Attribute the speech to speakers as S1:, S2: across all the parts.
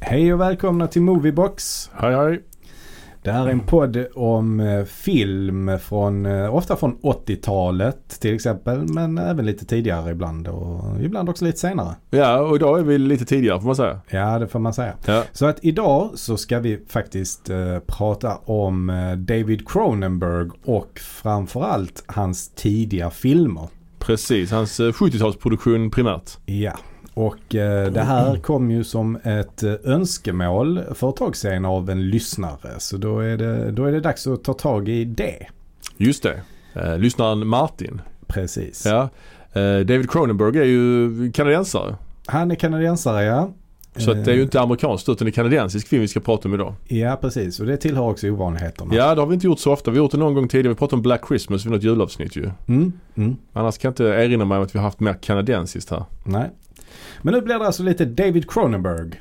S1: Hej och välkomna till Moviebox.
S2: Hej hej.
S1: Det här är en podd om eh, film från, eh, ofta från 80-talet till exempel, men även lite tidigare ibland och ibland också lite senare.
S2: Ja, och idag är vi lite tidigare får man säga.
S1: Ja, det får man säga.
S2: Ja.
S1: Så att idag så ska vi faktiskt eh, prata om eh, David Cronenberg och framförallt hans tidiga filmer.
S2: Precis, hans eh, 70-talsproduktion primärt.
S1: Ja, och eh, det här kom ju som ett eh, önskemål för ett tag sedan av en lyssnare. Så då är det, då är det dags att ta tag i det.
S2: Just det. Eh, lyssnaren Martin.
S1: Precis.
S2: Ja. Eh, David Cronenberg är ju kanadensare.
S1: Han är kanadensare ja.
S2: Så att det är ju
S1: Eh,
S2: inte amerikanskt utan det är kanadensisk film vi ska prata om idag.
S1: Ja precis och det tillhör också ovanligheterna.
S2: Ja, det har vi inte gjort så ofta. Vi har gjort det någon gång tidigare. Vi pratade om Black Christmas vid något julavsnitt ju.
S1: Mm, mm,
S2: Annars kan jag inte erinra mig om att vi har haft mer kanadensiskt här.
S1: nej. Men nu blir det alltså lite David Cronenberg.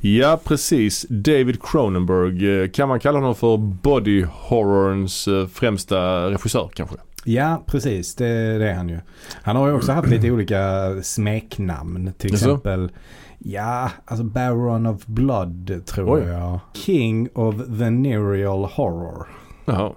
S2: Ja, precis. David Cronenberg. eh, Kan man kalla honom för body horrorns eh, främsta regissör kanske?
S1: Ja precis det, det är han ju. Han har ju också haft lite olika smeknamn till
S2: Jaså?
S1: exempel. Ja, alltså Baron of Blood tror
S2: Oj.
S1: jag. King of Venereal Horror.
S2: Jaha.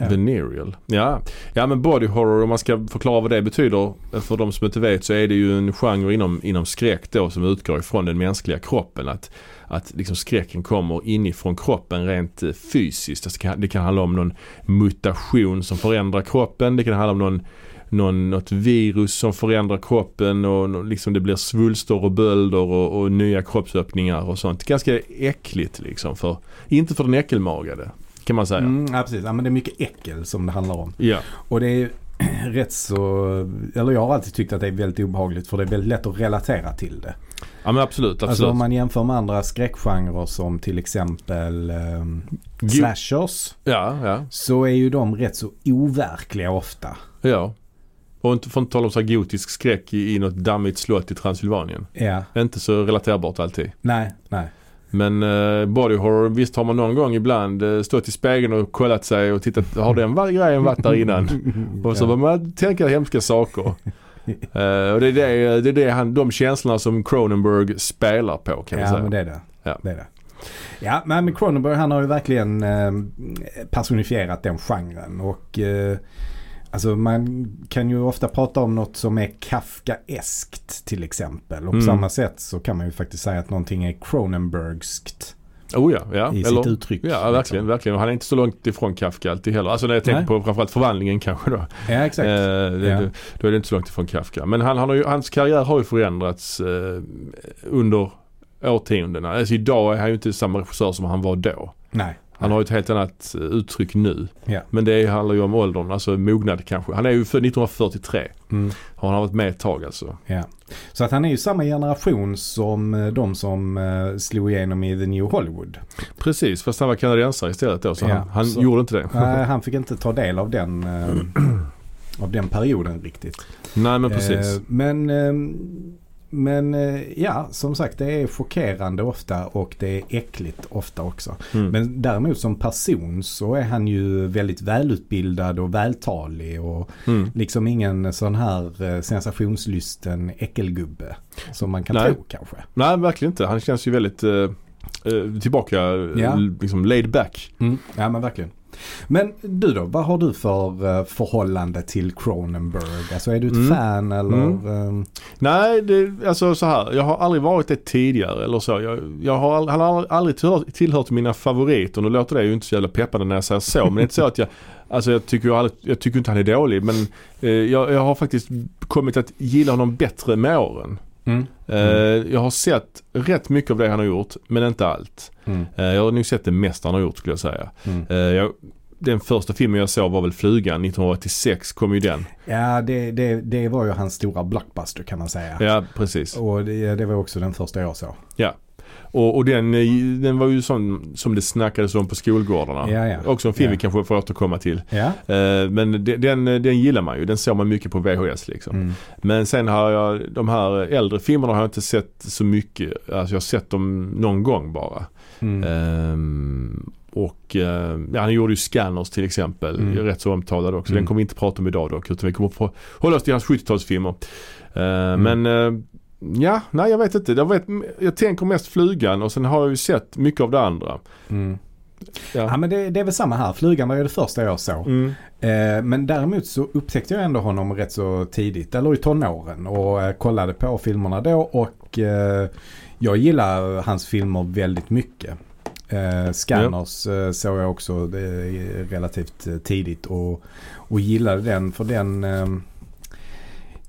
S1: Ja.
S2: Venereal. Ja. ja men body horror om man ska förklara vad det betyder för de som inte vet så är det ju en genre inom, inom skräck då som utgår ifrån den mänskliga kroppen. Att, att liksom skräcken kommer inifrån kroppen rent eh, fysiskt. Alltså det, kan, det kan handla om någon mutation som förändrar kroppen. Det kan handla om någon, någon, något virus som förändrar kroppen och nå- liksom det blir svulster och bölder och, och nya kroppsöppningar och sånt. Ganska äckligt liksom. För, inte för den äckelmagade kan man säga.
S1: Mm, ja precis, ja, men det är mycket äckel som det handlar om.
S2: Ja.
S1: Och det är ju rätt så, eller jag har alltid tyckt att det är väldigt obehagligt för det är väldigt lätt att relatera till det.
S2: Ja men absolut, absolut.
S1: Alltså om man jämför med andra skräckgenrer som till exempel ehm,
S2: Gud-
S1: slashers.
S2: Ja, ja,
S1: Så är ju de rätt så overkliga ofta.
S2: ja. Och inte får inte tala om så här gotisk skräck i, i något dammigt slott i Transylvanien.
S1: Ja,
S2: Inte så relaterbart alltid.
S1: nej, nej.
S2: Men eh, body horror, visst har man någon gång ibland eh, stått i spegeln och kollat sig och tittat, har den var grejen varit där innan? Och så
S1: ja.
S2: börjar man tänka hemska saker. Eh, och det är, det, det är det han, de känslorna som Cronenberg spelar på kan vi
S1: ja,
S2: säga.
S1: men det är det.
S2: Ja.
S1: det, är det. Ja, men men Cronenberg han har ju verkligen eh, personifierat den genren. Och eh, alltså man kan ju ofta prata om något som är Kafkaeskt till exempel. Och på
S2: Mm.
S1: samma sätt så kan man ju faktiskt säga att någonting är Cronenbergskt
S2: Oh ja, ja.
S1: i
S2: Eller,
S1: sitt uttryck. liksom.
S2: ja, verkligen, verkligen. Och Han är inte så långt ifrån Kafka alltid heller. Alltså när jag tänker
S1: Nej.
S2: på framförallt förvandlingen kanske då.
S1: Liksom. Ja, exakt.
S2: Eh, det,
S1: Ja.
S2: det- Då är det inte så långt ifrån Kafka. Men han, han har ju, hans karriär har ju förändrats eh, under årtiondena. Alltså idag är han ju inte samma regissör som han var då.
S1: Nej.
S2: Han har ju ett helt annat eh, uttryck nu.
S1: Ja.
S2: Men det handlar ju om åldern, alltså mognad kanske. Han är ju född 1943.
S1: Mm.
S2: Har han varit med ett tag alltså.
S1: Ja. Så att han är ju samma generation som eh, de som eh, slog igenom i The New Hollywood.
S2: Precis, fast han var kanadensare istället då. Så
S1: Ja,
S2: han, han
S1: så-
S2: gjorde inte det.
S1: Nej, han fick inte ta del av den, eh, av den perioden riktigt.
S2: Nej men precis.
S1: Eh, men eh, men eh, ja, som sagt det är chockerande ofta och det är äckligt ofta också.
S2: Mm.
S1: Men däremot som person så är han ju väldigt välutbildad och vältalig och
S2: Mm.
S1: liksom ingen sån här eh, sensationslysten äckelgubbe. Som man kan
S2: Nej.
S1: tro kanske.
S2: Nej verkligen inte. Han känns ju väldigt eh, eh, tillbaka,
S1: Ja.
S2: ja. liksom laid back.
S1: Ja men verkligen. Men du då, vad har du för eh, förhållande till Cronenberg? Alltså är du ett
S2: Mm.
S1: fan eller?
S2: Mm.
S1: ehm,
S2: Nej, det, alltså så här. Jag har aldrig varit det tidigare eller så. Jag, jag har all, han har aldrig tillhört, tillhört mina favoriter. Nu låter det ju inte så jävla peppande när jag säger så. Men det är inte så att jag, alltså jag tycker, ju aldrig, jag tycker inte han är dålig. Men eh, jag, jag har faktiskt kommit att gilla honom bättre med åren.
S1: Mm.
S2: Eh, Jag har sett rätt mycket av det han har gjort, men inte allt.
S1: Mm.
S2: Eh, jag har nog sett det mesta han har gjort skulle jag säga.
S1: Mm.
S2: Eh, jag, den första filmen jag såg var väl Flugan 1986 kom ju den.
S1: Ja det, det, det var ju hans stora blockbuster kan man säga.
S2: Ja, precis.
S1: Och det, det var också den första jag såg.
S2: Och, och den, eh, den var ju sån som det snackades om på skolgårdarna.
S1: Ja, ja.
S2: Också en film
S1: Ja.
S2: vi kanske får återkomma till.
S1: Ja.
S2: Eh, Men de- den, eh, den gillar man ju. Den såg man mycket på VHS liksom.
S1: Mm.
S2: Men sen har jag, de här äldre filmerna har jag inte sett så mycket. Alltså jag har sett dem någon gång bara.
S1: Mm.
S2: Ehm, och eh, ja, han gjorde ju Scanners till exempel.
S1: Mm.
S2: Rätt så omtalad också.
S1: Mm.
S2: Den kommer vi inte prata om idag dock. Utan vi kommer få hålla oss till hans 70-talsfilmer. Eh,
S1: Mm.
S2: Men eh, Ja, nej jag vet inte. Jag, vet, jag tänker mest flugan och sen har jag ju sett mycket av det andra.
S1: Mm. Ja
S2: Ja.
S1: men det, det är väl samma här. Flugan var ju det första jag såg.
S2: Mm.
S1: Eh, men däremot så upptäckte jag ändå honom rätt så tidigt, eller i tonåren och eh, kollade på filmerna då och eh, jag gillar hans filmer väldigt mycket. Eh, Scanners eh, såg jag också eh, relativt eh, tidigt och, och gillade den för den ehm,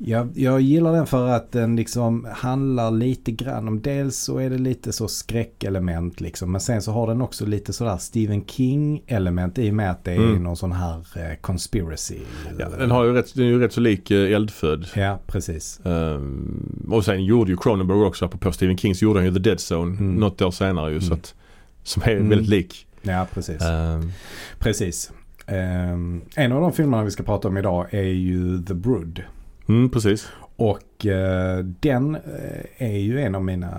S1: jag, jag gillar den för att den liksom handlar lite grann om dels så är det lite så skräckelement liksom. Men sen så har den också lite sådär Stephen King element i och med att det är
S2: Mm.
S1: någon sån här eh, conspiracy. Eh,
S2: Ja, den, har ju rätt, den är ju rätt så lik eh, Eldfödd.
S1: Ja, precis.
S2: Ehm, och sen gjorde ju Cronenberg också, apropå Stephen King, så gjorde han ju The Dead Zone
S1: Mm.
S2: något år senare ju. Så
S1: Mm.
S2: att, som är
S1: Mm.
S2: väldigt lik.
S1: Ja, precis.
S2: Ehm,
S1: Precis. Ehm, en av de filmerna vi ska prata om idag är ju The Brood.
S2: mm, precis.
S1: Och eh, den eh, är ju en av mina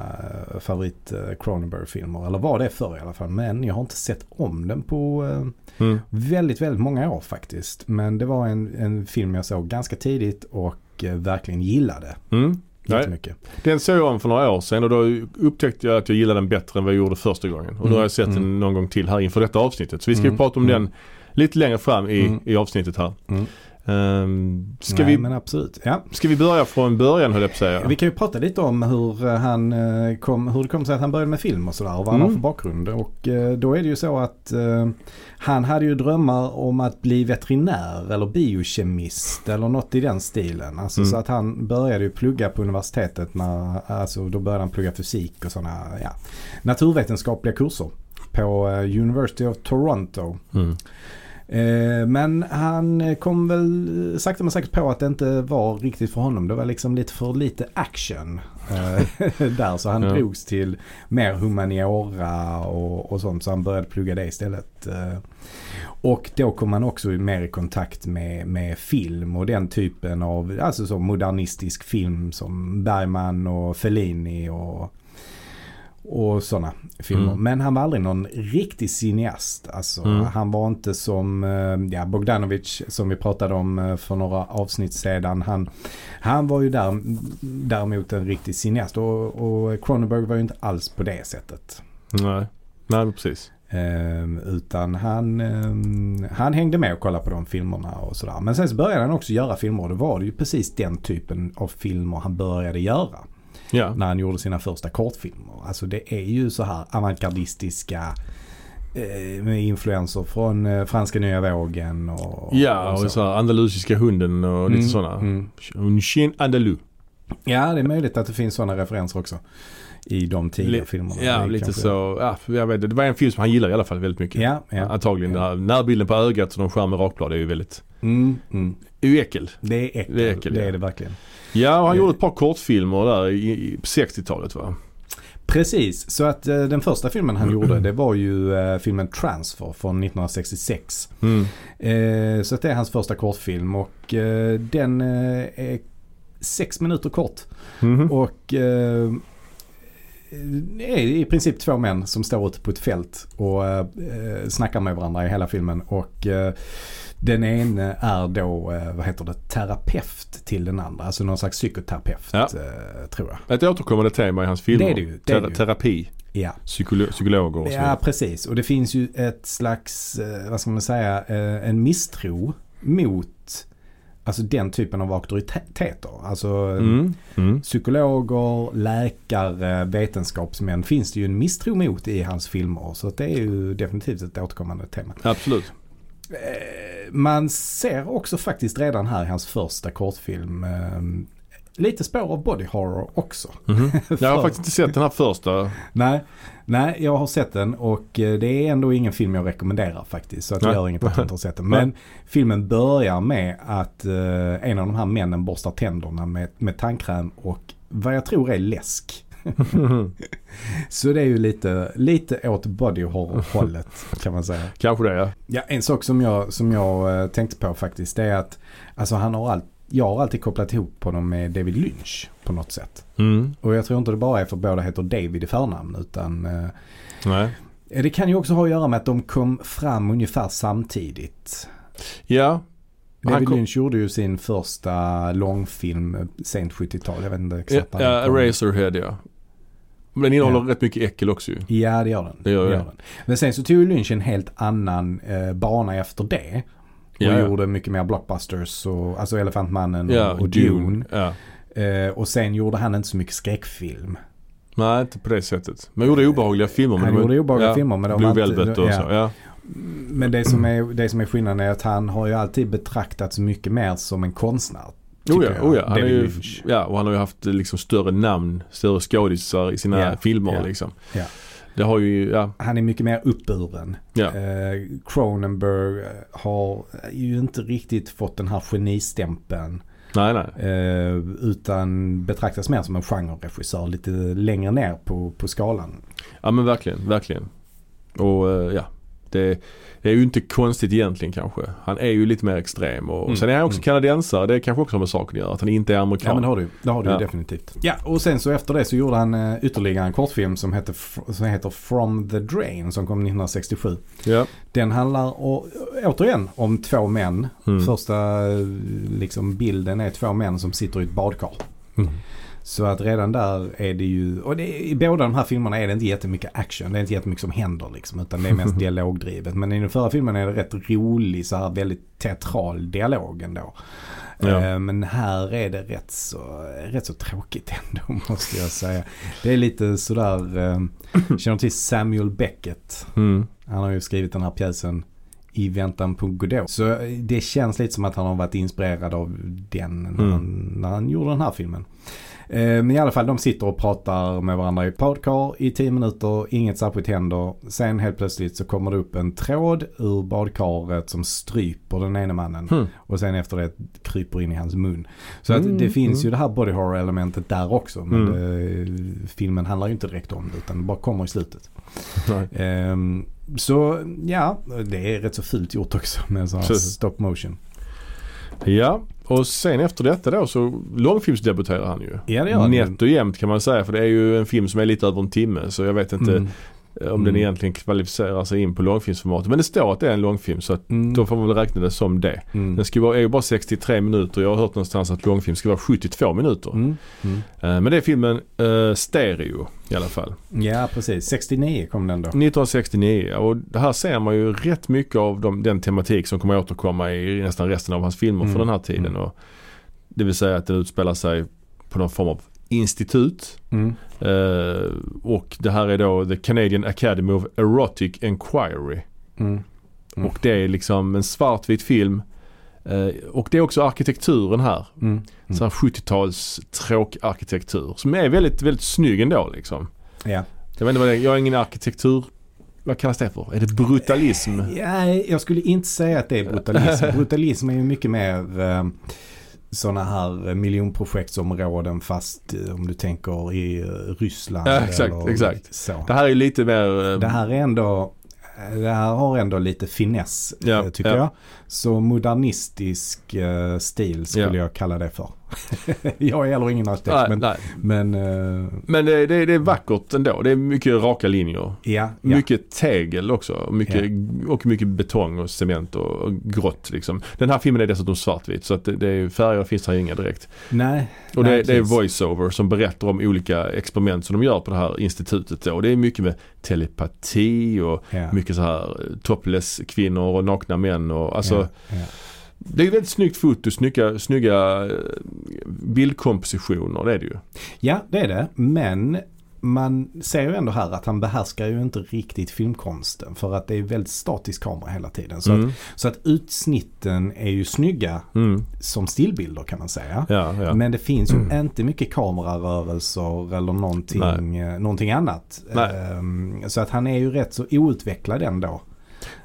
S1: eh, favorit eh, Cronenberg-filmer. Eller var det förr i alla fall. Men jag har inte sett om den på eh,
S2: Mm.
S1: väldigt, väldigt många år faktiskt. Men det var en, en film jag såg ganska tidigt och eh, verkligen gillade
S2: Mm. Nej,
S1: jättemycket.
S2: Den såg jag om för några år sedan och då upptäckte jag att jag gillade den bättre än vad jag gjorde första gången. Och då har jag sett
S1: Mm.
S2: den någon gång till här inför detta avsnittet. Så vi ska
S1: Mm.
S2: ju prata om
S1: Mm.
S2: den lite längre fram i,
S1: Mm.
S2: i avsnittet här.
S1: Mm.
S2: Ehm, ska,
S1: Nej,
S2: vi,
S1: men absolut. Ja.
S2: ska vi börja från början höll jag på att säga?
S1: Vi kan ju prata lite om hur, eh, han eh, kom, hur det kom sig att han började med film och sådär och vad han har
S2: Mm.
S1: för bakgrund. Och eh, då är det ju så att eh, han hade ju drömmar om att bli veterinär eller biokemist eller något i den stilen. Alltså
S2: Mm.
S1: så att han började ju plugga på universitetet när, alltså då började han plugga fysik och sådana, ja, naturvetenskapliga kurser på eh, University of Toronto.
S2: Mm.
S1: Eh, Men han kom väl sakta men säkert på att det inte var riktigt för honom. Det var liksom lite för lite action eh, där. Så han
S2: Ja.
S1: drogs till mer humaniora och, och sånt. Så han började plugga det istället. Eh, Och då kom han också mer i kontakt med, med film och den typen av alltså så modernistisk film som Bergman och Fellini och, och sådana filmer.
S2: Mm.
S1: Men han var aldrig någon riktig cineast. Alltså,
S2: Mm.
S1: Han var inte som eh, ja, Bogdanovich som vi pratade om eh, för några avsnitt sedan. Han, han var ju där, däremot en riktig cineast och, och Cronenberg var ju inte alls på det sättet.
S2: Nej. Nej, men precis.
S1: Ehm, utan han, ehm, han hängde med och kollade på de filmerna och sådär. Men sen så började han också göra filmer och då var det ju precis den typen av filmer han började göra
S2: Ja.
S1: när han gjorde sina första kortfilmer. Alltså det är ju så här avantgardistiska eh, med influenser från eh, franska nya vågen och,
S2: Ja, och så här andalusiska hunden och lite
S1: Mm,
S2: sådana.
S1: mm.
S2: Un chien andalou.
S1: Ja, det är möjligt att det finns sådana referenser också i de tidiga
S2: Li-
S1: filmerna. Det
S2: Ja,
S1: är
S2: lite
S1: kanske-
S2: så. Ja, jag vet, inte. det var en film som han gillade i alla fall väldigt mycket.
S1: Ja, ja.
S2: Antagligen
S1: Ja.
S2: den här närbilden på ögat och de skär med rakblad är ju väldigt,
S1: Mm, mm.
S2: är ju äckel.
S1: Det är äckel.
S2: Det är äckel,
S1: det
S2: ja.
S1: är det verkligen.
S2: Ja, och han
S1: Eh.
S2: gjorde ett par kortfilmer där i, i, på 60-talet va?
S1: Precis, så att eh, den första filmen han gjorde det var ju eh, filmen Transfer från 1966.
S2: Mm.
S1: Eh, så att det är hans första kortfilm och eh, den eh, är sex minuter kort.
S2: Mhm.
S1: Och eh, det är i princip två män som står ute på ett fält och eh, snackar med varandra i hela filmen. Och eh, den ene är då, eh, vad heter det, terapeut till den andra. Alltså någon slags psykoterapeut
S2: Ja.
S1: eh, tror jag.
S2: Ett återkommande tema i hans filmer.
S1: Det är det ju, det är det ju.
S2: Terapi,
S1: Ja.
S2: psykolo- psykologer och så
S1: Ja
S2: vidare.
S1: precis och det finns ju ett slags, eh, vad ska man säga, eh, en misstro mot alltså den typen av auktoriteter. Alltså
S2: Mm. Mm.
S1: psykologer, läkare, vetenskapsmän finns det ju en misstro mot i hans filmer. Så att det är ju definitivt ett återkommande tema.
S2: Absolut.
S1: Eh, Man ser också faktiskt redan här i hans första kortfilm eh, lite spår av body horror också.
S2: Mhm. Jag har
S1: För-
S2: faktiskt inte sett den här första.
S1: Nej, nej, jag har sett den och eh, det är ändå ingen film jag rekommenderar faktiskt. Så att det
S2: Nej.
S1: gör inget att jag inte har sett den. Men filmen börjar med att eh, en av de här männen borstar tänderna med, med tandkräm och vad jag tror är läsk. Så det är ju lite, lite åt body horror-hållet kan man säga.
S2: Kanske det ja.
S1: Ja, en sak som jag, som jag eh, tänkte på faktiskt det är att alltså, han har all, jag har alltid kopplat ihop honom med David Lynch på något sätt.
S2: Mm.
S1: Och jag tror inte det bara är för båda heter David i förnamn utan eh,
S2: Nej.
S1: det kan ju också ha att göra med att de kom fram ungefär samtidigt.
S2: Ja.
S1: David
S2: kom-
S1: Lynch gjorde ju sin första långfilm eh, sent 70-tal. Jag vet inte
S2: Ja,
S1: exakt. vad den
S2: ja,
S1: heter.
S2: eh, Eraserhead ja. Men den innehåller
S1: Ja.
S2: rätt mycket äckel också ju.
S1: Ja, det gör den.
S2: Det gör det.
S1: den. Men sen så tog ju Lynch en helt annan eh, bana efter det. Och
S2: Ja, ja.
S1: gjorde mycket mer blockbusters, och, alltså Elefantmannen och,
S2: Ja,
S1: och Dune.
S2: Ja.
S1: Eh, och sen gjorde han inte så mycket skräckfilm.
S2: Nej, inte på det sättet. Men gjorde obehagliga filmer. men
S1: Eh, Han
S2: de-
S1: gjorde obehagliga filmer, men de
S2: Blue
S1: var inte-
S2: Velvet och
S1: ja.
S2: så. Ja.
S1: Men det som, är, det som är skillnaden är att han har ju alltid betraktats mycket mer som en konstnär.
S2: Oh
S1: tycker
S2: ja,
S1: jag,
S2: oh ja. Han är
S1: David
S2: ju,
S1: Lynch.
S2: ja, och han har ju haft eh, liksom större namn, större skådisar i sina
S1: Ja,
S2: filmer
S1: ja,
S2: liksom.
S1: ja.
S2: Det har ju, ja,
S1: Han är mycket mer uppburen.
S2: ja.
S1: Eh, Cronenberg eh, har ju inte riktigt fått den här genistämpeln.
S2: Nej, nej.
S1: Eh, utan betraktas mer som en genreregissör lite längre ner på, på skalan.
S2: Ja men verkligen, verkligen. Och eh, ja, det, det är ju inte konstigt egentligen kanske. Han är ju lite mer extrem och,
S1: Mm,
S2: och sen är han också
S1: mm.
S2: kanadensare. Det kanske också har med saken att göra. Att han inte är
S1: Ja,
S2: amerikan.
S1: men det har du, det har du ju
S2: Ja.
S1: definitivt. Ja, och sen så efter det så gjorde han eh, ytterligare en kortfilm som heter, fr- som heter From the Drain som kom 1967.
S2: ja.
S1: Den handlar å, återigen om två män.
S2: Mm.
S1: Första eh, liksom, bilden är två män som sitter i ett badkar.
S2: Mm.
S1: Så att redan där är det ju, och det, i båda de här filmerna är det inte jättemycket action. Det är inte jättemycket som händer liksom. Utan det är mest dialogdrivet. Men i den förra filmen är det rätt rolig, så här väldigt teatral dialog ändå.
S2: Ja.
S1: Eh, Men här är det rätt så, rätt så tråkigt ändå måste jag säga. Det är lite sådär, eh, känner du till Samuel Beckett?
S2: Mm.
S1: Han har ju skrivit den här pjäsen I väntan på Godot. Så det känns lite som att han har varit inspirerad av den när,
S2: Mm.
S1: han, när han gjorde den här filmen. Eh, Men i alla fall de sitter och pratar med varandra i badkar i 10 minuter, inget särskilt händer. Sen helt plötsligt så kommer det upp en tråd ur badkaret som stryper den ene mannen.
S2: Hmm.
S1: Och sen efter det kryper in i hans mun. Så
S2: Mm,
S1: att det finns
S2: mm.
S1: ju det här body horror elementet där också. Men
S2: Mm.
S1: eh, filmen handlar ju inte direkt om det utan det bara kommer i slutet.
S2: Nej.
S1: Ehm, så ja, det är rätt så fult gjort också med en sån här
S2: Precis.
S1: stop motion.
S2: Ja, och sen efter detta då så långfilmsdebuterar han ju.
S1: Ja, det gör han ju.
S2: Nätt och jämnt kan man säga för det är ju en film som är lite över en timme så jag vet inte
S1: Mm.
S2: eh, om den
S1: Mm.
S2: egentligen kvalificerar sig in på långfilmsformatet. Men det står att det är en långfilm så att
S1: Mm.
S2: då får man väl räkna det som det.
S1: Mm.
S2: Den ska vara, är ju bara 63 minuter. Jag har hört någonstans att långfilm ska vara 72 minuter.
S1: Mm. Mm.
S2: Eh, Men det är filmen eh, Stereo i alla fall.
S1: Ja, precis. 69 kom den då.
S2: 1969 och det här ser man ju rätt mycket av de, den tematik som kommer återkomma i nästan resten av hans filmer
S1: Mm.
S2: från den här tiden.
S1: Mm.
S2: Och det vill säga att den utspelar sig på någon form av institut.
S1: Mm.
S2: Eh, och det här är då The Canadian Academy of Erotic Enquiry.
S1: Mm. Mm.
S2: Och det är liksom en svartvit film. Eh, och det är också arkitekturen här.
S1: Mm.
S2: Mm. Så här 70-tals tråkarkitektur som är väldigt, väldigt snygg ändå liksom.
S1: Ja.
S2: Jag vet inte vad det är. Jag är ingen arkitektur... Vad kallas det för? Är det brutalism?
S1: Eh, ja, jag skulle inte säga att det är brutalism. brutalism är ju mycket mer eh, sådana här eh, miljonprojektsområden fast eh, om du tänker i eh, Ryssland.
S2: Ja, exakt,
S1: eller
S2: exakt.
S1: Så.
S2: Det här är ju lite mer... eh,
S1: Det här är ändå eh, det här har ändå lite finess eh,
S2: Ja,
S1: tycker
S2: ja.
S1: jag. Så modernistisk eh, stil skulle
S2: Ja.
S1: jag kalla det för. jag är heller ingen arkitekt men,
S2: nej, nej.
S1: men eh,
S2: Men det, det, det är vackert ändå. Det är mycket raka linjer.
S1: ja. ja.
S2: Mycket tegel också. och Mycket, Och mycket betong och cement och, och grått liksom. Den här filmen är dessutom svartvit så att det, det är, färger finns här inga direkt.
S1: Nej,
S2: Och
S1: Nej,
S2: det, det är
S1: precis.
S2: voiceover som berättar om olika experiment som de gör på det här institutet då. Och det är mycket med telepati och
S1: ja.
S2: Mycket så här eh, topless kvinnor och nakna män och alltså
S1: ja, ja.
S2: Det är ju väldigt snyggt foto, snygga, snygga eh, bildkompositioner det är det ju.
S1: ja, det är det. Men man ser ju ändå här att han behärskar ju inte riktigt filmkonsten. För att det är väldigt statisk kamera hela tiden. Så,
S2: Mm.
S1: att, så att utsnitten är ju snygga
S2: Mm.
S1: som stillbilder kan man säga.
S2: Ja, ja.
S1: Men det finns ju inte mycket kamerarörelser eller någonting, eh, någonting annat.
S2: Nej.
S1: Ehm, Så att han är ju rätt så outvecklad ändå.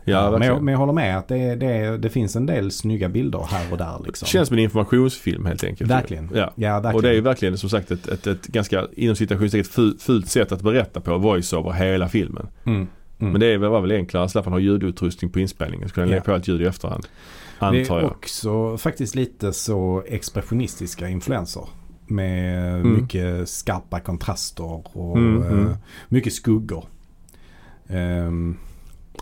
S2: ja
S1: men,
S2: verkligen.
S1: jag, men jag håller med att det, är- det, är- det finns en del snygga bilder här och där. Liksom.
S2: Det känns som en informationsfilm helt enkelt.
S1: Verkligen.
S2: Ja.
S1: Ja, verkligen.
S2: Och det är ju verkligen som sagt ett, ett, ett ganska inom citationstecken fu- fult sätt att berätta på voiceover hela filmen.
S1: mm. Mm.
S2: Men det är väl- var väl enklare, slapp han ha ljudutrustning på inspelningen så kunde han
S1: Ja.
S2: lägga på allt ljud i efterhand.
S1: Det
S2: Antar
S1: är
S2: jag.
S1: också faktiskt lite så expressionistiska influenser. Med
S2: Mm.
S1: mycket skarpa kontraster och
S2: Mm,
S1: eh,
S2: mm.
S1: mycket skuggor. Ehm,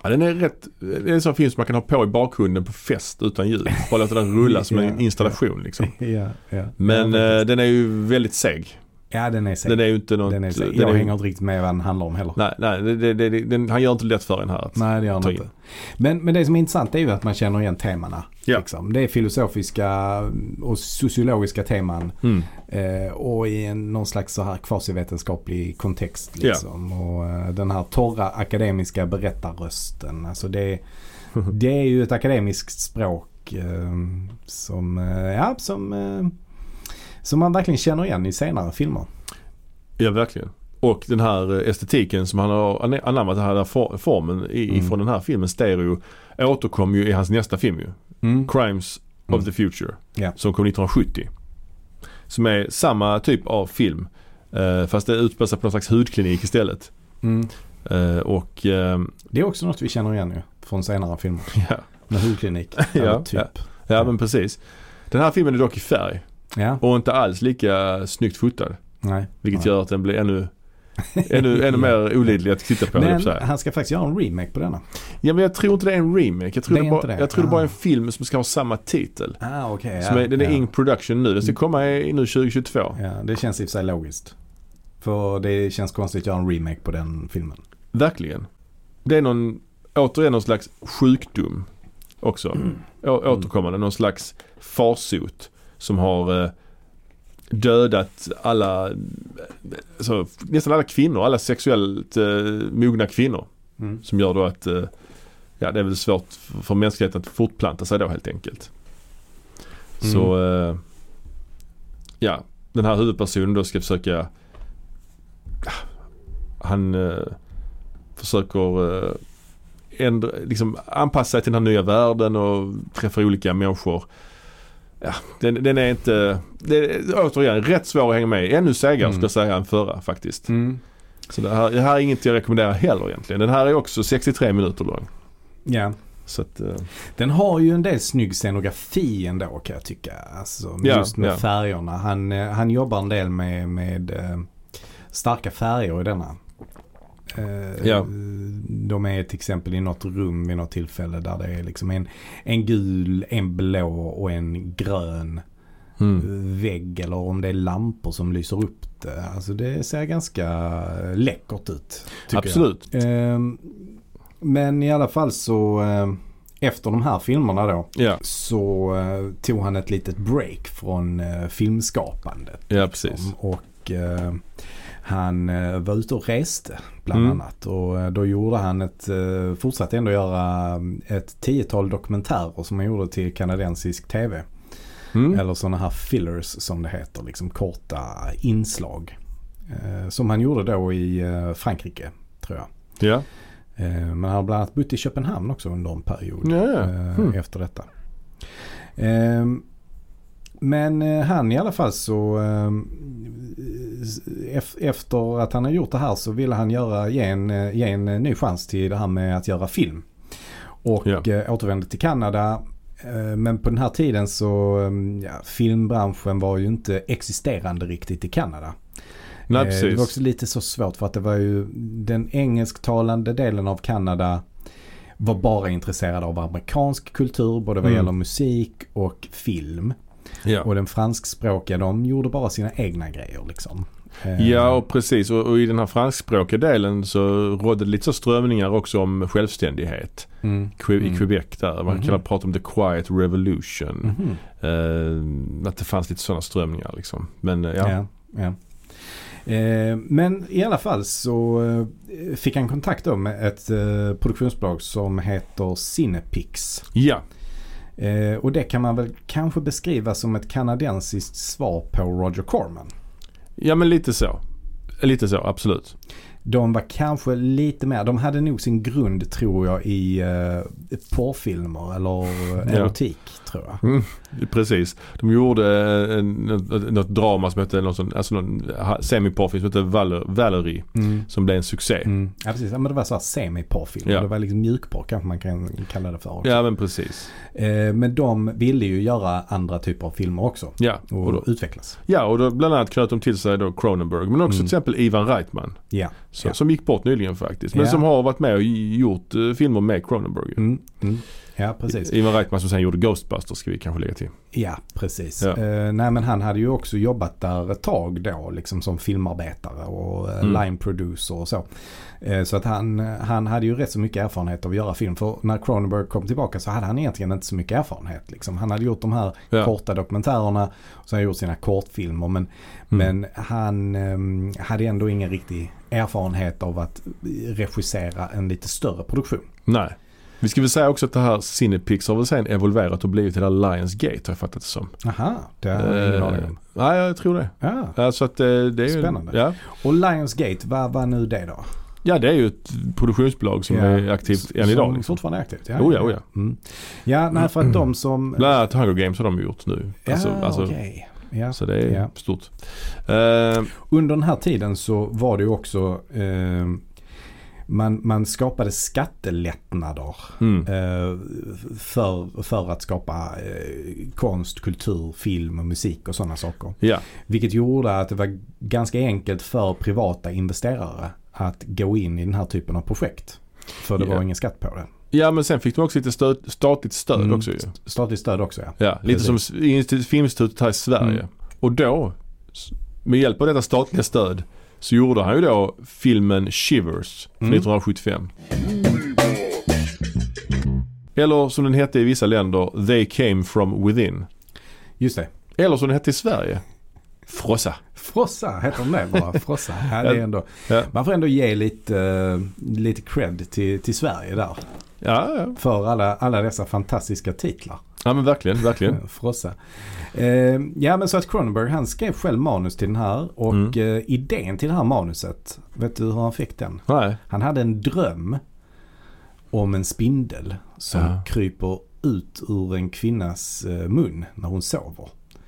S2: Ja, den är rätt, det är en sån film som man kan ha på i bakgrunden på fest utan ljud. Bara låta den rulla som en
S1: Ja.
S2: installation liksom.
S1: ja, ja.
S2: Men
S1: ja,
S2: eh, den är ju väldigt seg.
S1: ja, den är
S2: Den
S1: säker.
S2: är ju inte något...
S1: Den är säker.
S2: den
S1: Jag
S2: är-
S1: hänger inte riktigt med vad den handlar om heller.
S2: Nej, nej det, det, det, den, han gör inte lätt för en här. Att,
S1: Nej, det gör den
S2: Ta
S1: inte.
S2: in.
S1: Men, men det som är intressant är ju att man känner igen temana.
S2: Ja.
S1: Liksom. Det är filosofiska och sociologiska teman.
S2: Mm.
S1: Eh, och i en, någon slags så här kvasivetenskaplig kontext. Liksom. Och, eh, den här torra akademiska berättarrösten. Alltså det, det är ju ett akademiskt språk eh, som, eh, ja, som, eh, som man verkligen känner igen i senare filmer.
S2: Ja, verkligen. Och den här eh, estetiken som han har an- anammat, den här for- formen i,
S1: Mm.
S2: från den här filmen, Stereo, återkom ju i hans nästa film ju. Crimes
S1: Mm.
S2: of the Future.
S1: Ja.
S2: Som kom 1970. Som är samma typ av film. eh, Fast det utspelar sig på någon slags hudklinik istället.
S1: Mm.
S2: Eh, Och eh,
S1: Det är också något vi känner igen ju från senare filmer.
S2: ja,
S1: Med hudklinik.
S2: Ja,
S1: eller typ.
S2: ja men precis. Den här filmen är dock i färg
S1: Ja,
S2: och inte alls lika snyggt fotad.
S1: nej.
S2: Vilket
S1: Ja.
S2: gör att den blir ännu, ännu, ännu mer olidlig att titta på. höll jag på att
S1: Men
S2: säga.
S1: han ska faktiskt göra en remake på denna.
S2: Ja men jag tror inte det är en remake. Jag tror
S1: Det
S2: det,
S1: är
S2: bara,
S1: inte det.
S2: Jag tror det bara är en
S1: Ah.
S2: film som ska ha samma titel.
S1: Ah, okej.
S2: som är, den är
S1: ja. Mm.
S2: in production nu. Den ska komma i, nu 2022.
S1: Ja, det känns i och för sig logiskt. För det känns konstigt att göra en remake på den filmen.
S2: Verkligen. Det är någon, återigen någon slags sjukdom också. Å, återkommande. Någon slags farsot som har eh, dödat alla, eh, alltså, nästan alla kvinnor, alla sexuellt eh, mogna kvinnor.
S1: Mm.
S2: Som gör då att eh, ja, det är väl svårt f- för mänskligheten att fortplanta sig då helt enkelt.
S1: Mm.
S2: Så eh, ja, den här huvudpersonen då ska försöka ah, han eh, försöker eh, ändra, liksom anpassa sig till den här nya världen och träffa olika människor. Ja, den, den är inte, det är, återigen rätt svår att hänga med i. Ännu segare
S1: Mm.
S2: skulle jag säga än förra faktiskt.
S1: Mm.
S2: Så det här, det här är inget jag rekommenderar heller egentligen. Den här är också 63 minuter lång.
S1: Ja.
S2: Så att, eh,
S1: Den har ju en del snygg scenografi ändå kan jag tycka. Alltså,
S2: Ja,
S1: just med
S2: ja.
S1: färgerna. Han, eh, han jobbar en del med, med eh, starka färger i denna. Eh,
S2: Ja.
S1: De är till exempel i något rum vid något tillfälle där det är liksom en, en gul, en blå och en grön eh,
S2: mm.
S1: vägg eller om det är lampor som lyser upp det. Alltså det ser ganska läckert ut. tycker
S2: Absolut.
S1: Jag. Ehm, Men i alla fall så eh, efter de här filmerna då
S2: Ja,
S1: så eh, tog han ett litet break från eh, filmskapandet.
S2: ja precis.
S1: Och eh, han eh, var ute och reste bland
S2: Mm.
S1: annat. Och eh, då gjorde han ett, eh, fortsatte ändå göra ehm, ett tiotal dokumentärer som han gjorde till kanadensisk tv.
S2: Mm.
S1: Eller sådana här fillers som det heter, liksom korta inslag. Eh, som han gjorde då i eh, Frankrike, tror jag.
S2: Ja.
S1: Eh, men han har bland annat bott i Köpenhamn också under en period
S2: Ja, ja.
S1: eh,
S2: Hmm.
S1: efter detta. Eh, men eh, han i alla fall så eh, ef- efter att han har gjort det här så ville han göra, ge, en, eh, ge en eh, ny chans till det här med att göra film. Och
S2: Ja.
S1: eh, återvände till Kanada. Eh, Men på den här tiden så eh, ja, filmbranschen var ju inte existerande riktigt i Kanada.
S2: Nej,
S1: Eh, Det var
S2: precis.
S1: också lite så svårt för att det var ju den engelsktalande delen av Kanada var bara intresserad av amerikansk kultur både vad
S2: Mm.
S1: gäller musik och film.
S2: Ja.
S1: Och den franskspråkiga de gjorde bara sina egna grejer liksom. Eh,
S2: ja, och precis. Och, och i den här franskspråkiga delen så rådde det lite så strömningar också om självständighet.
S1: mm.
S2: Que- I
S1: Mm.
S2: Quebec där. Man
S1: Mhm.
S2: kallar prata om the quiet revolution.
S1: Mhm.
S2: Eh, att det fanns lite sådana strömningar liksom. Men eh, ja.
S1: Ja. Ja, Eh, Men i alla fall så eh, fick han kontakt då med ett eh, produktionsbolag som heter Cinepix.
S2: Ja,
S1: Eh, och det kan man väl kanske beskriva som ett kanadensiskt svar på Roger Corman.
S2: ja men lite så. Lite så, absolut.
S1: De var kanske lite mer, de hade nog sin grund tror jag i eh, porrfilmer eller eh,
S2: Ja.
S1: erotik tror jag.
S2: Mm, precis. De gjorde eh, en, en- något drama som hette någon, sån- alltså någon ha- semiporrfilm som hette Valer- Valerie.
S1: Mm.
S2: Som blev en succé.
S1: Mm. Ja precis, ja, men det var så här semiporrfilm.
S2: Ja.
S1: Det var liksom mjukporr kanske man kan kalla det för. också.
S2: Ja men precis.
S1: Eh, men de ville ju göra andra typer av filmer också.
S2: Ja
S1: Och,
S2: och, då,
S1: utvecklas.
S2: ja, och då bland annat knöt de till sig då Cronenberg. Men också
S1: Mm.
S2: till exempel Ivan Reitman.
S1: Ja.
S2: Så,
S1: Ja.
S2: Som gick bort nyligen faktiskt. Men
S1: Ja.
S2: som har varit med och gjort eh, filmer med Cronenberg. ju.
S1: Mm. Mm. Ja precis.
S2: Ivan Reitman som sen gjorde Ghostbusters ska vi kanske lägga till.
S1: Ja, precis.
S2: Ja.
S1: Eh, nej, men han hade ju också jobbat där ett tag då, liksom som filmarbetare och eh,
S2: Mm.
S1: line producer och så. Eh, så att han, han hade ju rätt så mycket erfarenhet av att göra film. För när Cronenberg kom tillbaka så hade han egentligen inte så mycket erfarenhet. Liksom. Han hade gjort de här
S2: Ja.
S1: korta dokumentärerna och så hade han gjort sina kortfilmer. Men,
S2: Mm.
S1: men han eh, hade ändå ingen riktig erfarenhet av att regissera en lite större produktion.
S2: Nej. Vi ska väl säga också att det här Cinepix har väl sen evolverat och blivit det där Lionsgate har jag fattat det som.
S1: Aha, det har jag ingen
S2: Eh,
S1: aning om.
S2: Nej, jag tror det.
S1: Ja.
S2: Ja, så att eh, det är ju,
S1: Spännande.
S2: Ja.
S1: Och Lionsgate, vad var nu det då?
S2: ja, det är ju ett produktionsbolag som
S1: Ja.
S2: är aktivt än
S1: som
S2: idag. Liksom.
S1: fortfarande är aktivt? Ja,
S2: Oh ja, oh ja.
S1: Mm. Ja, nej, för att de som...
S2: Bland annat Hunger Games har de gjort nu.
S1: Ja,
S2: Alltså- alltså-
S1: okej. Ja.
S2: Så det är
S1: Ja.
S2: stort. Eh,
S1: Under den här tiden så var det ju också... Eh, man, man skapade skattelättnader
S2: mm.
S1: eh, för, för att skapa eh, konst, kultur, film och musik och sådana saker.
S2: Ja,
S1: Vilket gjorde att det var ganska enkelt för privata investerare att gå in i den här typen av projekt. För det
S2: Ja.
S1: var ingen skatt på det.
S2: ja men sen fick de också lite stöd, statligt stöd
S1: Mm.
S2: också ju.
S1: Statligt stöd också ja.
S2: Ja, lite som
S1: Precis.
S2: s- institut- Filminstitutet här i Sverige.
S1: Mm.
S2: Och då, s- med hjälp av detta statliga stöd, så gjorde han ju då filmen Shivers från
S1: Mm.
S2: 1975. Eller som den hette i vissa länder, They came from within.
S1: Just det.
S2: Eller som den hette i Sverige, Frossa.
S1: Frossa heter de det bara. Frossa. Ja, det är ändå,
S2: Ja,
S1: man får ändå ge lite, eh, lite cred till, till Sverige där.
S2: ja, ja.
S1: För alla, alla dessa fantastiska titlar.
S2: ja men verkligen, verkligen.
S1: Frossa. Eh, ja men så att Cronenberg han skrev själv manus till den här. Och
S2: Mm.
S1: eh, idén till det här manuset. Vet du hur han fick den?
S2: Nej.
S1: Han hade en dröm om en spindel som
S2: Ja.
S1: kryper ut ur en kvinnas eh, mun när hon sover.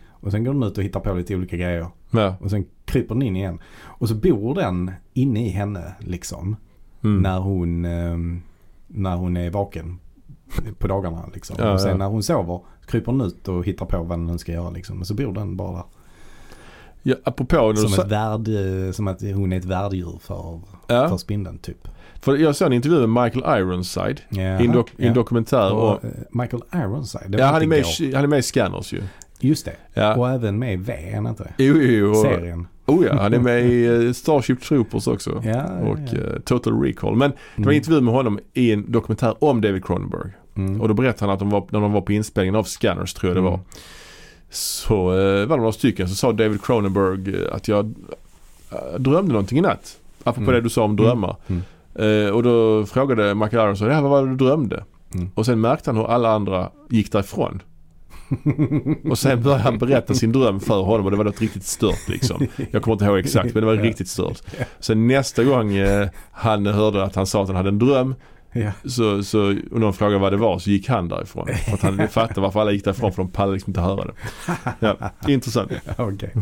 S1: Och sen går den ut och hittar på lite olika grejer.
S2: Ja.
S1: Och sen kryper den in igen. Och så bor den inne i henne liksom.
S2: Mm.
S1: När, hon, eh, när hon är vaken på dagarna. Liksom.
S2: Ja,
S1: och sen
S2: ja.
S1: när hon sover kryper den ut och hittar på vad den ska göra. Liksom. Och så bor den bara där.
S2: Ja, apropå när du
S1: Som,
S2: sa-
S1: ett värd, eh, som att hon är ett värddjur för, för
S2: ja,
S1: spindeln typ.
S2: för jag såg en intervju med Michael Ironside
S1: Ja,
S2: i en, dok- i en
S1: ja.
S2: dokumentär. Och,
S1: Och, eh, Michael Ironside. det
S2: ja,
S1: var
S2: han, är
S1: inte
S2: med,
S1: igår.
S2: i- han är med i Scanners ju.
S1: Just det.
S2: Ja.
S1: Och även med i V, är han inte det?
S2: Jo, jo, jo. Och,
S1: Serien.
S2: oh ja, han är med i eh, Starship Troopers också.
S1: Ja, Mm.
S2: Och
S1: ja.
S2: eh, Total Recall. Men det var en intervju med honom i en dokumentär om David Cronenberg.
S1: Mm.
S2: Och då berättade han att de var, när de var på inspelningen av Scanners tror jag det var.
S1: Mm.
S2: Så eh, var det några stycken så sa David Cronenberg eh, att jag eh, drömde någonting i natt. Apropå
S1: Mm.
S2: det du sa om drömmar.
S1: Mm.
S2: Eh, och då frågade Michael Irons ja, vad var det du drömde?
S1: Mm.
S2: Och sen märkte han hur alla andra gick därifrån. och sen började han berätta sin dröm för honom och det var något riktigt stört liksom. Jag kommer inte ihåg exakt men det var
S1: Ja.
S2: riktigt stört. Sen nästa gång eh, han hörde att han sa att han hade en dröm
S1: Mm. Ja.
S2: så, så och någon frågade vad det var så gick han därifrån. För att han fattade varför alla gick därifrån för de pallade liksom inte höra det. Ja, intressant.
S1: Okej.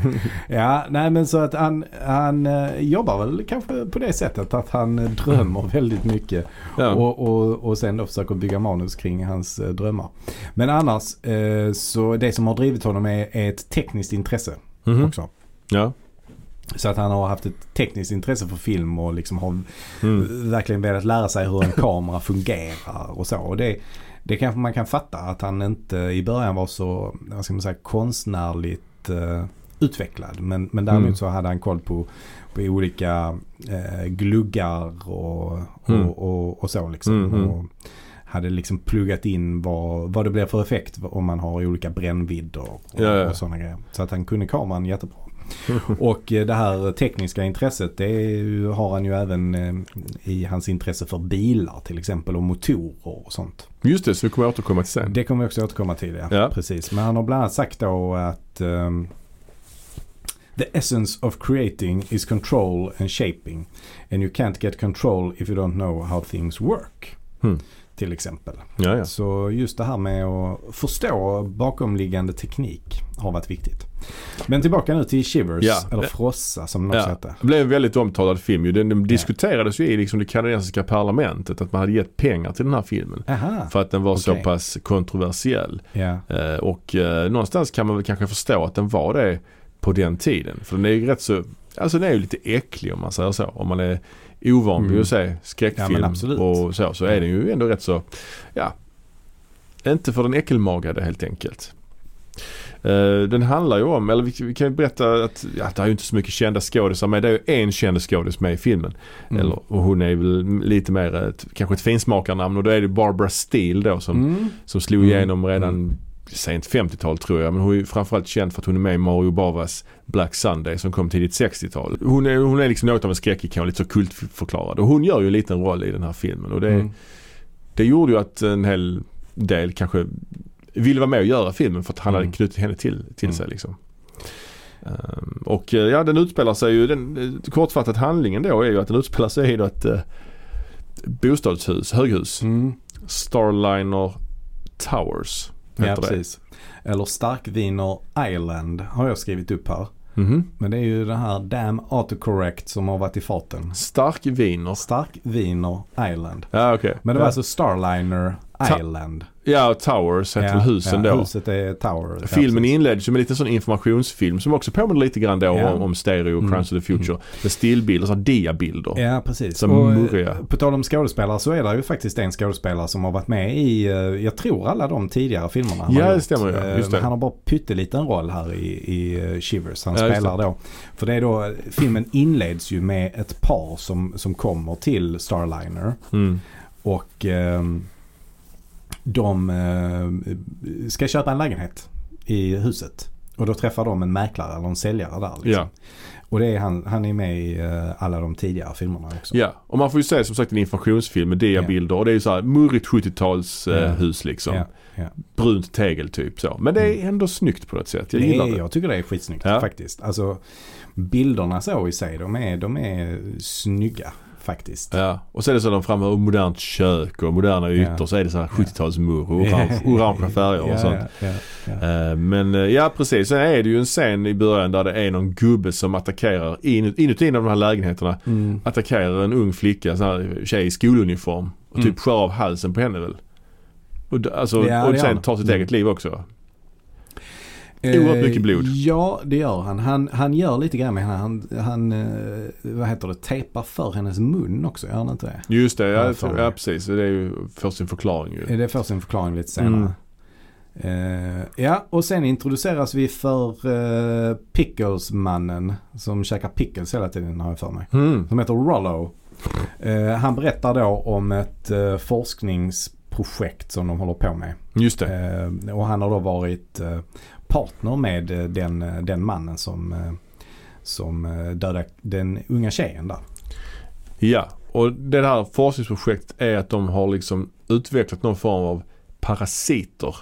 S1: Ja, nej men så att han, han eh, jobbar väl kanske på det sättet att han eh, drömmer väldigt mycket.
S2: Ja.
S1: Och, och, och sen då försöker bygga manus kring hans eh, drömmar. Men annars, eh, så det som har drivit honom är, är ett tekniskt intresse
S2: Mhm.
S1: också.
S2: Ja.
S1: Så att han har haft ett tekniskt intresse för film och liksom har
S2: Mm.
S1: verkligen velat lära sig hur en kamera fungerar och så. Och det, det kanske man kan fatta att han inte i början var så, vad ska man säga, konstnärligt eh, utvecklad. Men, men däremot
S2: Mm.
S1: så hade han koll på, på olika eh, gluggar och,
S2: Mm.
S1: och, och, och så liksom.
S2: Mm, mm.
S1: Och hade liksom pluggat in vad, vad det blir för effekt om man har olika brännvidder och,
S2: Ja, ja.
S1: och sådana grejer. Så att han kunde kameran jättebra. Och eh, det här tekniska intresset det är ju- har han ju även eh, i hans intresse för bilar till exempel och motorer och sånt.
S2: Just det, så vi kommer återkomma till sen.
S1: Det kommer vi också återkomma till ja.
S2: Ja.
S1: Precis. Men han har bland annat sagt då att ehm, The essence of creating is control and shaping. And you can't get control if you don't know how things work.
S2: Hmm.
S1: till exempel.
S2: Ja, ja.
S1: Så just det här med att förstå bakomliggande teknik har varit viktigt. Men tillbaka nu till Shivers,
S2: Ja.
S1: eller Frossa som den också
S2: Ja,
S1: hette.
S2: det blev en väldigt omtalad film ju. Den, den diskuterades ju i liksom det kanadensiska parlamentet att man hade gett pengar till den här filmen.
S1: Aha,
S2: För att den var så
S1: Okej.
S2: pass kontroversiell.
S1: ja.
S2: Eh, Och eh, någonstans kan man väl kanske förstå att den var det på den tiden. För den är ju rätt så, alltså den är ju lite äcklig om man säger så. Om man är ovan vid
S1: Mm.
S2: att se
S1: Ja, men
S2: skräckfilm
S1: absolut.
S2: och så, så är den ju ändå rätt så, ja, inte för den äckelmagade helt enkelt. Eh, Den handlar ju om, eller vi vi kan ju berätta att ja, det är ju inte så mycket kända skådisar med. Det är ju en känd skådis med i filmen.
S1: Mm.
S2: Eller, och hon är väl lite mer ett, kanske ett finsmakarnamn och då är det Barbara Steele då som
S1: Mm.
S2: som slog
S1: Mm.
S2: igenom redan
S1: Mm.
S2: sent 50-tal tror jag. Men hon är ju framförallt känd för att hon är med i Mario Bavas Black Sunday som kom tidigt 60-tal. Hon är, hon är liksom något av en skräckikon, lite så kultförklarad. Och hon gör ju en liten roll i den här filmen. Och det,
S1: Mm.
S2: det gjorde ju att en hel del kanske ville vara med och göra filmen för att han
S1: Mm.
S2: hade knutit henne till, till
S1: Mm.
S2: sig liksom. Ehm, och eh, ja, den utspelar sig ju, den, eh, kortfattat handlingen då är ju att den utspelar sig i något eh, bostadshus, höghus.
S1: Mm.
S2: Starliner Towers.
S1: Ja,
S2: heter det.
S1: precis. Eller Starkviner Island har jag skrivit upp här.
S2: Mhm.
S1: Men det är ju det här Damn Autocorrect som har varit i farten.
S2: Starkviner.
S1: Starkviner Island.
S2: Ja, okej.
S1: Men det var
S2: ja.
S1: alltså Starliner
S2: Ta-
S1: Island.
S2: ja, och Towers heter väl husen
S1: ja,
S2: då.
S1: Huset är Tower. ja,
S2: Filmen
S1: precis.
S2: inleds ju med lite sån informationsfilm som också påminner lite grann då
S1: Ja.
S2: om, om Stereo och
S1: Mm.
S2: Crimes of the Future. Med stillbilder, sådana diabilder.
S1: Ja, precis.
S2: Som
S1: Och, eh,
S2: murriga.
S1: På tal om skådespelare så är det ju faktiskt en skådespelare som har varit med i, eh, jag tror alla de tidigare filmerna han
S2: Ja,
S1: har
S2: det
S1: gjort.
S2: stämmer, ja.
S1: Eh,
S2: Just det.
S1: Han har bara pytteliten roll här i, i eh, Shivers. Han
S2: Ja, just
S1: spelar då. För det är då, filmen inleds ju med ett par som, som kommer till Starliner.
S2: Mm.
S1: Och ehm, de eh, ska köpa en lägenhet i huset. Och då träffar de en mäklare eller en säljare där. Liksom.
S2: Ja.
S1: Och det är han, han är med i eh, alla de tidigare filmerna också.
S2: ja, och man får ju se som sagt en informationsfilm med diabilder och det är ju så här murrigt 70-tals eh,
S1: Ja.
S2: hus liksom.
S1: Ja, ja. Mm.
S2: Brunt tegel typ så. Men det är ändå snyggt på något sätt. Jag
S1: det
S2: gillar
S1: är,
S2: det.
S1: jag tycker det är skitsnyggt
S2: Ja.
S1: faktiskt. Alltså bilderna så i sig, de är, de är snygga faktiskt.
S2: Ja, och så är det så de framhäver modernt kök och moderna ytor.
S1: Ja.
S2: Så är det så här 70-talsmurr och orange, orangea färger och
S1: Ja,
S2: sånt.
S1: Ja, ja, ja.
S2: Eh, Men eh, ja precis, sen är det ju en scen i början där det är någon gubbe som attackerar inut- inuti en av de här lägenheterna.
S1: Mm.
S2: Attackerar en ung flicka, en sån här tjej i skoluniform och typ
S1: Mm.
S2: skär av halsen på henne väl. Och, d- alltså,
S1: Ja, det
S2: och
S1: gör
S2: sen
S1: han.
S2: tar sitt
S1: Mm.
S2: eget liv också. Oerhört
S1: Eh,
S2: mycket blod.
S1: Ja, det gör han. Han, han gör lite grann med henne. Han, han eh, vad heter det, tejpar för hennes mun också. Gör han inte det?
S2: Just det,
S1: Ja,
S2: ja,
S1: fan.
S2: ja precis. Det är ju för sin förklaring ju.
S1: Eh, Det får sin förklaring lite
S2: Mm.
S1: senare. Eh, ja, och sen introduceras vi för uh, Pickles-mannen som käkar pickles hela tiden har jag för mig.
S2: Mm.
S1: Som heter Rollo. Eh, han berättar då om ett eh, forskningsprojekt som de håller på med.
S2: Just det.
S1: Eh, och han har då varit eh, partner med eh, den, eh, den mannen som, eh, som eh, dödade den unga tjejen där.
S2: Ja, och det här forskningsprojektet är att de har liksom utvecklat någon form av parasiter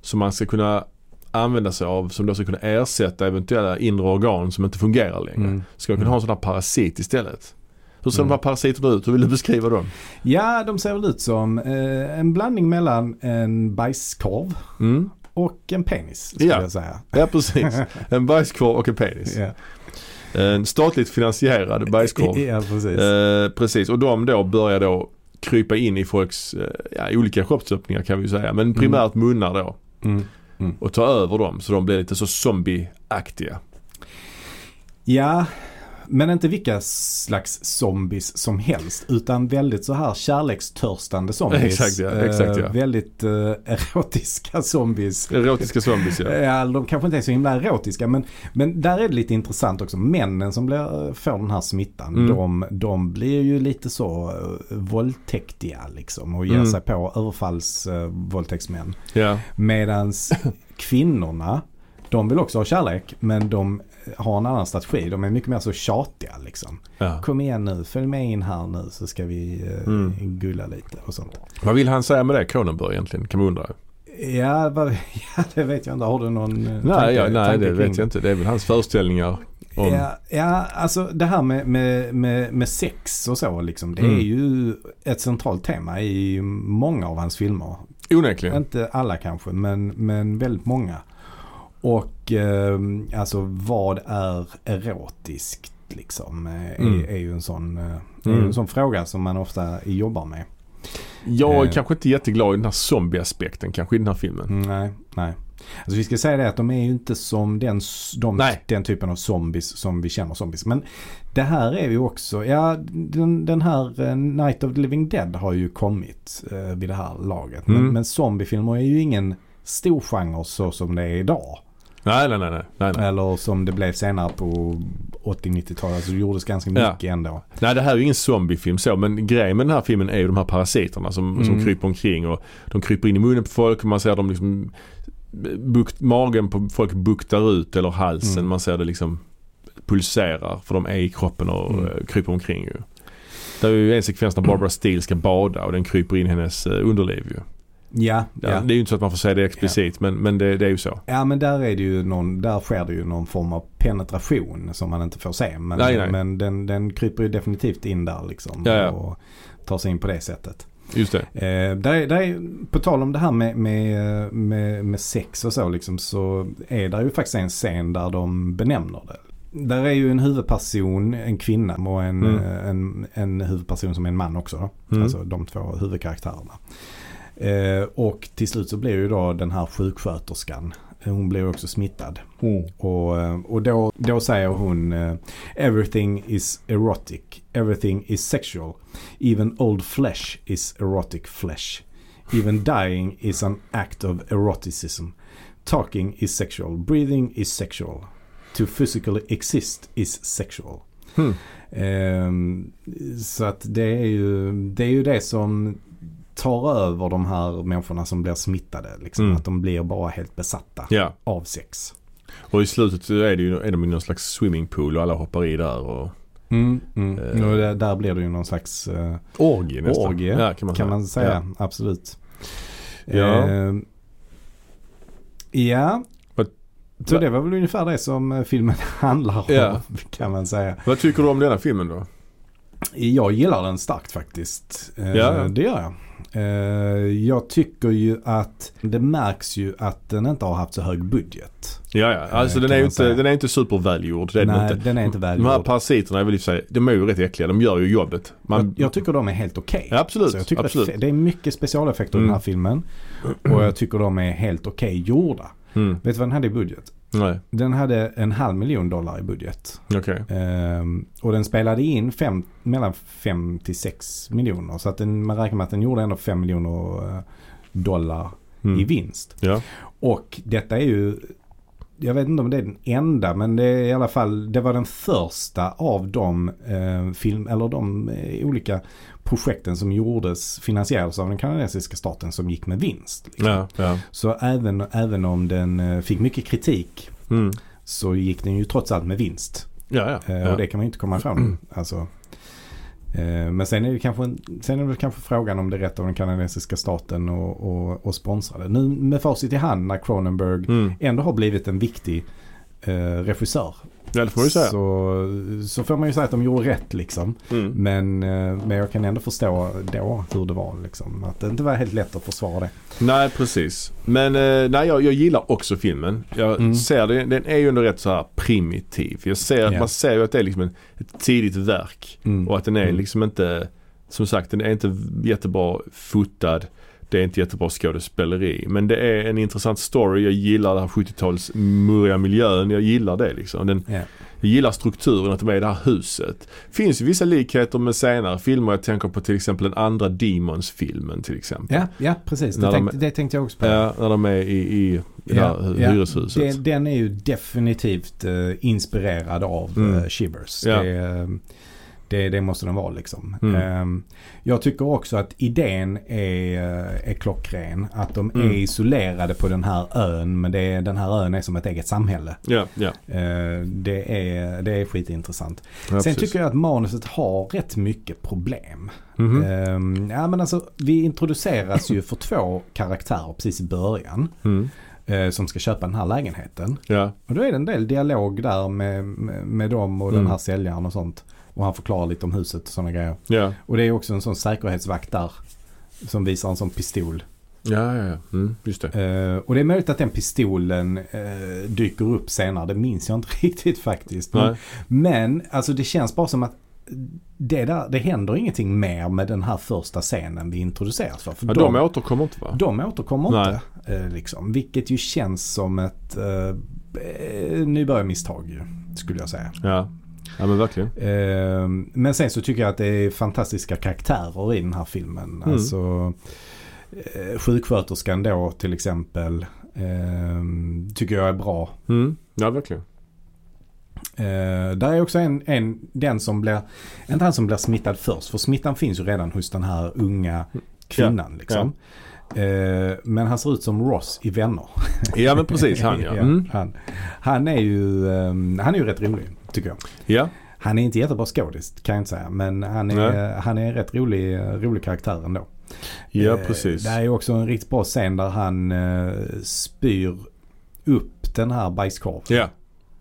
S2: som man ska kunna använda sig av som då ska kunna ersätta eventuella inre organ som inte fungerar längre.
S1: Mm.
S2: Ska man kunna ha en sån här parasit istället? Hur ser
S1: Mm.
S2: de här parasiterna ut? Hur vill du beskriva dem?
S1: Ja, de ser väl ut som eh, en blandning mellan en bajskorv
S2: Mm.
S1: och en penis skulle
S2: Ja.
S1: jag säga.
S2: Ja precis. En bajskorv och en penis.
S1: Ja,
S2: En statligt finansierad bajskorv.
S1: ja precis.
S2: Eh, precis och de då börjar då krypa in i folks eh, ja, olika kroppsöppningar kan vi ju säga. Men primärt munnar då.
S1: Mm.
S2: Och ta över dem så de blir lite så zombieaktiga.
S1: Ja, men inte vilka slags zombies som helst. Utan väldigt så här kärlekstörstande zombies.
S2: Exakt, ja. Exakt, ja.
S1: Eh, väldigt eh, erotiska zombies. Eh,
S2: Erotiska zombies ja.
S1: Ja, de kanske inte är så himla erotiska men, men där är det lite intressant också. Männen som blir, eh, får den här smittan
S2: Mm.
S1: de, de blir ju lite så eh, våldtäktiga liksom och ger
S2: Mm.
S1: sig på eh, överfallsvåldtäktsmän.
S2: ja.
S1: Medan kvinnorna de vill också ha kärlek men de har en annan strategi. De är mycket mer så tjatiga liksom.
S2: ja.
S1: Kom igen nu, följ med in här nu så ska vi eh,
S2: Mm.
S1: gulla lite och sånt.
S2: Vad vill han säga med det Cronenberg egentligen kan man undra.
S1: Ja, vad, ja, det vet jag inte. Har du någon eh,
S2: Nej,
S1: tanke-
S2: ja, nej
S1: tanke
S2: det
S1: kring
S2: vet jag inte. Det är väl hans föreställningar Om,
S1: Ja, ja, alltså det här med, med, med, med sex och så liksom. Det
S2: Mm.
S1: är ju ett centralt tema i många av hans filmer.
S2: Onekligen.
S1: Inte alla kanske, men, men väldigt många. Och eh, alltså vad är erotiskt liksom? eh,
S2: Mm.
S1: Är, är ju en sån, eh, är
S2: Mm.
S1: ju en sån fråga som man ofta jobbar med.
S2: Jag är
S1: Eh.
S2: kanske inte jätteglad i den här zombie-aspekten kanske i den här filmen.
S1: Mm, Nej, nej. Alltså vi ska säga det att de är ju inte som den, s- de,
S2: Nej.
S1: den typen av zombies som vi känner zombies. Men det här är ju också, ja den, den här eh, Night of the Living Dead har ju kommit eh, vid det här laget.
S2: Mm.
S1: Men, men zombiefilmer är ju ingen stor genre så som det är idag.
S2: Nej, nej, nej. nej, nej, nej.
S1: Eller som det blev senare på 80-90-talet. Alltså det gjordes ganska
S2: Ja.
S1: mycket ändå.
S2: nej, det här är ju ingen zombiefilm så. Men grejen med den här filmen är ju de här parasiterna som, som
S1: Mm.
S2: kryper omkring. och De kryper in i munnen på folk och man ser dem liksom bukt, magen på folk buktar ut eller halsen.
S1: Mm.
S2: Man ser det liksom pulserar för de är i kroppen och
S1: Mm.
S2: eh, kryper omkring ju. Det är ju en sekvens när Barbara Steele ska bada och den kryper in i hennes eh, underliv ju.
S1: Ja,
S2: Ja,
S1: ja.
S2: Det är ju inte så att man får säga det explicit men, men det, det är ju så.
S1: Ja men där är det ju någon, där sker det ju någon form av penetration som man inte får se. Men,
S2: Nej, nej.
S1: men den, den kryper ju definitivt in där liksom.
S2: Ja, ja.
S1: Och tar sig in på det sättet.
S2: Just det.
S1: Eh, där, är- där är, på tal om det här med, med, med, med sex och så liksom så är det ju faktiskt en scen där de benämner det. Där är ju en huvudperson, en kvinna och en,
S2: Mm.
S1: eh, en, en huvudperson som är en man också. Då.
S2: Mm.
S1: Alltså de två huvudkaraktärerna. Eh, och till slut så blir ju då den här sjuksköterskan, eh, hon blir också smittad.
S2: Mm.
S1: Och, eh, och då, då säger hon eh, Everything is erotic, everything is sexual. Even old flesh is erotic flesh. Even dying is an act of eroticism. Talking is sexual, breathing is sexual. To physically exist is sexual.
S2: Hmm.
S1: Ehm, så att det är, ju, det är ju det som tar över de här människorna som blir smittade. Liksom,
S2: Mm.
S1: Att de blir bara helt besatta
S2: Ja,
S1: av sex.
S2: och i slutet så är, det ju, är de i någon slags swimmingpool och alla hoppar i där och...
S1: Mm, mm.
S2: Eh.
S1: Och det, där blir det ju någon slags eh,
S2: Orgie nästan.
S1: orgie.
S2: Ja, kan man
S1: kan
S2: säga.
S1: man säga. Absolut.
S2: Ja.
S1: Ehm, ja.
S2: Vad-
S1: Så det var väl ungefär det som eh, filmen handlar om
S2: Ja.
S1: kan man säga.
S2: Vad tycker du om denna filmen då?
S1: Jag gillar den starkt faktiskt. Eh,
S2: Ja.
S1: Det gör jag. Eh, Jag tycker ju att det märks ju att den inte har haft så hög budget.
S2: Ja, ja. Alltså
S1: Eh,
S2: den
S1: kan
S2: är, ju
S1: man
S2: inte,
S1: säga.
S2: den är inte supervälgjord. Det är den
S1: Nej,
S2: inte.
S1: den är inte
S2: De här
S1: välgjord.
S2: parasiterna är väl i och för sig, de är ju rätt äckliga. De gör ju jobbet. Man,
S1: Jag, jag tycker de är helt okej.
S2: Ja, absolut,
S1: Alltså, jag tycker
S2: absolut.
S1: Att det är mycket specialeffekter i den här
S2: Mm.
S1: filmen. Och jag tycker de är helt okej gjorda.
S2: mm,
S1: Vet du vad den hade i budget?
S2: nej,
S1: Den hade en halv miljon dollar i budget.
S2: okej.
S1: Ehm, och den spelade in fem, mellan 5 till 6 miljoner. Så att den, man räknar med att den gjorde ändå 5 miljoner eh, dollar
S2: Mm.
S1: i vinst.
S2: Ja.
S1: Och detta är ju, jag vet inte om det är den enda, men det är i alla fall, det var den första av de eh, film, eller de eh, olika projekten som gjordes, finansierades av den kanadensiska staten som gick med vinst. liksom.
S2: ja, ja.
S1: Så även, även om den eh, fick mycket kritik
S2: Mm.
S1: så gick den ju trots allt med vinst.
S2: Ja, ja.
S1: Eh,
S2: ja. Mm.
S1: Och det kan man ju inte komma ifrån. Alltså, eh, men sen är, det kanske, en- sen är det kanske frågan om det är rätt av den kanadensiska staten och, och, och sponsra det. Nu med facit i hand när Cronenberg
S2: Mm.
S1: ändå har blivit en viktig eh, regissör.
S2: ja, det får man ju säga.
S1: Så, så får man ju säga att de gjorde rätt liksom.
S2: Mm.
S1: Men, eh, men jag kan ändå förstå då hur det var liksom. Att det inte var helt lätt att försvara det.
S2: Nej, precis. Men eh, nej, jag, jag gillar också filmen. Jag
S1: Mm.
S2: ser det, den är ju ändå rätt så här primitiv. Jag ser,
S1: Ja.
S2: Man ser ju att det är liksom en, ett tidigt verk.
S1: Mm.
S2: Och att den är
S1: Mm.
S2: liksom inte, som sagt den är inte jättebra fotad. Det är inte jättebra skådespeleri. Men det är en intressant story. Jag gillar den här 70-tals murriga miljön. Jag gillar det liksom. Den,
S1: Ja.
S2: Jag gillar strukturen att de är i det här huset. Finns ju vissa likheter med senare filmer. Jag tänker på till exempel den andra Demons-filmen till exempel.
S1: Ja, ja precis. Det
S2: När de-
S1: tänkte, det tänkte jag också på.
S2: Ja, när de är i, i det
S1: Ja,
S2: här
S1: ja.
S2: hyreshuset.
S1: Det, den är ju definitivt eh, inspirerad av
S2: Mm.
S1: eh, Shivers.
S2: Ja.
S1: Det, eh, det, det måste den vara liksom.
S2: Mm.
S1: Ehm, jag tycker också att idén är, eh, är klockren. Att de
S2: Mm.
S1: är isolerade på den här ön. Men det, den här ön är som ett eget samhälle.
S2: Ja, ja.
S1: Eh, det, är, det är skitintressant.
S2: ja
S1: Sen tycker jag att manuset har rätt mycket problem.
S2: jag...
S1: Eh. Ehm, ja, men alltså, vi introduceras ju för två karaktärer precis i början. eh, som ska köpa den här lägenheten.
S2: Mm. Ja.
S1: Och då är det en del dialog där med, med, med dem och den
S2: Mm.
S1: här säljaren och sånt. Och han förklarar lite om huset och sådana grejer.
S2: Ja.
S1: Och det är också en sån säkerhetsvakt där. Som visar en sån pistol.
S2: Ja, ja, ja. Mm, just det.
S1: Eh, och det är möjligt att den pistolen eh, dyker upp senare. Det minns jag inte riktigt faktiskt. Men,
S2: Nej.
S1: men alltså det känns bara som att det, där, det händer ingenting mer med den här första scenen vi introduceras för. för
S2: Ja, de återkommer inte va?
S1: de återkommer
S2: Nej.
S1: inte. eh, Liksom, vilket ju känns som ett eh, eh, nybörjarmisstag ju, skulle jag säga.
S2: Ja. ja, men verkligen.
S1: Eh, men sen så tycker jag att det är fantastiska karaktärer i den här filmen.
S2: Mm.
S1: Alltså, eh, sjuksköterskan då till exempel eh, tycker jag är bra.
S2: Mm. Ja, verkligen.
S1: Eh, där är också en, en, den som blir, inte han som blir smittad först, för smittan finns ju redan hos den här unga
S2: Mm.
S1: kvinnan. Liksom. Eh, men han ser ut som Ross i Vänner.
S2: Ja, men precis. Han ja. Mm.
S1: han. han är ju ehm, han är ju rätt rolig tycker jag.
S2: Ja,
S1: Han är inte jättebra skådis kan jag inte säga. Men han är, eh,
S2: Nej.
S1: han är en rätt rolig, eh, rolig karaktär ändå.
S2: ja
S1: Eh,
S2: precis.
S1: Det här är också en riktigt bra scen där han eh, spyr upp den här bajskorven.
S2: Ja.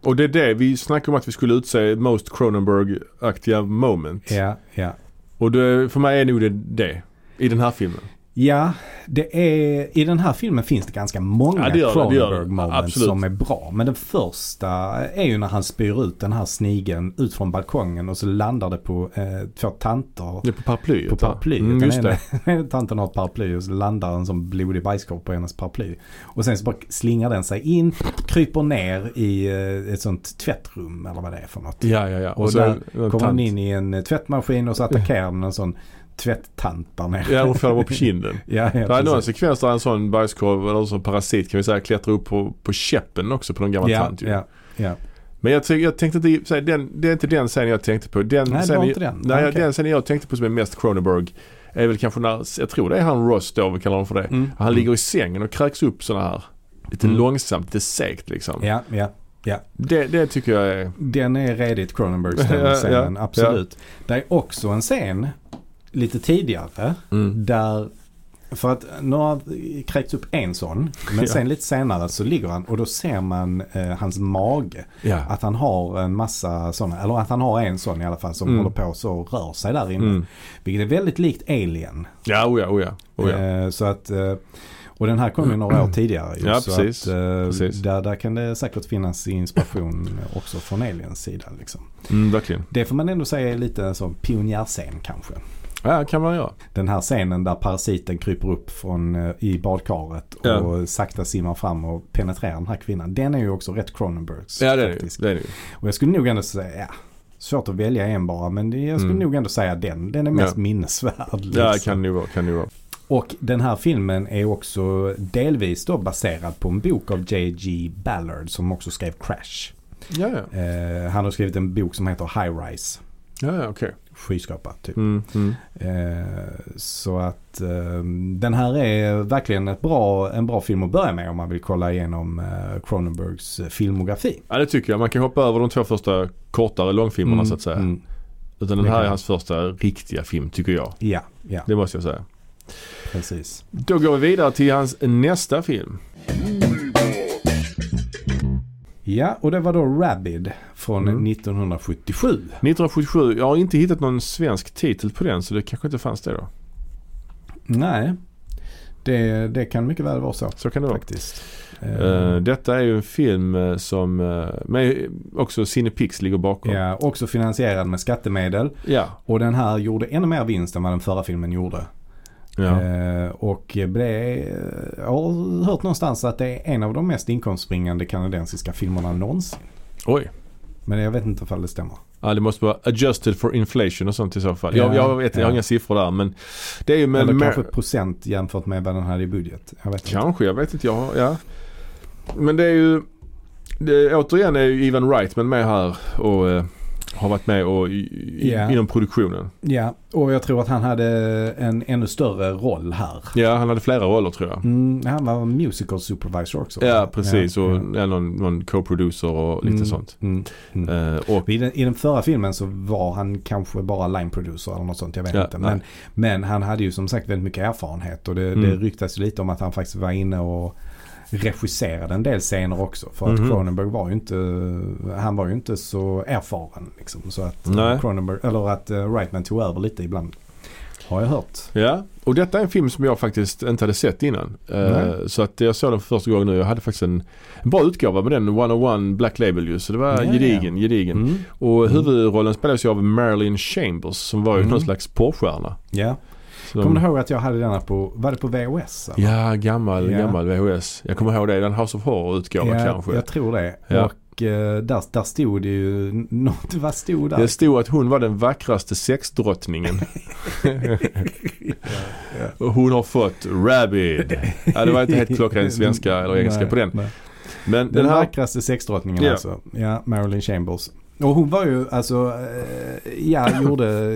S2: Och det är det vi snackade om att vi skulle utse Most Cronenberg-aktiga moment.
S1: Ja, ja.
S2: Och det, för mig är nog det det. I den här filmen.
S1: Ja, det är, i den här filmen finns det ganska många
S2: Ja, det gör det, det gör det.
S1: Cronenberg moments
S2: Absolut.
S1: som är bra. Men den första är ju när han spyr ut den här snigen ut från balkongen och så landar det på eh, två tanter
S2: Det är på paraplyet.
S1: på
S2: va?
S1: paraplyet.
S2: Mm,
S1: Den
S2: just det.
S1: ena- Tanten har ett paraply och så landar en som blodig bajskorv på hennes paraply. Och sen så bara slingar den sig in, kryper ner i eh, ett sånt tvättrum eller vad det är för något.
S2: Ja, ja, ja.
S1: Och där
S2: en
S1: Kommer
S2: tant.
S1: den in i en eh, tvättmaskin och så attackerar den en sån tvätttant där nere.
S2: Ja, hon faller bara på kinden.
S1: Ja, ja,
S2: Det är någon
S1: precis.
S2: sekvens där en sån bajskorv eller en sån parasit kan vi säga klättrar upp på, på käppen också på någon gammal
S1: ja,
S2: tant ju.
S1: ja, ja.
S2: Men jag, ty- jag tänkte inte, i- så här, den, det är inte den scenen jag tänkte på. Den
S1: Nej, det
S2: scenen-
S1: var inte den.
S2: Nej,
S1: Ah, okej.
S2: den scenen jag tänkte på som är mest Cronenberg är väl kanske när, jag tror det är han Ross då, vi kallar honom för det.
S1: Mm.
S2: Han ligger i sängen och kräks upp sådana här lite
S1: Mm.
S2: långsamt, lite segt liksom.
S1: Ja, ja.
S2: Det, det tycker jag är...
S1: Den är redigt Cronenbergs den
S2: Ja,
S1: scenen,
S2: ja,
S1: absolut. Det är också en scen lite tidigare där, för att nu har kräkts upp en sån, men
S2: Ja.
S1: sen lite senare så ligger han och då ser man eh, hans mage.
S2: Ja.
S1: Att han har en massa sådana, eller att han har en sån i alla fall som
S2: Mm.
S1: håller på så och rör sig där inne.
S2: Mm.
S1: Vilket är väldigt likt Alien.
S2: Oh, Ja, oja, oja. oja.
S1: Eh, så att, eh, och den här kom ju några år tidigare. ju,
S2: Ja,
S1: så
S2: precis.
S1: Att, eh,
S2: Precis.
S1: Där, där kan det säkert finnas inspiration också från Aliens sida. Liksom.
S2: Mm, verkligen.
S1: Det får man ändå säga är lite en sån pionjärscen kanske.
S2: Ja, kan man göra.
S1: Den här scenen där parasiten kryper upp från, eh, i badkaret och
S2: Ja.
S1: sakta simmar fram och penetrerar den här kvinnan. Den är ju också rätt Cronenbergs.
S2: Ja, det är det ju.
S1: faktiskt.
S2: Det är det ju.
S1: Och jag skulle nog ändå säga, ja, svårt att välja en bara, men det- jag skulle
S2: Mm.
S1: nog ändå säga den. Den är mest
S2: Ja.
S1: minnesvärd.
S2: Ja,
S1: liksom.
S2: kan det ju vara. Kan det ju vara.
S1: Och den här filmen är också delvis då baserad på en bok av J.G. Ballard som också skrev Crash.
S2: Ja, ja.
S1: Eh, han har skrivit en bok som heter High Rise,
S2: Ja, ja, okej.
S1: skyskrapa typ.
S2: Mm, mm.
S1: Eh, så att eh, den här är verkligen ett bra, en bra film att börja med om man vill kolla igenom eh, Cronenbergs eh, filmografi.
S2: Ja det tycker jag. Man kan hoppa över de två första kortare långfilmerna
S1: Mm,
S2: så att säga.
S1: mm.
S2: Utan
S1: Det
S2: den här
S1: kan-
S2: är hans första riktiga film tycker jag.
S1: Ja, ja,
S2: Det måste jag säga.
S1: precis.
S2: Då går vi vidare till hans nästa film.
S1: Ja, och det var då Rabid från
S2: Mm.
S1: 1977.
S2: 1977. Jag har inte hittat någon svensk titel på den så det kanske inte fanns det då.
S1: Nej, det, det kan mycket väl vara så.
S2: Så kan det vara.
S1: faktiskt.
S2: Eh, detta är ju en film eh, som eh, men också Cinepix ligger bakom.
S1: ja, också finansierad med skattemedel.
S2: Ja.
S1: Och den här gjorde ännu mer vinst än vad den förra filmen gjorde.
S2: ja.
S1: Eh, och blev, jag har hört någonstans att det är en av de mest inkomstbringande kanadensiska filmerna någonsin.
S2: Oj.
S1: Men jag vet inte ifall det stämmer.
S2: Ja, det måste vara adjusted for inflation och sånt i så fall.
S1: Ja,
S2: jag, jag, vet, jag
S1: ja.
S2: har inga siffror där men det är ju med...
S1: Eller
S2: med-
S1: kanske procent jämfört med vad den hade i budget. Jag vet inte.
S2: Kanske, jag vet inte. Jag har, ja. Men det är ju... Det, återigen är ju Ivan Reitman med här och eh, har varit med och, i, i-
S1: Ja.
S2: inom produktionen.
S1: Ja, och jag tror att han hade en ännu större roll här.
S2: Ja, han hade flera roller tror jag.
S1: Mm, han var musical supervisor också.
S2: Ja, precis.
S1: Ja,
S2: och
S1: ja.
S2: ja. någon, någon co-producer och lite
S1: Mm,
S2: sånt.
S1: Mm, mm.
S2: Eh, och
S1: I den, I den förra filmen så var han kanske bara line producer eller något sånt, jag vet
S2: Ja,
S1: inte.
S2: nej.
S1: Men, men han hade ju som sagt väldigt mycket erfarenhet och det,
S2: Mm.
S1: det ryktas ju lite om att han faktiskt var inne och regisserade en del scener också. För att
S2: Mhm.
S1: Cronenberg var ju inte, han var ju inte så erfaren. Liksom, så att,
S2: Nej.
S1: Cronenberg, eller att eh, Reitman tog över lite ibland. Har jag hört.
S2: Ja, och detta är en film som jag faktiskt inte hade sett innan. Eh,
S1: Nej.
S2: så att jag såg den för första gången nu. Jag hade faktiskt en, en bra utgåva med den 101 Black Label ju. Så det var
S1: Ja,
S2: gedigen, gedigen.
S1: Mm.
S2: Och huvudrollen spelades ju av Marilyn Chambers som var ju
S1: Mm.
S2: någon slags porrstjärna.
S1: Ja.
S2: Så de-
S1: Kommer du ihåg att jag hade denna på, var det på VHS? eller?
S2: Ja, gammal,
S1: Ja.
S2: gammal VHS. Jag kommer ihåg det. Den House of Horror-utgåva
S1: Ja,
S2: kanske.
S1: Jag tror det.
S2: Ja.
S1: Och eh, där, där stod det ju n- något. Vad stod där?
S2: Det stod att hon var den vackraste sexdrottningen. Och hon har fått rabid. Ja, det var inte helt klockrent svenska eller engelska
S1: Nej,
S2: på den.
S1: nej.
S2: Men
S1: Den,
S2: den här...
S1: vackraste sexdrottningen
S2: Ja.
S1: alltså. Ja, Marilyn Chambers. Och hon var ju alltså, eh, ja gjorde,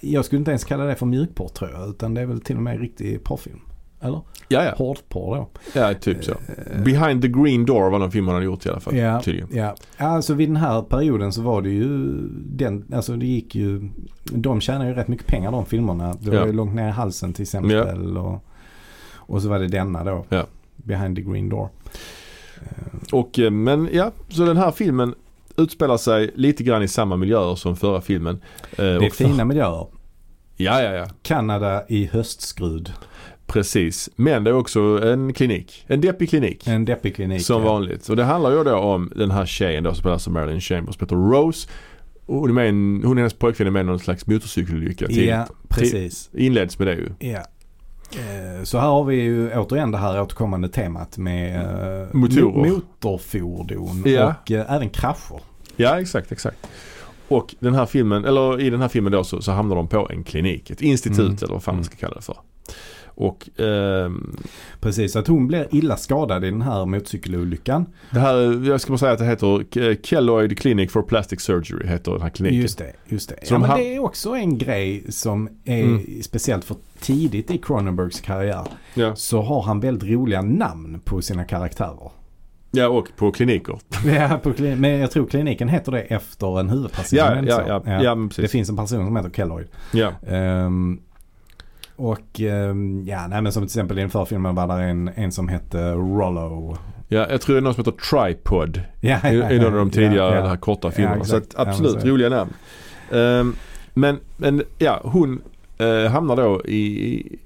S1: jag skulle inte ens kalla det för mjukporr tror jag. Utan det är väl till och med riktig porrfilm. Eller?
S2: Ja, ja.
S1: Hårdporr då.
S2: ja, typ så.
S1: Eh,
S2: Behind the Green Door var någon film han hade gjort i alla fall.
S1: Ja,
S2: Tydligen.
S1: ja, alltså vid den här perioden så var det ju den, alltså det gick ju, de tjänade ju rätt mycket pengar de filmerna. Det var
S2: Ja.
S1: ju långt ner i halsen till exempel och, och så var det denna då.
S2: Ja.
S1: Behind the green door.
S2: Och, eh, men ja, så den här filmen utspelar sig lite grann i samma miljöer som förra filmen. Eh,
S1: Det är
S2: och för-
S1: fina miljöer.
S2: Ja, ja, ja.
S1: Kanada i höstskrud.
S2: Precis. Men det är också en klinik. En deppig klinik.
S1: En deppig klinik.
S2: Som
S1: ja.
S2: vanligt. Och det handlar ju då om den här tjejen då som spelas av Marilyn Chambers, som heter Rose. Och hon, är med i en, hon och hennes pojkvän är med i någon slags motorcykelolycka. till-
S1: Ja, precis.
S2: Inleds med det ju.
S1: Ja. Eh, Så här har vi ju återigen det här återkommande temat med eh,
S2: Motorer.
S1: mo- motorfordon
S2: Ja.
S1: och eh, även krascher.
S2: Ja, exakt, exakt. Och den här filmen, eller i den här filmen då så, så hamnar de på en klinik, ett institut
S1: Mm.
S2: eller vad fan man ska kalla det för. Och ehm,
S1: Precis, så att hon blir illa skadad i den här motorcykelolyckan.
S2: det här, jag ska bara säga att det heter K- Kelloid Clinic for Plastic Surgery heter den här kliniken.
S1: Just det, just det. Ja,
S2: Så de
S1: men
S2: ham-
S1: det är också en grej som är
S2: Mm.
S1: speciellt för tidigt i Cronenbergs karriär.
S2: Ja.
S1: Så har han väldigt roliga namn på sina karaktärer.
S2: ja, och på kliniker.
S1: Ja, på klin- men jag tror kliniken heter det efter en huvudperson. är det
S2: Ja,
S1: inte
S2: ja,
S1: så?
S2: ja, ja, men
S1: Det
S2: precis.
S1: finns en person som heter Kelloyd.
S2: Ja.
S1: Ehm, och ehm, ja, nej, men som till exempel i den förfilmen var det en, en som hette Rollo.
S2: ja, jag tror det är någon som heter Tripod
S1: Ja,
S2: i, i någon av de tidigare,
S1: ja,
S2: de här korta filmerna. så
S1: exakt.
S2: att,
S1: Ja, men
S2: absolut,
S1: så är det.
S2: roliga namn. Ehm, men, men ja, hon eh, hamnar då i, i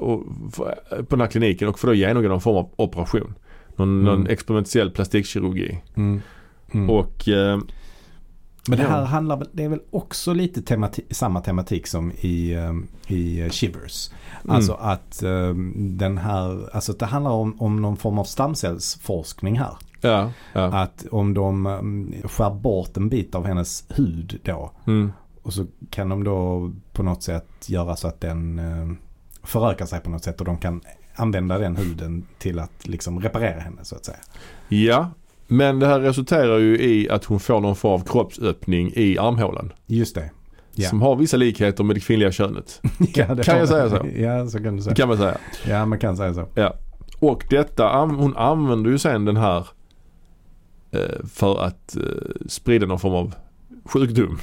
S2: och, f- på den här kliniken och får då genomgå någon form av operation. Någon,
S1: Mm.
S2: någon experimentell plastikkirurgi.
S1: Mm. Mm.
S2: Och eh,
S1: Men det här
S2: Ja.
S1: handlar väl- det är väl också lite temati samma tematik som i, ehm, i eh, Shivers.
S2: Mm.
S1: Alltså att ehm, den här, alltså att det handlar om, om någon form av stamcellsforskning här.
S2: ja, ja.
S1: Att om de ehm, skär bort en bit av hennes hud då.
S2: Mm,
S1: Och så kan de då på något sätt göra så att den eh, förökar sig på något sätt och de kan använda den huden till att liksom reparera henne så att säga.
S2: ja. Men det här resulterar ju i att hon får någon form av kroppsöppning i armhålan.
S1: Just det. Ja.
S2: Som har vissa likheter med det kvinnliga könet.
S1: Ja, det
S2: kan
S1: var-
S2: jag säga så?
S1: Ja, så kan du säga.
S2: Kan man säga.
S1: Ja, man kan säga så.
S2: Och detta, an- hon använder ju sen den här eh, för att eh, sprida någon form av sjukdom.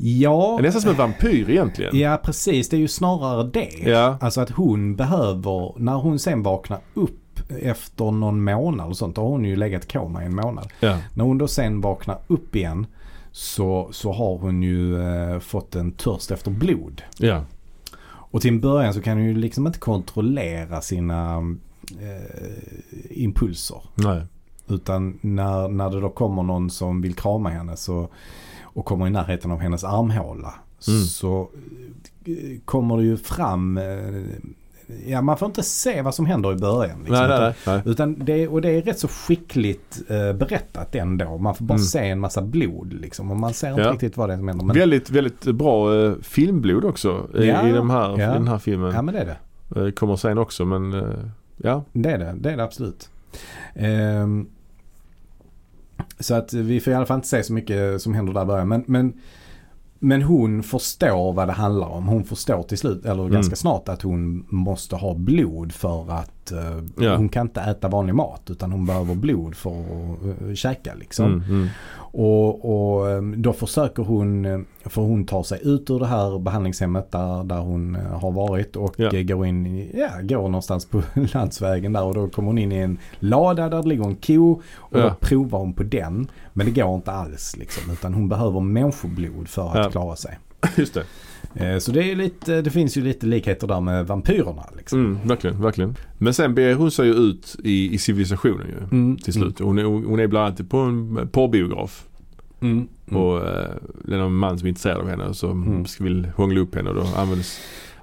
S1: Ja,
S2: Det är nästan som en vampyr egentligen.
S1: ja precis. Det är ju snarare det.
S2: Ja,
S1: Alltså att hon behöver, när hon sen vaknar upp efter någon månad och sånt, då har hon ju legat koma i en månad.
S2: ja.
S1: När hon då sen vaknar upp igen så, så har hon ju eh, fått en törst efter blod.
S2: ja.
S1: Och till en början så kan hon ju liksom inte kontrollera sina eh, impulser.
S2: Nej.
S1: Utan när, när det då kommer någon som vill krama henne så, och kommer i närheten av hennes armhåla.
S2: Mm.
S1: Så eh, kommer det ju fram, eh, ja man får inte se vad som händer i början. Liksom,
S2: nej,
S1: utan,
S2: nej, nej.
S1: Utan det, och det är rätt så skickligt eh, berättat ändå. Man får bara
S2: Mm.
S1: se en massa blod liksom. Och man ser inte
S2: Ja.
S1: riktigt vad det är som händer. Men,
S2: Väldigt, väldigt bra eh, filmblod också i,
S1: Ja,
S2: i, de här,
S1: ja.
S2: i den här filmen.
S1: ja men det är det.
S2: Eh, kommer sen också men eh, ja.
S1: Det är det, det är det absolut. Ehm, så att vi får i alla fall inte se så mycket som händer där i början. Men, men, men hon förstår vad det handlar om. Hon förstår till slut, eller
S2: Mm.
S1: ganska snart, att hon måste ha blod för att blodbrist. Eh,
S2: Ja.
S1: Hon kan inte äta vanlig mat utan hon behöver blod för att eh, käka liksom.
S2: Mm, mm.
S1: Och, och eh, då försöker hon, eh, för hon tar sig ut ur det här behandlingshemmet där, där hon eh, har varit och
S2: Ja.
S1: eh, går in, i- ja, går någonstans på landsvägen där och då kommer hon in i en lada där det ligger en ko och
S2: Ja.
S1: då provar hon på den. Men det går inte alls liksom utan hon behöver människoblod för att
S2: Ja.
S1: klara sig.
S2: Just det.
S1: Eh, Så det, är ju lite, det finns ju lite likheter där med vampyrerna liksom.
S2: Mm, verkligen, verkligen. Men sen beger hon sig ju ut i, i civilisationen ju.
S1: Mm,
S2: Till slut. Hon är, hon är bland annat på en porrbiograf.
S1: Mm. Mm. Mm.
S2: Och eh, det är någon man som är intresserad av henne och som
S1: Mm.
S2: ska vill hångla upp henne och då använder,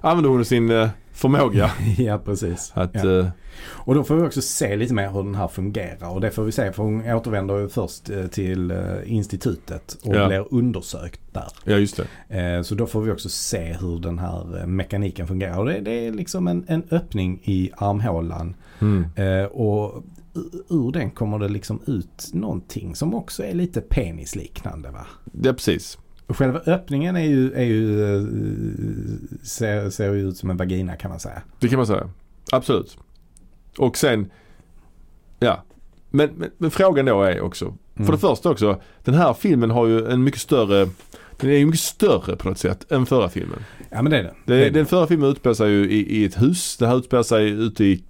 S2: använder hon sin eh, förmåga
S1: Ja precis.
S2: att...
S1: Ja.
S2: eh,
S1: Och då får vi också se lite mer hur den här fungerar. Och det får vi se för hon återvänder ju först eh, till eh, institutet och
S2: Ja.
S1: blir undersökt där.
S2: ja just det.
S1: Eh, Så då får vi också se hur den här eh, mekaniken fungerar. Och det, det är liksom en, en öppning i armhålan.
S2: Mm.
S1: Eh, Och ur- ur den kommer det liksom ut någonting som också är lite penisliknande va?
S2: Ja precis.
S1: Själva öppningen är ju, är ju eh, ser, ser ju ut som en vagina kan man säga.
S2: Det kan man säga. Absolut. Och sen... Ja. Men, men, men frågan då är också.
S1: Mm.
S2: För det första också. Den här filmen har ju en mycket större... Den är ju mycket större på något sätt än förra filmen.
S1: Ja men det är den.
S2: Det, Den förra filmen utspelar sig ju i, i ett hus. Den här utspelar sig ute i,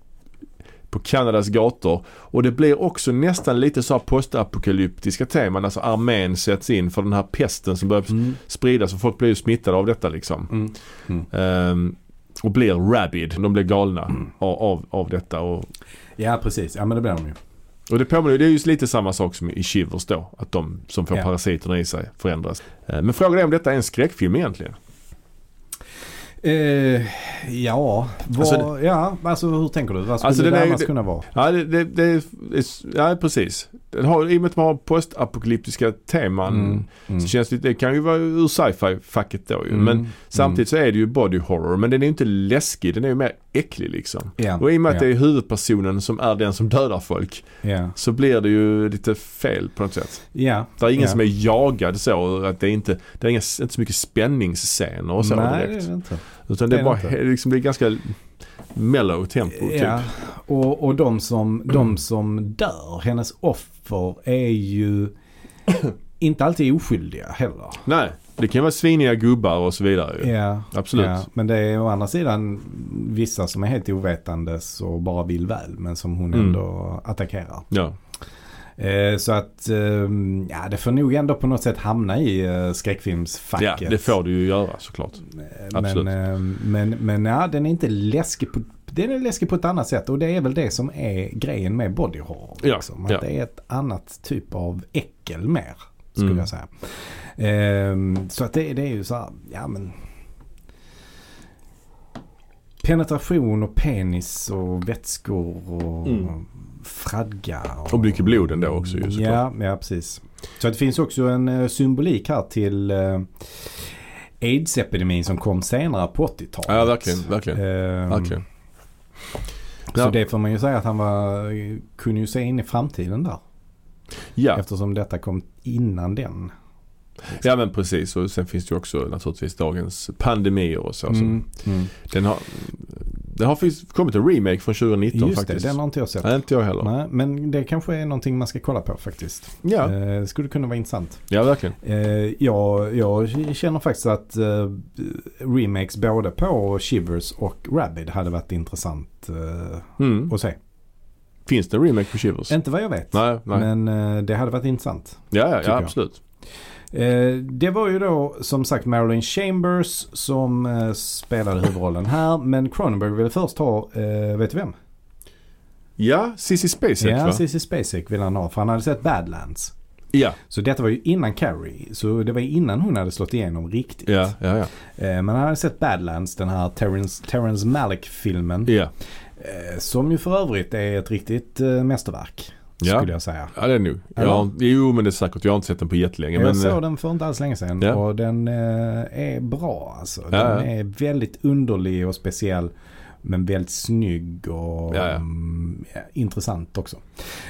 S2: på Kanadas gator. Och det blir också nästan lite så här postapokalyptiska teman. Alltså armén sätts in för den här pesten som börjar
S1: Mm.
S2: spridas och folk blir ju smittade av detta liksom.
S1: Mm. Mm.
S2: Ehm, och blir rabid. De blir galna av, av, av detta. Och,
S1: Ja precis, ja men det blir de ju.
S2: och det påminner ju, det är ju lite samma sak som i Shivers då. Att de som får
S1: Ja.
S2: parasiterna i sig förändras. Ehm, Men frågan är om detta är en skräckfilm egentligen.
S1: Eh, ja, vad,
S2: Alltså
S1: ja, alltså hur tänker du? Vad skulle
S2: Alltså, den
S1: det
S2: är ju-
S1: annars kunna vara?
S2: Ja, det, det, det, är- det är- ja precis. Den har, I och med att man har postapokalyptiska teman Mm.
S1: Mm.
S2: så känns det, det kan ju vara ur sci-fi-facket då ju.
S1: Mm,
S2: Men samtidigt så är det ju body horror. Men den är ju inte läskig, den är ju mer äcklig liksom.
S1: Mm. Ja,
S2: Och i och med att
S1: ja,
S2: det är huvudpersonen som är den som dödar folk
S1: Ja,
S2: så blir det ju lite fel på något sätt.
S1: ja.
S2: Det är ingen
S1: ja.
S2: som är jagad så. Att det är inte, det är inga, inte så mycket spänningsscener och så
S1: Nej, det
S2: direkt.
S1: är det inte.
S2: Utan det,
S1: det
S2: är
S1: är
S2: bara,
S1: det inte.
S2: liksom, det är ganska mellow tempo
S1: Ja,
S2: typ.
S1: och, och de, som, de som dör, hennes offer, är ju inte alltid oskyldiga heller.
S2: Nej, det kan vara sviniga gubbar och så vidare ju.
S1: Ja,
S2: Absolut.
S1: ja. Men det är å andra sidan vissa som är helt ovetandes och bara vill väl men som hon
S2: Mm.
S1: ändå attackerar.
S2: Ja.
S1: Eh, så att ehm, ja, det får nog ändå på något sätt hamna i eh,
S2: ja,
S1: skräckfilmsfacket.
S2: det får du ju göra såklart. absolut.
S1: Men, ehm, men, men ja, den är inte läskig på, den är läskig på ett annat sätt och det är väl det som är grejen med body horror.
S2: Ja,
S1: liksom. Att
S2: ja.
S1: Det är ett annat typ av äckel mer, skulle
S2: Mm.
S1: jag säga. Ehm, så att det, det är ju så här, ja men Penetration och penis och vätskor och
S2: Mm.
S1: fradga.
S2: Och mycket blod ändå också ju såklart.
S1: Ja, ja, precis. Så att det finns också en eh, symbolik här till eh, AIDS-epidemin som kom senare på 80-talet.
S2: Ja, verkligen, verkligen.
S1: Ehm,
S2: verkligen.
S1: Så
S2: Ja.
S1: det får man ju säga att han var, kunde ju se in i framtiden där.
S2: Ja.
S1: Eftersom detta kom innan den.
S2: ja, men precis. Och sen finns det ju också naturligtvis dagens pandemier och så. som
S1: Mm, mm.
S2: Den har, det har faktiskt kommit en remake från 2019
S1: Just det,
S2: faktiskt.
S1: den har inte jag sett.
S2: Nej, inte jag heller.
S1: Nej, men det kanske är någonting man ska kolla på faktiskt.
S2: Ja.
S1: Eh, skulle kunna vara intressant.
S2: ja, verkligen.
S1: Eh, jag, jag känner faktiskt att eh, remakes både på Shivers och Rabid hade varit intressant eh,
S2: Mm.
S1: att se.
S2: Finns det en remake på Shivers?
S1: Inte vad jag vet.
S2: Nej, nej.
S1: Men eh, det hade varit intressant.
S2: ja, ja,
S1: tycker
S2: ja
S1: jag.
S2: absolut.
S1: Eh, det var ju då som sagt Marilyn Chambers som eh, spelade huvudrollen här. Men Cronenberg ville först ha, eh, vet du vem?
S2: Ja, Cissi Spacek
S1: ja,
S2: va?
S1: Cissi Spacek ville han ha för han hade sett Badlands.
S2: Ja,
S1: Så detta var ju innan Carrie. Så det var innan hon hade slått igenom riktigt.
S2: ja, ja, ja.
S1: Eh, men han hade sett Badlands, den här Terrence, Terrence Malick-filmen.
S2: Ja,
S1: Eh, som ju för övrigt är ett riktigt eh, mästerverk.
S2: Ja.
S1: Skulle jag säga.
S2: ja det är nog. Jag har, jo, men det är säkert. Jag har inte sett den på jättelänge.
S1: jag
S2: Men,
S1: såg
S2: eh,
S1: den för inte alls länge sedan
S2: Ja.
S1: och den eh, är bra alltså. Den
S2: Ja, ja.
S1: är väldigt underlig och speciell. Men väldigt snygg och
S2: Ja, ja.
S1: mm, ja, intressant också.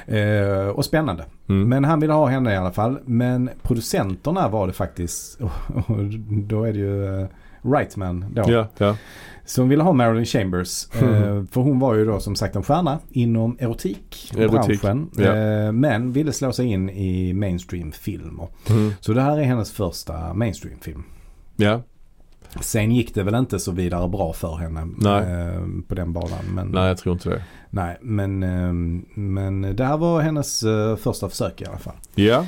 S1: Eh, och spännande.
S2: Mm.
S1: Men han ville ha henne i alla fall. Men producenterna var det faktiskt. Och, och då är det ju eh, Wrightman då.
S2: Ja, ja.
S1: Som ville ha Marilyn Chambers.
S2: Mm.
S1: Eh, för hon var ju då som sagt en stjärna inom erotik.
S2: Erotik,
S1: branschen,
S2: ja.
S1: eh, men ville slå sig in i mainstream-filmer.
S2: Mm.
S1: Så det här är hennes första mainstream-film.
S2: ja.
S1: Sen gick det väl inte så vidare bra för henne
S2: Nej.
S1: eh, på den banan. Men,
S2: Nej, jag tror inte det.
S1: nej, men, eh, men det här var hennes eh, första försök i alla fall.
S2: Ja,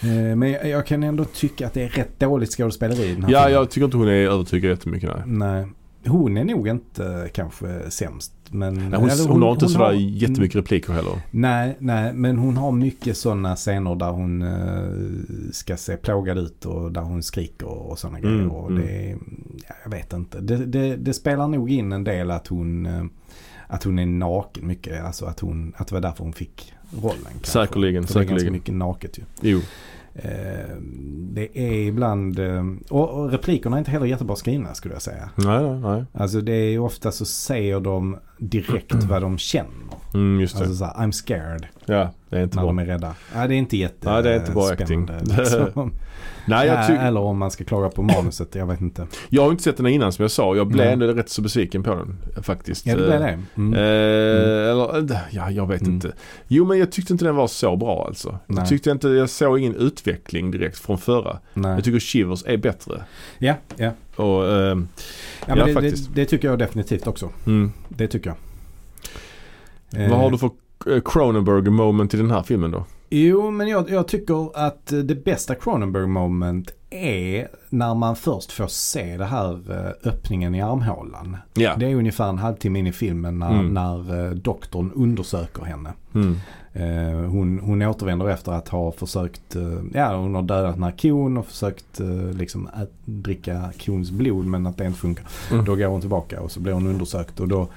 S1: Eh, Men jag jag kan ändå tycka att det är rätt dåligt skådespeleri i den här
S2: ja
S1: filmen.
S2: jag tycker inte hon är övertygad jättemycket. Nej.
S1: Nej. Hon är nog inte kanske sämst. Men,
S2: Nej, hon,
S1: eller
S2: hon, har inte
S1: hon
S2: sådär
S1: har-
S2: jättemycket repliker heller.
S1: Nej, nej, men hon har mycket sådana scener där hon eh, ska se plågad ut och där hon skriker och sådana
S2: Mm,
S1: grejer. Och
S2: mm.
S1: det, ja, jag vet inte. Det, det, det spelar nog in en del att hon, eh, att hon är naken mycket. Alltså att, hon, att det var därför hon fick rollen. Kanske.
S2: Säkerligen,
S1: För det är ganska
S2: säkerligen.
S1: mycket naket ju.
S2: Jo.
S1: Eh, det är ibland, eh, och, och replikerna är inte heller jättebra skrivna skulle jag säga.
S2: Nej, nej, nej.
S1: Alltså det är ju ofta så säger de direkt vad de känner.
S2: Mm, just det.
S1: Alltså såhär, I'm scared
S2: Ja, det är inte
S1: när
S2: bra.
S1: de är rädda. Nej det är inte jätte
S2: Nej, det är inte bra acting.
S1: spännande, liksom.
S2: Nej, jag,
S1: Nej,
S2: ty-
S1: Eller om man ska klaga på manuset, jag vet inte.
S2: jag har inte sett den här innan som jag sa. Jag blev
S1: Nej.
S2: ändå rätt så besviken på den faktiskt.
S1: Ja det blir det.
S2: Eh,
S1: Mm.
S2: Eller, eh, ja, jag vet
S1: Mm.
S2: inte. Jo, men jag tyckte inte den var så bra alltså.
S1: Nej.
S2: Jag tyckte inte, jag såg ingen utveckling direkt från förra.
S1: Nej.
S2: Jag tycker Shivers är bättre.
S1: Ja, ja.
S2: Och, ehm,
S1: ja, men
S2: Ja,
S1: det,
S2: faktiskt.
S1: det, det tycker jag definitivt också.
S2: mm.
S1: Det tycker jag.
S2: Vad har
S1: Eh,
S2: du för eh, Cronenberg moment i den här filmen då?
S1: Jo, men jag, jag tycker att det bästa Cronenberg moment är när man först får se det här eh, öppningen i armhålan.
S2: Ja.
S1: Det är ungefär en halvtimme in i filmen när,
S2: Mm.
S1: när eh, doktorn undersöker henne.
S2: Mm.
S1: Eh, Hon, hon återvänder efter att ha försökt, eh, ja hon har dödat den här kon och försökt eh, liksom ät, dricka kons blod men att det inte funkar.
S2: Mm.
S1: Då går hon tillbaka och så blir hon undersökt och då,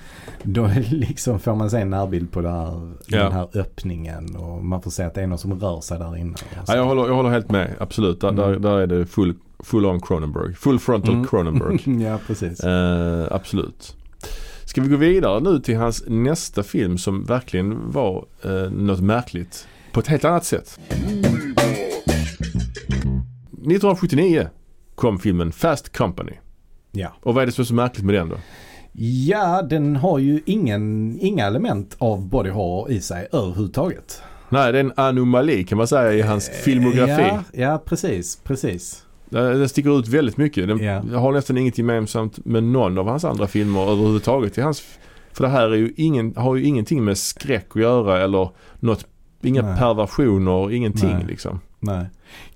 S1: då liksom får man se en närbild på det här,
S2: Ja.
S1: den här öppningen och man får se att det är någon som rör sig där inne. och så.
S2: Ja, jag, håller, jag håller helt med, absolut. Där,
S1: Mm.
S2: där, där är det full, full on Cronenberg. Full frontal
S1: Mm.
S2: Cronenberg.
S1: ja precis.
S2: Eh, absolut. Ska vi gå vidare nu till hans nästa film som verkligen var eh, något märkligt på ett helt annat sätt. 1979 kom filmen Fast Company.
S1: Ja.
S2: Och vad är det som är så märkligt med den då?
S1: ja, den har ju ingen, inga element av body horror i sig överhuvudtaget.
S2: Nej, det är en anomali kan man säga i hans filmografi.
S1: Eh, Ja, ja precis, precis.
S2: Den den sticker ut väldigt mycket. Den
S1: Ja.
S2: har nästan inget gemensamt med någon av hans andra filmer överhuvudtaget. I hans, för det här är ju ingen, har ju ingenting med skräck att göra eller något, inga
S1: Nej.
S2: perversioner, ingenting
S1: Nej.
S2: liksom.
S1: Nej.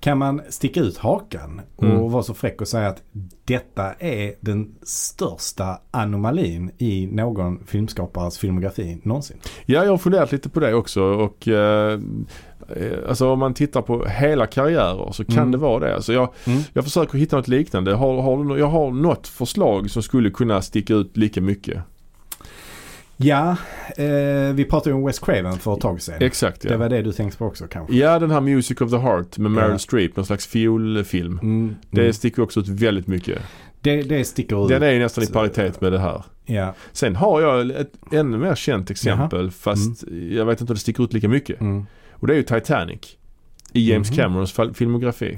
S1: Kan man sticka ut hakan och
S2: Mm.
S1: vara så fräck och säga att detta är den största anomalin i någon filmskapares filmografi någonsin?
S2: Ja, jag har funderat lite på det också och eh, eh, alltså om man tittar på hela karriärer så kan
S1: Mm.
S2: det vara det. Alltså jag,
S1: Mm.
S2: jag försöker hitta något liknande. Har, har, du nå- jag har något förslag som skulle kunna sticka ut lika mycket.
S1: Ja, eh, vi pratade ju om Wes Craven för ett tag sedan.
S2: Exakt
S1: Det
S2: ja.
S1: var det du tänkte på också kanske?
S2: Ja, den här Music of the Heart med Meryl
S1: Ja.
S2: Streep, någon slags fiolfilm.
S1: Mm. Mm.
S2: Det sticker också ut väldigt mycket.
S1: det, det sticker ut.
S2: Den är ju nästan i paritet med det här.
S1: Ja.
S2: Sen har jag ett ännu mer känt exempel fast jag vet inte om det sticker ut lika mycket.
S1: Mm.
S2: Och det är ju Titanic. I James
S1: Mhm.
S2: Camerons fil- filmografi.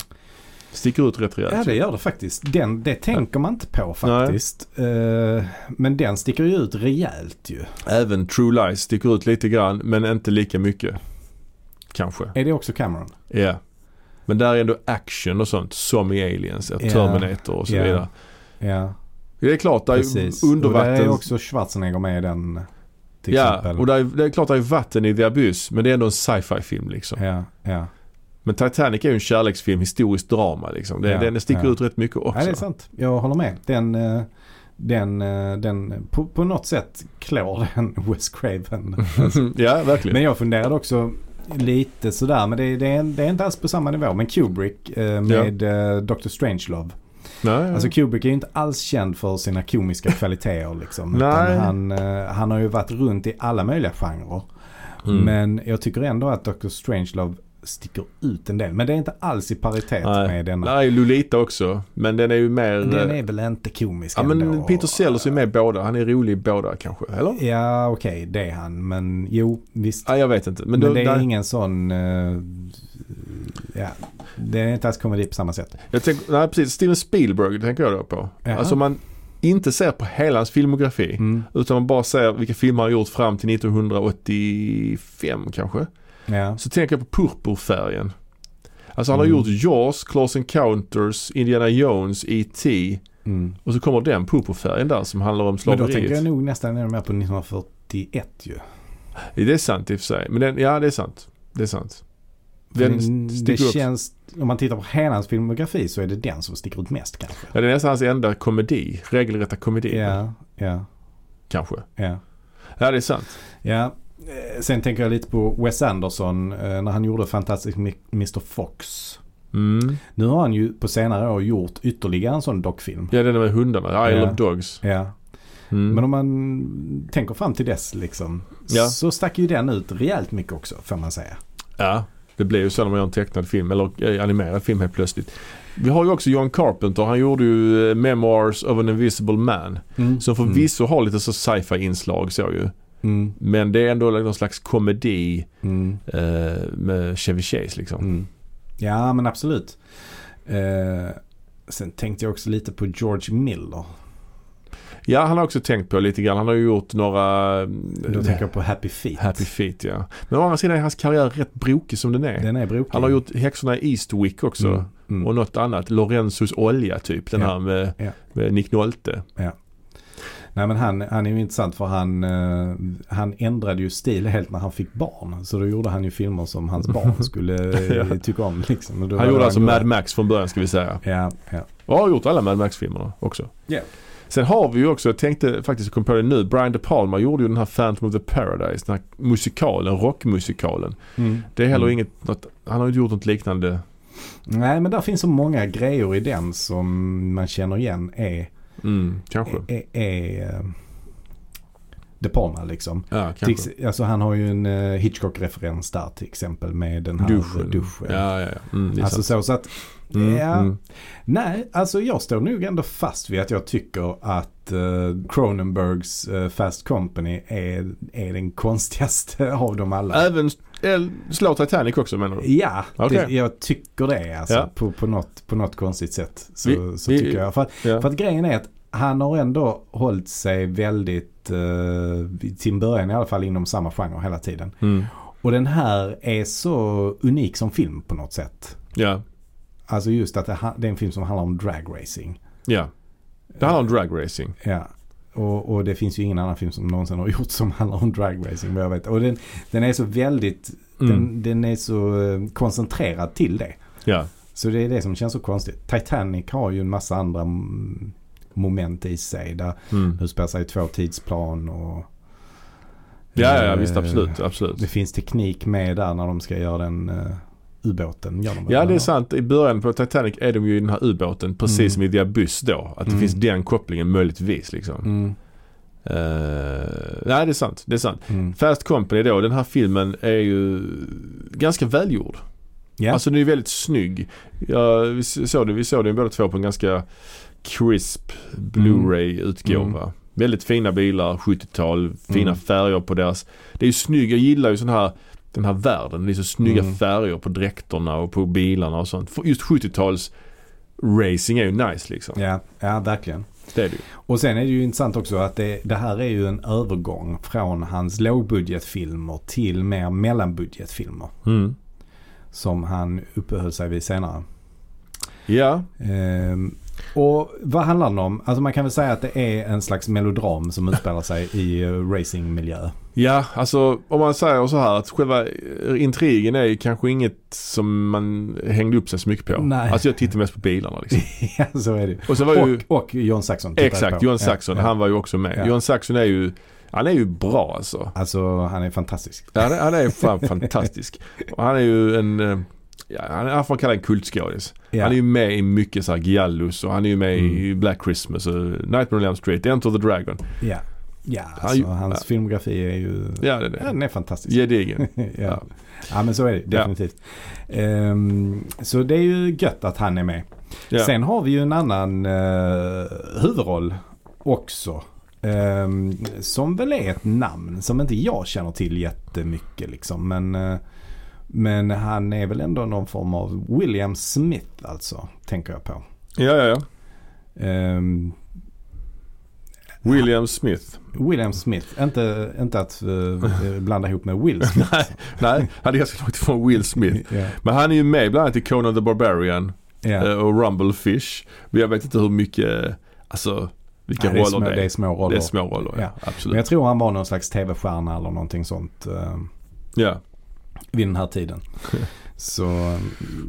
S2: Sticker ut rätt
S1: ja,
S2: rejält.
S1: det gör det faktiskt. Den, det tänker man inte på faktiskt. Eh, men den sticker ju ut rejält ju.
S2: Även True Lies sticker ut lite grann men inte lika mycket. Kanske.
S1: Är det också Cameron?
S2: Ja. Men där är ändå action och sånt som i Aliens,
S1: Ja.
S2: Terminator och så
S1: Ja.
S2: vidare.
S1: Ja,
S2: Det är klart, det är
S1: precis.
S2: ju undervattens...
S1: Och där är också Schwarzenegger med i den. Till
S2: Ja,
S1: exempel.
S2: och det är, det är klart det är vatten i The Abyss men det är ändå en sci-fi film liksom.
S1: Ja, ja.
S2: Men Titanic är ju en kärleksfilm, historiskt drama liksom. Den,
S1: Ja,
S2: den sticker
S1: ja.
S2: ut rätt mycket också.
S1: ja, det är sant. Jag håller med. Den, eh, den, eh, den på, på något sätt klår den Wes Craven.
S2: ja, verkligen.
S1: men jag funderade också lite sådär, men det, det, är, det är inte alls på samma nivå. Men Kubrick eh, med eh, Dr. Strangelove.
S2: Nej, ja.
S1: Alltså Kubrick är ju inte alls känd för sina komiska kvaliteter liksom.
S2: Nej.
S1: Utan han, eh, han har ju varit runt i alla möjliga genrer.
S2: Mm.
S1: Men jag tycker ändå att Dr. Strangelove sticker ut en del. Men det är inte alls i paritet
S2: Nej.
S1: med denna.
S2: Där är Lolita också. Men den är ju mer...
S1: Den
S2: eh,
S1: är väl inte komisk
S2: ja, men
S1: ändå?
S2: Peter Sellers är med i båda. Han är rolig i båda kanske, eller?
S1: Ja, okej, det är han. Men jo, visst.
S2: Ja, jag vet inte. Men,
S1: Men,
S2: då,
S1: det är
S2: där,
S1: ingen sån... eh, ja, Ja, det är inte alls komedi på samma sätt.
S2: Jag tänker, nej precis, Steven Spielberg tänker jag då på.
S1: Jaha.
S2: Alltså om man inte ser på hela hans filmografi
S1: Mm.
S2: utan man bara ser vilka filmer han gjort fram till 1985 kanske.
S1: Ja.
S2: Så tänker jag på purpurfärgen. Alltså han har
S1: Mm.
S2: gjort Jaws, Close Encounters, Indiana Jones, E.T.
S1: Mm.
S2: Och så kommer den purpurfärgen där som handlar om
S1: Men då tänker jag
S2: slaveriet.
S1: nog nästan ännu mer på 1941 ju.
S2: Det är sant i och för sig. Men den, ja det är sant. Det är sant. Den
S1: Men det
S2: sticker ut.
S1: känns, om man tittar på hela hans filmografi så är det den som sticker ut mest kanske.
S2: Ja, det är nästan hans enda komedi. Regelrätta komedi.
S1: Ja, ja,
S2: Kanske.
S1: ja.
S2: Ja det är sant.
S1: ja. Eh, Sen tänker jag lite på Wes Anderson eh, när han gjorde Fantastic Mi- Mr Fox.
S2: Mm.
S1: Nu har han ju på senare år gjort ytterligare en sån dockfilm.
S2: Ja den med hundarna. Isle
S1: Ja.
S2: of Dogs.
S1: Ja.
S2: Mm.
S1: Men om man tänker fram till dess liksom.
S2: Ja.
S1: Så stack ju den ut rejält mycket också får man säga.
S2: Ja, det blir ju så när man gör en tecknad film eller eh, animerad film helt plötsligt. Vi har ju också John Carpenter. Han gjorde ju eh, Memoirs of an Invisible Man. Som förvisso har lite så sci-fi inslag så ju.
S1: Mm.
S2: Men det är ändå någon slags komedi
S1: Mm.
S2: eh, med Chevy Chase liksom.
S1: Mm. Ja men absolut. Eh, sen tänkte jag också lite på George Miller.
S2: Ja, han har också tänkt på lite grann. Han har ju gjort några... eh,
S1: Då tänker jag på Happy Feet.
S2: Happy Feet ja. Men å andra sidan är hans karriär rätt brokig som den är.
S1: Den är brokig.
S2: Han har gjort Häxorna i Eastwick också.
S1: Mm. Mm.
S2: Och något annat. Lorenzos olja typ. Den
S1: Ja.
S2: här med,
S1: Ja.
S2: med Nick Nolte.
S1: Nej men han, han är ju intressant för han, eh, han ändrade ju stil helt när han fick barn. Så då gjorde han ju filmer som hans barn skulle eh,
S2: Ja.
S1: tycka om. Liksom. Och då
S2: Han
S1: var
S2: gjorde
S1: det
S2: alltså Mad Max från början ska vi säga.
S1: Ja, ja.
S2: Och har gjort alla Mad Max-filmerna också.
S1: Ja.
S2: Sen har vi ju också, jag tänkte faktiskt, jag kom på det nu, Brian De Palma gjorde ju den här Phantom of the Paradise, den här musikalen, rockmusikalen. Det är heller
S1: Mm.
S2: inget, något, han har ju inte gjort något liknande.
S1: Nej men där finns så många grejer i den som man känner igen E, är,
S2: Mm, kanske.
S1: är, är, är eh, De Palma liksom.
S2: Ja,
S1: Till,
S2: kanske.
S1: ex- alltså han har ju en eh, Hitchcock-referens där till exempel med den här
S2: Duschen.
S1: duschen. duschen.
S2: Ja, ja, ja. Mm, det är
S1: Alltså
S2: sant.
S1: så, så att,
S2: Mm,
S1: ja.
S2: mm.
S1: nej, alltså jag står nog ändå fast vid att jag tycker att eh, Cronenbergs eh, Fast Company är, är den konstigaste av dem alla.
S2: Även el- slå Titanic också menar du?
S1: Ja,
S2: Okej.
S1: det, jag tycker det alltså,
S2: Ja.
S1: på, på, något, på något konstigt sätt. Så,
S2: Vi-
S1: så
S2: vi-
S1: tycker jag. För, att-
S2: Ja.
S1: för att grejen är att han har ändå hållit sig väldigt, eh, till en början i alla fall, inom samma genre hela tiden.
S2: Mm.
S1: Och den här är så unik som film på något sätt.
S2: ja,
S1: Alltså just att det, ha- det är en film som handlar om dragracing.
S2: ja. Det handlar om dragracing.
S1: Ja. Och, och det finns ju ingen annan film som någonsin har gjort som handlar om dragracing vad jag vet. Och den, den är så väldigt,
S2: Mm.
S1: den, den är så eh, koncentrerad till det.
S2: Ja,
S1: Så det är det som känns så konstigt. Titanic har ju en massa andra mm, moment i sig. Där
S2: mm.
S1: det utspelar sig i två tidsplan och
S2: ja, ja, ja visst
S1: Eh,
S2: absolut, absolut.
S1: det finns teknik med där när de ska göra den uh, ubåten. Gör de väl
S2: Ja det är
S1: där?
S2: sant. I början på Titanic är de ju i den här ubåten precis
S1: Mm.
S2: som i The Abyss då. Att det
S1: Mm.
S2: finns den kopplingen möjligtvis liksom.
S1: Mm.
S2: Eh, nej det är sant. Det är sant.
S1: Mm.
S2: Fast Company då, den här filmen är ju ganska välgjord.
S1: Ja.
S2: Alltså den är ju väldigt snygg. Ja, vi, s- såg det, vi såg den båda två på en ganska crisp
S1: Mm.
S2: Blu-ray-utgåva. Väldigt fina bilar, 70-tal, fina
S1: Mm.
S2: färger på deras. Det är ju snygg, jag gillar ju sån här den här världen. Det är så snygga
S1: Mm.
S2: färger på dräkterna och på bilarna och sånt. För just 70-tals racing är ju nice liksom.
S1: Ja, ja, verkligen.
S2: Det är det ju.
S1: Och sen är det ju intressant också att det, det här är ju en övergång från hans lågbudgetfilmer till mer mellanbudgetfilmer.
S2: Mm.
S1: Som han uppehöll sig vid senare.
S2: Ja,
S1: Ehm, och vad handlar den om? Alltså man kan väl säga att det är en slags melodram som utspelar sig i eh, racingmiljö.
S2: Ja, alltså om man säger så här att själva eh, intrigen är ju kanske inget som man hängde upp sig så mycket på.
S1: Nej.
S2: Alltså jag tittar mest på bilarna liksom.
S1: ja, så är det ju.
S2: Och så var ju,
S1: Och, och John Saxon. tittar jag
S2: exakt,
S1: på.
S2: John Saxon,
S1: Ja, ja.
S2: han var ju också med.
S1: Ja.
S2: John Saxon är ju, han är ju bra alltså.
S1: Alltså han är fantastisk.
S2: Han är, han är fan fantastisk. Och han är ju en, eh, ja, han är, han får man kalla en kultskådis.
S1: Ja. Mm.
S2: Han är ju med i mycket såhär Giallus och han är ju med i Black Christmas och Nightmare on Elm Street, Enter the Dragon.
S1: Ja, ja
S2: är ju-
S1: alltså, hans filmografi är ju...
S2: Ja det är
S1: Ja,
S2: det.
S1: den är fantastisk.
S2: Gedigen.
S1: ja. ja men så är det
S2: Ja.
S1: definitivt. Ehm, så det är ju gött att han är med.
S2: Ja.
S1: Sen har vi ju en annan eh, huvudroll också. Ehm, som väl är ett namn som inte jag känner till jättemycket liksom. Men, eh, Men han är väl ändå någon form av William Smith alltså, tänker jag på.
S2: Ja, ja, ja.
S1: Ehm,
S2: William Smith.
S1: William Smith, inte, inte att eh, blanda ihop med Will Smith.
S2: Nej, nej, han är ganska långt ifrån Will Smith.
S1: Ja,
S2: Men han är ju med bland annat i Conan the Barbarian.
S1: ja.
S2: Eh, och Rumblefish. Men jag vet inte hur mycket, alltså vilka
S1: Nej, det, är
S2: roller
S1: små, det är små roller.
S2: Det är små roller, ja.
S1: Ja. Men
S2: Absolut.
S1: jag tror han var någon slags tv-stjärna eller någonting sånt eh,
S2: Ja.
S1: vid den här tiden. Så,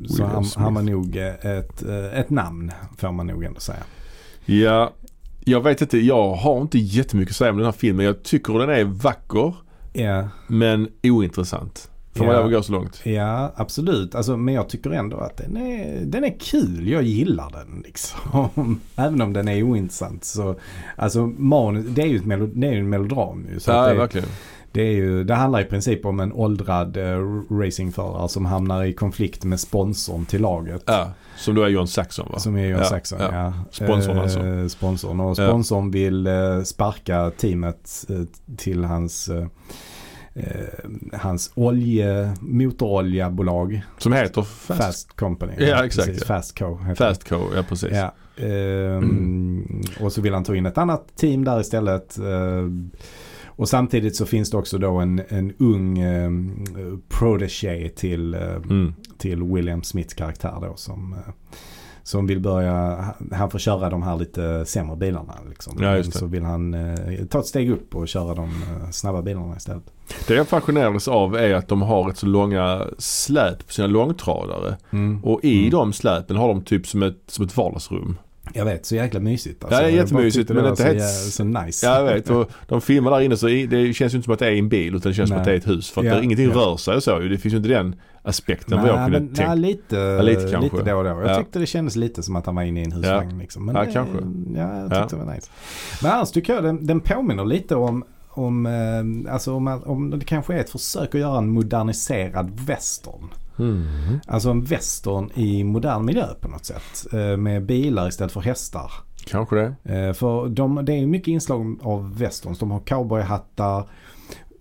S1: så
S2: William
S1: han,
S2: Smith.
S1: han var nog eh, ett, eh, ett namn får man nog ändå säga.
S2: ja. Jag vet inte, jag har inte jättemycket att säga om den här filmen. Jag tycker den är vacker,
S1: Ja,
S2: men ointressant. Får man
S1: Ja.
S2: lov att gå så långt?
S1: ja absolut. Alltså, men jag tycker ändå att den är, den är kul. Jag gillar den liksom. Även om den är ointressant. Så, alltså manus, det är ju ett melo, det är ju en melodram ju. Så att
S2: Ja,
S1: det,
S2: verkligen.
S1: det, är ju, det handlar i princip om en åldrad eh, racingförare som hamnar i konflikt med sponsorn till laget.
S2: Ja, som då är John Saxon va?
S1: Som är John
S2: Ja,
S1: Saxon, ja.
S2: ja. Sponsorn
S1: Eh,
S2: alltså.
S1: Sponsorn. Och
S2: Ja.
S1: sponsorn vill eh, sparka teamet eh, till hans, eh, eh, hans olje, motoroljebolag
S2: Som heter
S1: Fast,
S2: Fast,
S1: Company.
S2: Ja, exakt,
S1: Precis.
S2: ja.
S1: Fast Co. heter
S2: Fast Co. Ja, precis. Mm.
S1: det. Ja. Ehm, Och så vill han ta in ett annat team där istället. Ehm, och samtidigt så finns det också då en, en ung eh, protege till eh,
S2: Mm.
S1: till William Smiths karaktär då som, eh, som vill börja, han får köra de här lite sämre bilarna liksom.
S2: Ja, just
S1: Men
S2: det.
S1: så vill han eh, ta ett steg upp och köra de eh, snabba bilarna istället.
S2: Det jag fascinerades av är att de har ett så långa släp på sina långtradare. Och i
S1: Mm.
S2: de släpen har de typ som ett, som ett vardagsrum.
S1: Jag vet, så jäkla mysigt. alltså.
S2: Ja, det är
S1: Jag bara
S2: jättemysigt,
S1: tyckte
S2: men
S1: det var
S2: inte
S1: så,
S2: helt-
S1: jä- så nice.
S2: Ja, jag vet. Och de filmar där inne så i- det känns ju inte som att det är en bil utan det känns som
S1: Nej.
S2: att det är ett hus. För att
S1: Ja,
S2: där ingenting
S1: ja.
S2: rör sig och så ju. Det finns ju inte den aspekten vad jag
S1: Nej,
S2: kunde
S1: men,
S2: tänka.
S1: nej, lite,
S2: lite
S1: lite,
S2: kanske.
S1: då och då. Jag
S2: Ja.
S1: tyckte det kändes lite som att han var inne i en husvagn. Liksom. Men
S2: Ja,
S1: det,
S2: kanske.
S1: Ja, jag
S2: Ja.
S1: tyckte det var nice. Men annars tycker jag den, den påminner lite om, om, eh, alltså om, om det kanske är ett försök att göra en moderniserad western.
S2: Mm.
S1: Alltså en western i modern miljö på något sätt. Eh, Med bilar istället för hästar.
S2: Kanske det.
S1: Eh, För de, det är ju mycket inslag av westerns. De har cowboyhattar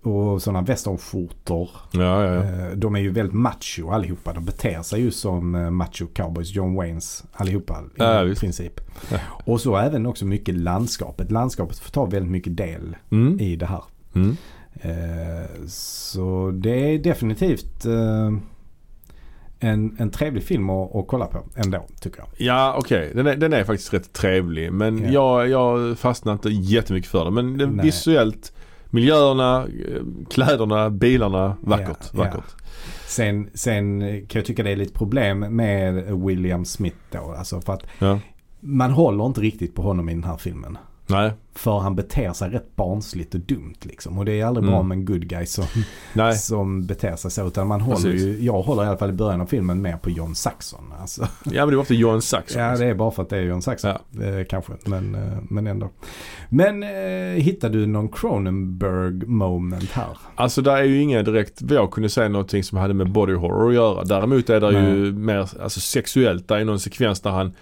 S1: och sådana westernskjortor.
S2: Ja, ja, ja.
S1: Eh, De är ju väldigt macho allihopa. De beter sig ju som eh, macho cowboys, John Waynes allihopa i
S2: Ja, visst.
S1: princip.
S2: Ja.
S1: Och så även också mycket landskapet. Landskapet får ta väldigt mycket del
S2: Mm.
S1: i det här.
S2: Mm.
S1: Eh, Så det är definitivt eh, en, en trevlig film att, att kolla på ändå tycker jag.
S2: Ja, okej. Den, är, den är faktiskt rätt trevlig. Men
S1: Ja.
S2: jag, jag fastnar inte jättemycket för den. Men det,
S1: Nej.
S2: visuellt, miljöerna, eh, kläderna, bilarna. Vackert.
S1: Ja,
S2: vackert.
S1: Sen, sen kan jag tycka det är lite problem med William Smith då. Alltså för att
S2: Ja.
S1: man håller inte riktigt på honom i den här filmen.
S2: Nej.
S1: För han beter sig rätt barnsligt och dumt liksom. Och det är aldrig bra
S2: Mm.
S1: med en good guy som,
S2: Nej.
S1: som beter sig så. Utan man håller
S2: Precis.
S1: ju, jag håller i alla fall i början av filmen mer på John Saxon. Alltså.
S2: Ja, men det var ofta John Saxon.
S1: Ja, det är bara för att det är John Saxon. Eh, kanske, men, eh, men ändå. Men eh, hittar du någon Cronenberg moment här?
S2: Alltså där är ju inga direkt, vad jag kunde säga någonting som hade med body horror att göra. Däremot är det
S1: Nej.
S2: ju mer alltså, sexuellt. Där är någon sekvens där han,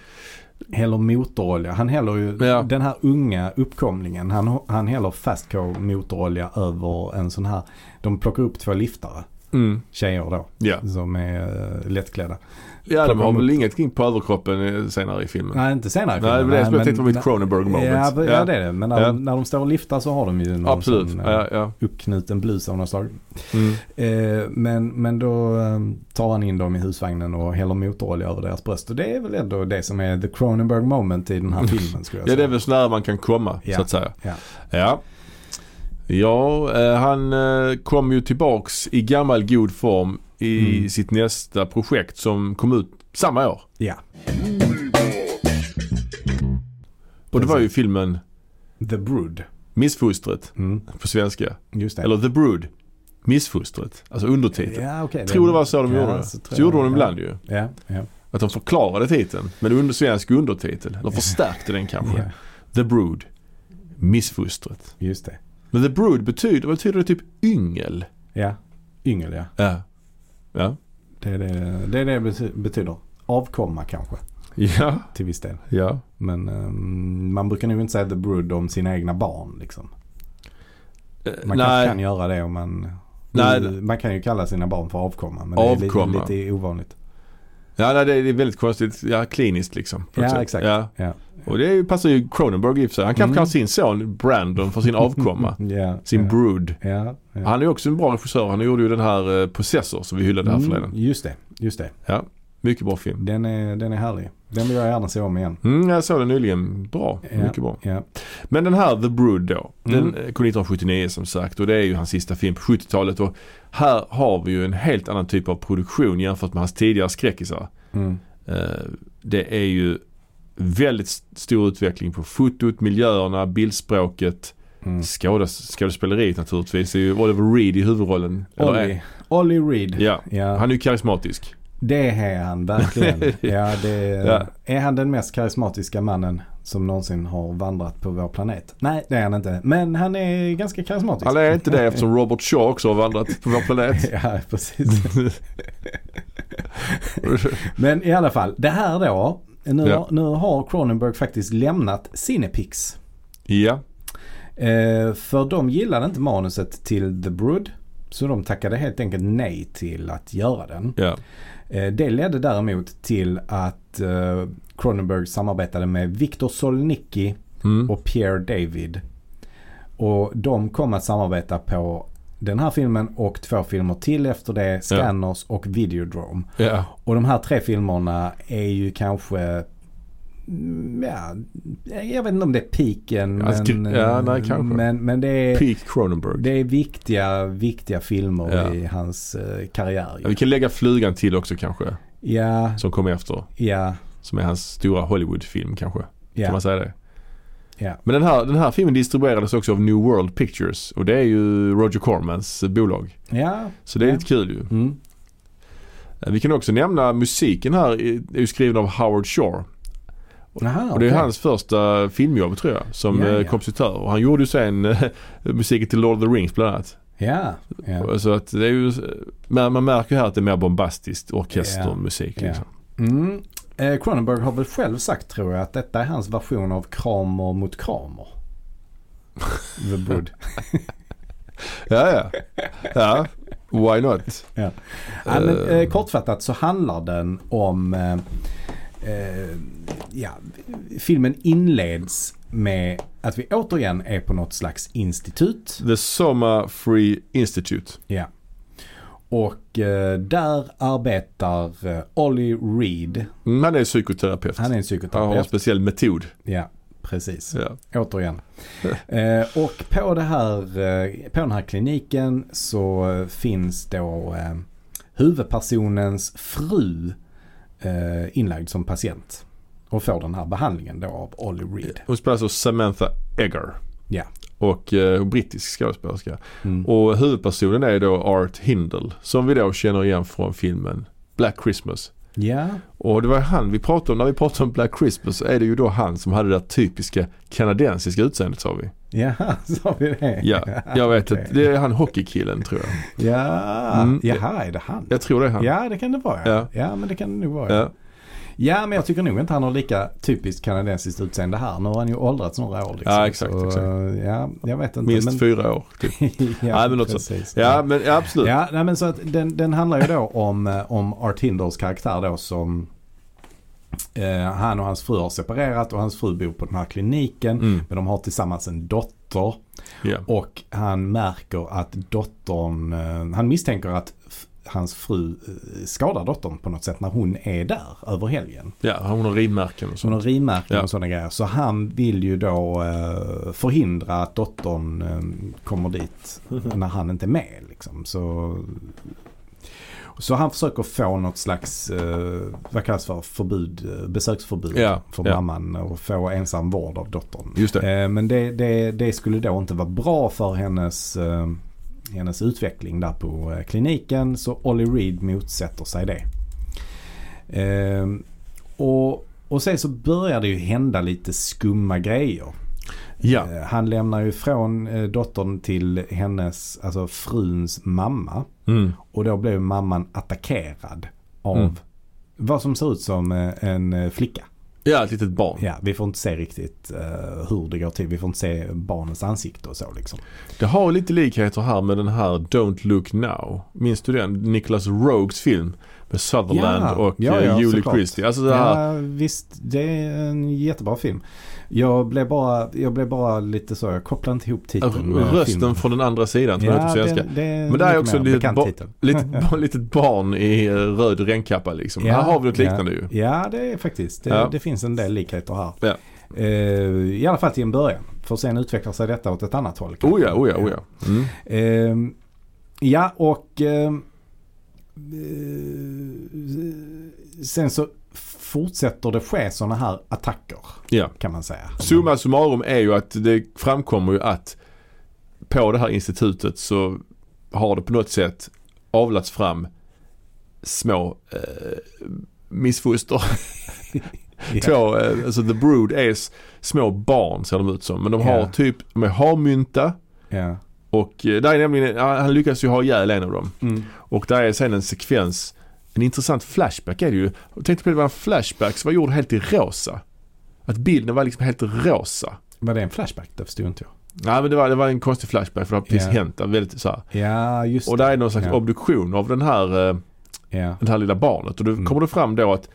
S1: Häller motorolja. Han häller ju,
S2: Ja.
S1: den här unga uppkomlingen, han, han häller Fastco motorolja över en sån här. De plockar upp två liftare,
S2: mm,
S1: tjejer då,
S2: ja.
S1: som är eh, lättklädda.
S2: Ja de
S1: Plockar
S2: har
S1: de
S2: väl
S1: upp-
S2: inget kring på överkroppen eh, senare i filmen. Nej,
S1: Nej, inte senare i
S2: det är
S1: filmen,
S2: väl det som jag
S1: men-
S2: tänkte var mitt Cronenberg moment.
S1: Ja, ja, det är det. Men när,
S2: Ja.
S1: när de står och liftar så har de ju någon
S2: Absolut,
S1: sån, eh,
S2: ja, ja.
S1: uppknuten blus av något slag.
S2: Mm.
S1: Eh, men, men då eh, tar han in dem i husvagnen och häller motorolja över deras bröst. Och det är väl ändå det som är the Cronenberg moment i den här filmen skulle jag
S2: ja,
S1: säga.
S2: det är väl så nära man kan komma
S1: Ja.
S2: så att säga.
S1: Ja.
S2: Ja, ja eh, han eh, kom ju tillbaks i gammal god form i
S1: Mm.
S2: sitt nästa projekt som kom ut samma år.
S1: ja.
S2: Och det var ju filmen
S1: The Brood.
S2: Missfostret
S1: Mm,
S2: på svenska.
S1: just det.
S2: Eller The Brood. Missfostret. Alltså undertiteln.
S1: ja, okej.
S2: Tror det var så de
S1: Ja,
S2: gjorde det.
S1: så tror
S2: Så gjorde
S1: jag.
S2: de ibland ju.
S1: Ja, ja.
S2: Att de förklarade titeln med under svensk undertitel. De förstärkte den kanske.
S1: ja.
S2: The Brood. Missfostret.
S1: Just det.
S2: Men The Brood betyder, vad betyder det typ yngel?
S1: Ja. Yngel, ja.
S2: Ja. Ja.
S1: Det är det det, är det bety- betyder. Avkomma kanske,
S2: Ja.
S1: till viss del.
S2: Ja.
S1: Men ehm, man brukar nog inte säga The Brood om sina egna barn liksom.
S2: Eh,
S1: Man kanske kan göra det om man
S2: Nej.
S1: Nu- Man kan ju kalla sina barn för avkomma. Men det
S2: Avkomma.
S1: är lite, lite ovanligt.
S2: Ja, nej, det är väldigt konstigt. Ja, kliniskt liksom. på
S1: Ja,
S2: ett sätt.
S1: exakt.
S2: Ja.
S1: Ja.
S2: Och det är ju- passar ju Cronenberg i och för sig. Han kanske
S1: Mm.
S2: kan ha sin son Brandon för sin avkomma.
S1: Ja,
S2: sin Ah,
S1: ja.
S2: brood.
S1: Ja, ja.
S2: Han är ju också en bra regissör. Han gjorde ju den här eh, Possessor som vi hyllade
S1: Mm.
S2: här förleden.
S1: just det, just det.
S2: Mycket bra film.
S1: Den är, den är härlig. Den vill jag gärna se om igen.
S2: Mm, jag såg den nyligen. Bra.
S1: Ja.
S2: Mycket bra.
S1: Ja.
S2: Men den här The Brood då. Den
S1: Mm.
S2: eh, kom 1979 som sagt och det är ju hans sista film på 70-talet. Och här har vi ju en helt annan typ av produktion jämfört med hans tidigare skräckisar.
S1: Mm.
S2: Eh, Det är ju väldigt st- stor utveckling på fotot, miljöerna, bildspråket,
S1: Mm.
S2: skådes- skådespeleriet naturligtvis. Det är ju Oliver Reed i huvudrollen. Eller är-
S1: Ollie, Ollie Reed.
S2: Ja,
S1: Ja,
S2: han är ju karismatisk.
S1: det är han verkligen. ja, det är,
S2: Ja.
S1: är han den mest karismatiska mannen som någonsin har vandrat på vår planet? Nej, det är han inte. Men han är ganska karismatisk.
S2: Han är inte det eftersom Robert Shaw också har vandrat på vår planet.
S1: Ja, precis. Men i alla fall, det här då. Nu,
S2: Ja.
S1: nu har Cronenberg faktiskt lämnat Cinepix.
S2: ja,
S1: Eh, för de gillade inte manuset till The Brood. Så de tackade helt enkelt nej till att göra den.
S2: ja.
S1: Eh, det ledde däremot till att eh, Cronenberg samarbetade med Viktor Solnicki
S2: Mm.
S1: och Pierre David. Och de kom att samarbeta på den här filmen och två filmer till efter det. Scanners och Videodrome.
S2: ja.
S1: Och de här tre filmerna är ju kanske mm, Ja, jag vet inte om det är piken.
S2: Ja, alltså,
S1: men,
S2: ty- ja, nej, kanske.
S1: men, men det är,
S2: Peak Cronenberg.
S1: det är viktiga, viktiga filmer
S2: Ja.
S1: i hans eh, karriär.
S2: Ja,
S1: ju.
S2: vi kan lägga Flugan till också kanske.
S1: Ja,
S2: Som kom efter.
S1: ja,
S2: Som är hans stora Hollywoodfilm kanske. Kan
S1: ja.
S2: man säga det?
S1: Ja.
S2: Men den här, den här filmen distribuerades också av New World Pictures. Och det är ju Roger Cormans bolag.
S1: ja.
S2: Så det är
S1: Ja.
S2: lite kul ju.
S1: Mm.
S2: Vi kan också nämna musiken här i- är ju skriven av Howard Shore.
S1: Aha,
S2: Och det
S1: okej.
S2: är hans första filmjobb tror jag. Som
S1: Ja,
S2: eh,
S1: ja.
S2: kompositör. Och han gjorde ju sen eh, musiken till Lord of the Rings bland annat.
S1: Ja, ja.
S2: Så att det är ju, men man märker ju här att det är mer bombastiskt orkestermusik.
S1: Ja.
S2: Liksom.
S1: Mm. Eh, Cronenberg har väl själv sagt tror jag att detta är hans version av Kramer mot Kramer. The Bud.
S2: Ja, ja. ja. Why not?
S1: Ja. Ja, men,
S2: Eh,
S1: eh, kortfattat så handlar den om... Eh, eh, ja, filmen inleds med att vi återigen är på något slags institut.
S2: The Soma Free Institute.
S1: Ja. Och eh, där arbetar eh, Ollie Reed.
S2: Mm, han är psykoterapeut.
S1: Han är en
S2: Han har en
S1: psykoterapeut.
S2: speciell metod.
S1: Ja, precis.
S2: Ja.
S1: Återigen. Eh, och på, det här, eh, på den här kliniken så eh, finns då eh, huvudpersonens fru eh, inlagd som patient. Och får den här behandlingen då av Olly Reed.
S2: Hon spelas av Samantha Eggar.
S1: Ja.
S2: Och eh, brittisk skådespelerska.
S1: Mm.
S2: Och huvudpersonen är då Art Hindle. Som vi då känner igen från filmen Black Christmas.
S1: Ja,
S2: Och det var han vi pratade om. När vi pratade om Black Christmas så är det ju då han som hade det där typiska kanadensiska utseendet sa vi.
S1: jaha, sa vi det?
S2: Ja, jag vet
S1: Okej.
S2: att det är han hockeykillen tror jag.
S1: Ja,
S2: Mm.
S1: jaha, är det han?
S2: Jag tror det är han.
S1: Ja, det kan det vara. Ja,
S2: Ja.
S1: men det kan det nog vara. Ja.
S2: Ja.
S1: Ja, men jag tycker nog inte han har lika typiskt kanadensiskt utseende här. Nu har han ju åldrats några år. Liksom.
S2: Ja, exakt,
S1: Så,
S2: exakt.
S1: eh, ja, jag vet inte.
S2: Minst
S1: men...
S2: fyra år. Typ.
S1: ja,
S2: Nej, men något sånt.
S1: precis.
S2: Ja, men ja, absolut.
S1: Ja, nej, men så att den, den handlar ju då om, eh, om Art Hinders karaktär då som eh, han och hans fru har separerat och hans fru bor på den här kliniken.
S2: Mm.
S1: Men de har tillsammans en dotter
S2: Ja.
S1: och han märker att dottern, eh, han misstänker att f- hans fru eh, skadar dottern på något sätt när hon är där över helgen.
S2: ja, hon har ridmärken och
S1: Så hon
S2: sånt.
S1: har rimärken
S2: Ja.
S1: och sådana grejer. Så han vill ju då eh, förhindra att dottern eh, kommer dit när han inte är med. Liksom. Så, så han försöker få något slags, eh, vad kallas för, förbud, eh, besöksförbud
S2: Ja,
S1: för
S2: ja.
S1: mamman och få ensam vård av dottern.
S2: Just det.
S1: Eh, men det, det, det skulle då inte vara bra för hennes, eh, hennes utveckling där på eh, kliniken. Så Olly Reed motsätter sig det. Eh, och, och sen så börjar det ju hända lite skumma grejer.
S2: Ja.
S1: Eh, han lämnar ju ifrån eh, dottern till hennes, alltså fruns mamma.
S2: Mm.
S1: Och då blev mamman attackerad av
S2: Mm.
S1: vad som ser ut som eh, en eh, flicka.
S2: Ja, ett litet barn.
S1: Ja, vi får inte se riktigt eh, hur det går till. Vi får inte se barnens ansikte och så liksom.
S2: Det har lite likheter här med den här Don't Look Now. Minns du den? Nicholas Rogues film med Sutherland
S1: Ja,
S2: och
S1: ja,
S2: eh,
S1: ja,
S2: Julie
S1: såklart.
S2: Christie. Alltså det här,
S1: Ja, visst. Det är en jättebra film. Jag blev bara, jag blev bara lite så, jag kopplade inte ihop titeln med
S2: rösten
S1: filmen.
S2: från den andra sidan tror jag heter på
S1: Ja,
S2: svenska.
S1: det, det är
S2: Men där är också
S1: en
S2: lite
S1: bekant
S2: bo-
S1: titel.
S2: Litet, ba- litet barn i eh, röd regnkappa liksom.
S1: Ja,
S2: Här har vi något
S1: ja.
S2: liknande ju.
S1: Ja, det är faktiskt. Det,
S2: Ja.
S1: det finns en del likheter här.
S2: Ja.
S1: Eh, I alla fall till en början. För sen utvecklar sig detta åt ett annat håll. kanske.
S2: Oh ja, oh ja, oh ja. Mm.
S1: Ehm, ja, och ehm, eh, sen så fortsätter det ske sådana här attacker
S2: ja.
S1: kan man säga.
S2: Summa summarum är ju att det framkommer ju att på det här institutet så har det på något sätt avlats fram små eh, missfoster.
S1: Ja.
S2: Två, eh, alltså the brood är s- små barn ser de ut som. Men de har
S1: Ja.
S2: typ, de är harmynta
S1: Ja.
S2: och eh, där är nämligen, han han lyckas ju ha ihjäl en av dem.
S1: Mm.
S2: Och där är sen en sekvens, en intressant flashback är det ju. Jag tänkte på det, det var en flashback som var gjord helt i rosa. Att bilden var liksom helt rosa.
S1: Var det en flashback? Det förstod inte jag.
S2: Nej men det var, det var en konstig flashback för det har precis
S1: Ja.
S2: hänt. där, Väldigt, så här.
S1: Ja, just
S2: Och där är någon slags
S1: Ja.
S2: obduktion av den här, eh,
S1: Ja.
S2: det här lilla barnet. Och då
S1: Mm.
S2: kommer det fram då att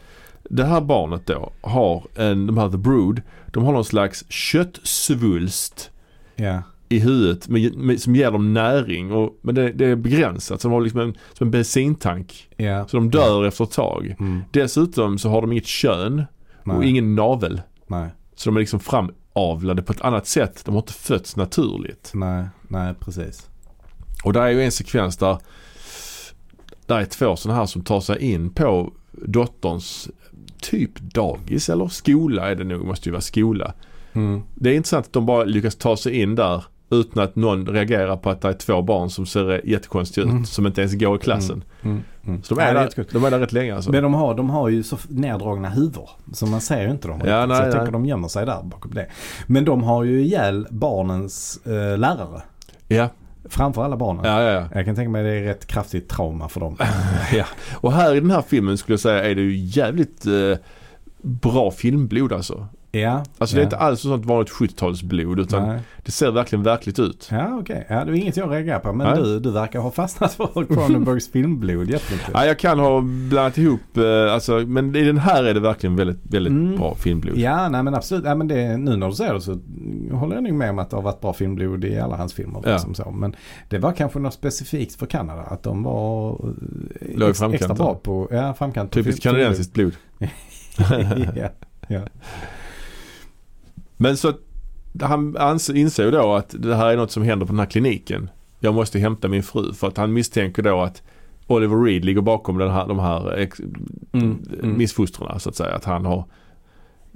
S2: det här barnet då har en, de här The Brood, de har någon slags köttsvulst
S1: Ja.
S2: i huvudet med, med, som ger dem näring. Och, men det, det är begränsat så de har liksom en, som en bensintank.
S1: ja.
S2: Så de dör efter ett tag.
S1: Mm.
S2: Dessutom så har de inget kön och
S1: Nej.
S2: ingen navel.
S1: Nej.
S2: Så de är liksom framavlade på ett annat sätt. De har inte fötts naturligt.
S1: Nej. Nej, precis.
S2: Och där är ju en sekvens där där är två sådana här som tar sig in på dotterns typ dagis eller skola är det nog, måste ju vara skola.
S1: Mm.
S2: Det är intressant att de bara lyckas ta sig in där utan att någon reagerar på att det är två barn som ser jättekonstiga ut
S1: Mm.
S2: som inte ens går i klassen.
S1: Mm. Mm.
S2: Så de är,
S1: Ja, det är
S2: där,
S1: jättekul.
S2: de är där rätt länge alltså.
S1: Men de har, de har ju så neddragna huvor. Så man ser ju inte dem.
S2: Ja,
S1: riktigt. så
S2: nej,
S1: jag
S2: nej.
S1: tänker de gömmer sig där bakom det. Men de har ju ihjäl barnens eh, lärare.
S2: Ja,
S1: Framför alla barnen.
S2: ja, ja, ja.
S1: Jag kan tänka mig det är rätt kraftigt trauma för dem.
S2: Och här i den här filmen skulle jag säga är det ju jävligt eh, bra filmblod alltså.
S1: Ja.
S2: Alltså
S1: ja.
S2: det är inte alls sånt vanligt 70-talsblod utan
S1: Nej.
S2: det ser verkligen verkligt ut.
S1: Ja okej, ja, det är inget jag reagerar på. Men
S2: Nej.
S1: du, du verkar ha fastnat för Cronenbergs filmblod jättemycket.
S2: Ja, jag kan ha blandat ihop, eh, alltså, men i den här är det verkligen väldigt, väldigt
S1: Mm.
S2: bra filmblod.
S1: Ja, nej men absolut. Ja, men det, nu när du säger det så håller jag nog med om att det har varit bra filmblod i alla hans filmer.
S2: Ja.
S1: Liksom så. Men det var kanske något specifikt för Kanada. Att de var eh,
S2: Låg
S1: ex,
S2: i
S1: extra
S2: framkanten.
S1: bra på ja, framkant. på
S2: Typiskt
S1: film-
S2: kanadensiskt blod.
S1: filmblod. ja.
S2: Men så att han ans- insåg då att det här är något som händer på den här kliniken. Jag måste hämta min fru för att han misstänker då att Oliver Reed ligger bakom den här, de här ex-
S1: Mm.
S2: missfostrarna så att säga. Att han har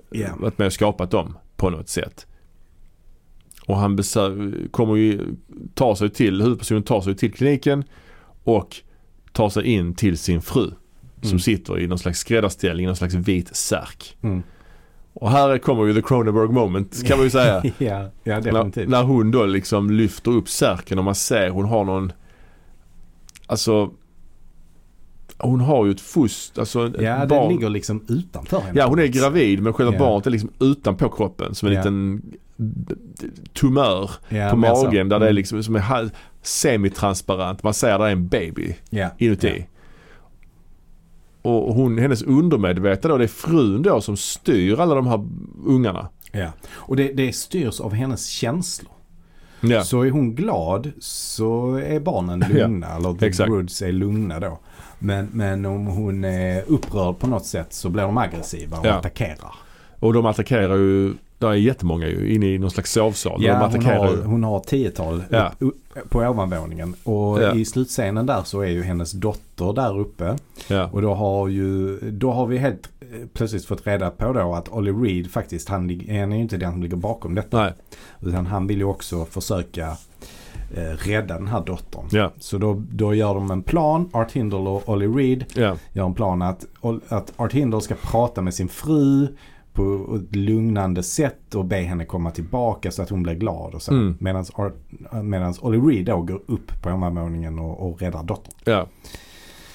S1: Ja.
S2: varit med och skapat dem på något sätt. Och han besö- kommer ju ta sig till, huvudpersonen tar sig till kliniken och tar sig in till sin fru. Som
S1: Mm.
S2: sitter i någon slags skräddarställning, någon slags vit särk.
S1: Mm.
S2: Och här kommer ju the Cronenberg moment kan man ju säga.
S1: ja, ja,
S2: när,
S1: definitivt.
S2: när hon då liksom lyfter upp särken och man ser hon har någon, alltså hon har ju ett fost, alltså ett
S1: ja,
S2: barn.
S1: den ligger liksom utanför henne.
S2: Ja hon är gravid men själva
S1: Ja.
S2: barnet är liksom utanpå kroppen som en
S1: Ja.
S2: liten tumör
S1: Ja,
S2: på
S1: mer så.
S2: magen där det är
S1: Mm.
S2: liksom som är hal- semitransparent. Man ser där är en baby
S1: ja.
S2: inuti. Och hon, hennes undermedvetna då, det är frun då som styr alla de här ungarna.
S1: Ja. ja. Och det, det styrs av hennes känslor.
S2: Ja.
S1: Så är hon glad så är barnen lugna. Eller The
S2: exakt.
S1: Broods är lugna då. Men, men om hon är upprörd på något sätt så blir de aggressiva och
S2: Ja.
S1: attackerar.
S2: Och de attackerar ju, där är jättemånga ju, inne i någon slags sovsal. de
S1: Ja, hon,
S2: attackerar
S1: har,
S2: ju.
S1: hon har tiotal
S2: Ja.
S1: upp, upp, på ovanvåningen. Och
S2: Ja.
S1: i slutscenen där så är ju hennes dotter där uppe.
S2: Ja.
S1: Och då har, ju, då har vi helt eh, plötsligt fått reda på då att Olly Reed faktiskt, han, lig- han är ju inte den som ligger bakom detta.
S2: Nej,
S1: Utan han vill ju också försöka eh, rädda den här dottern.
S2: ja,
S1: Så då, då gör de en plan. Art Hindle och Olly Reed
S2: ja,
S1: gör en plan att, att Art Hindle ska prata med sin fru på ett lugnande sätt och be henne komma tillbaka så att hon blir glad och så.
S2: Mm.
S1: Medans, Art, medans Olly Reed då går upp på ovanvåningen och, och räddar dottern.
S2: ja.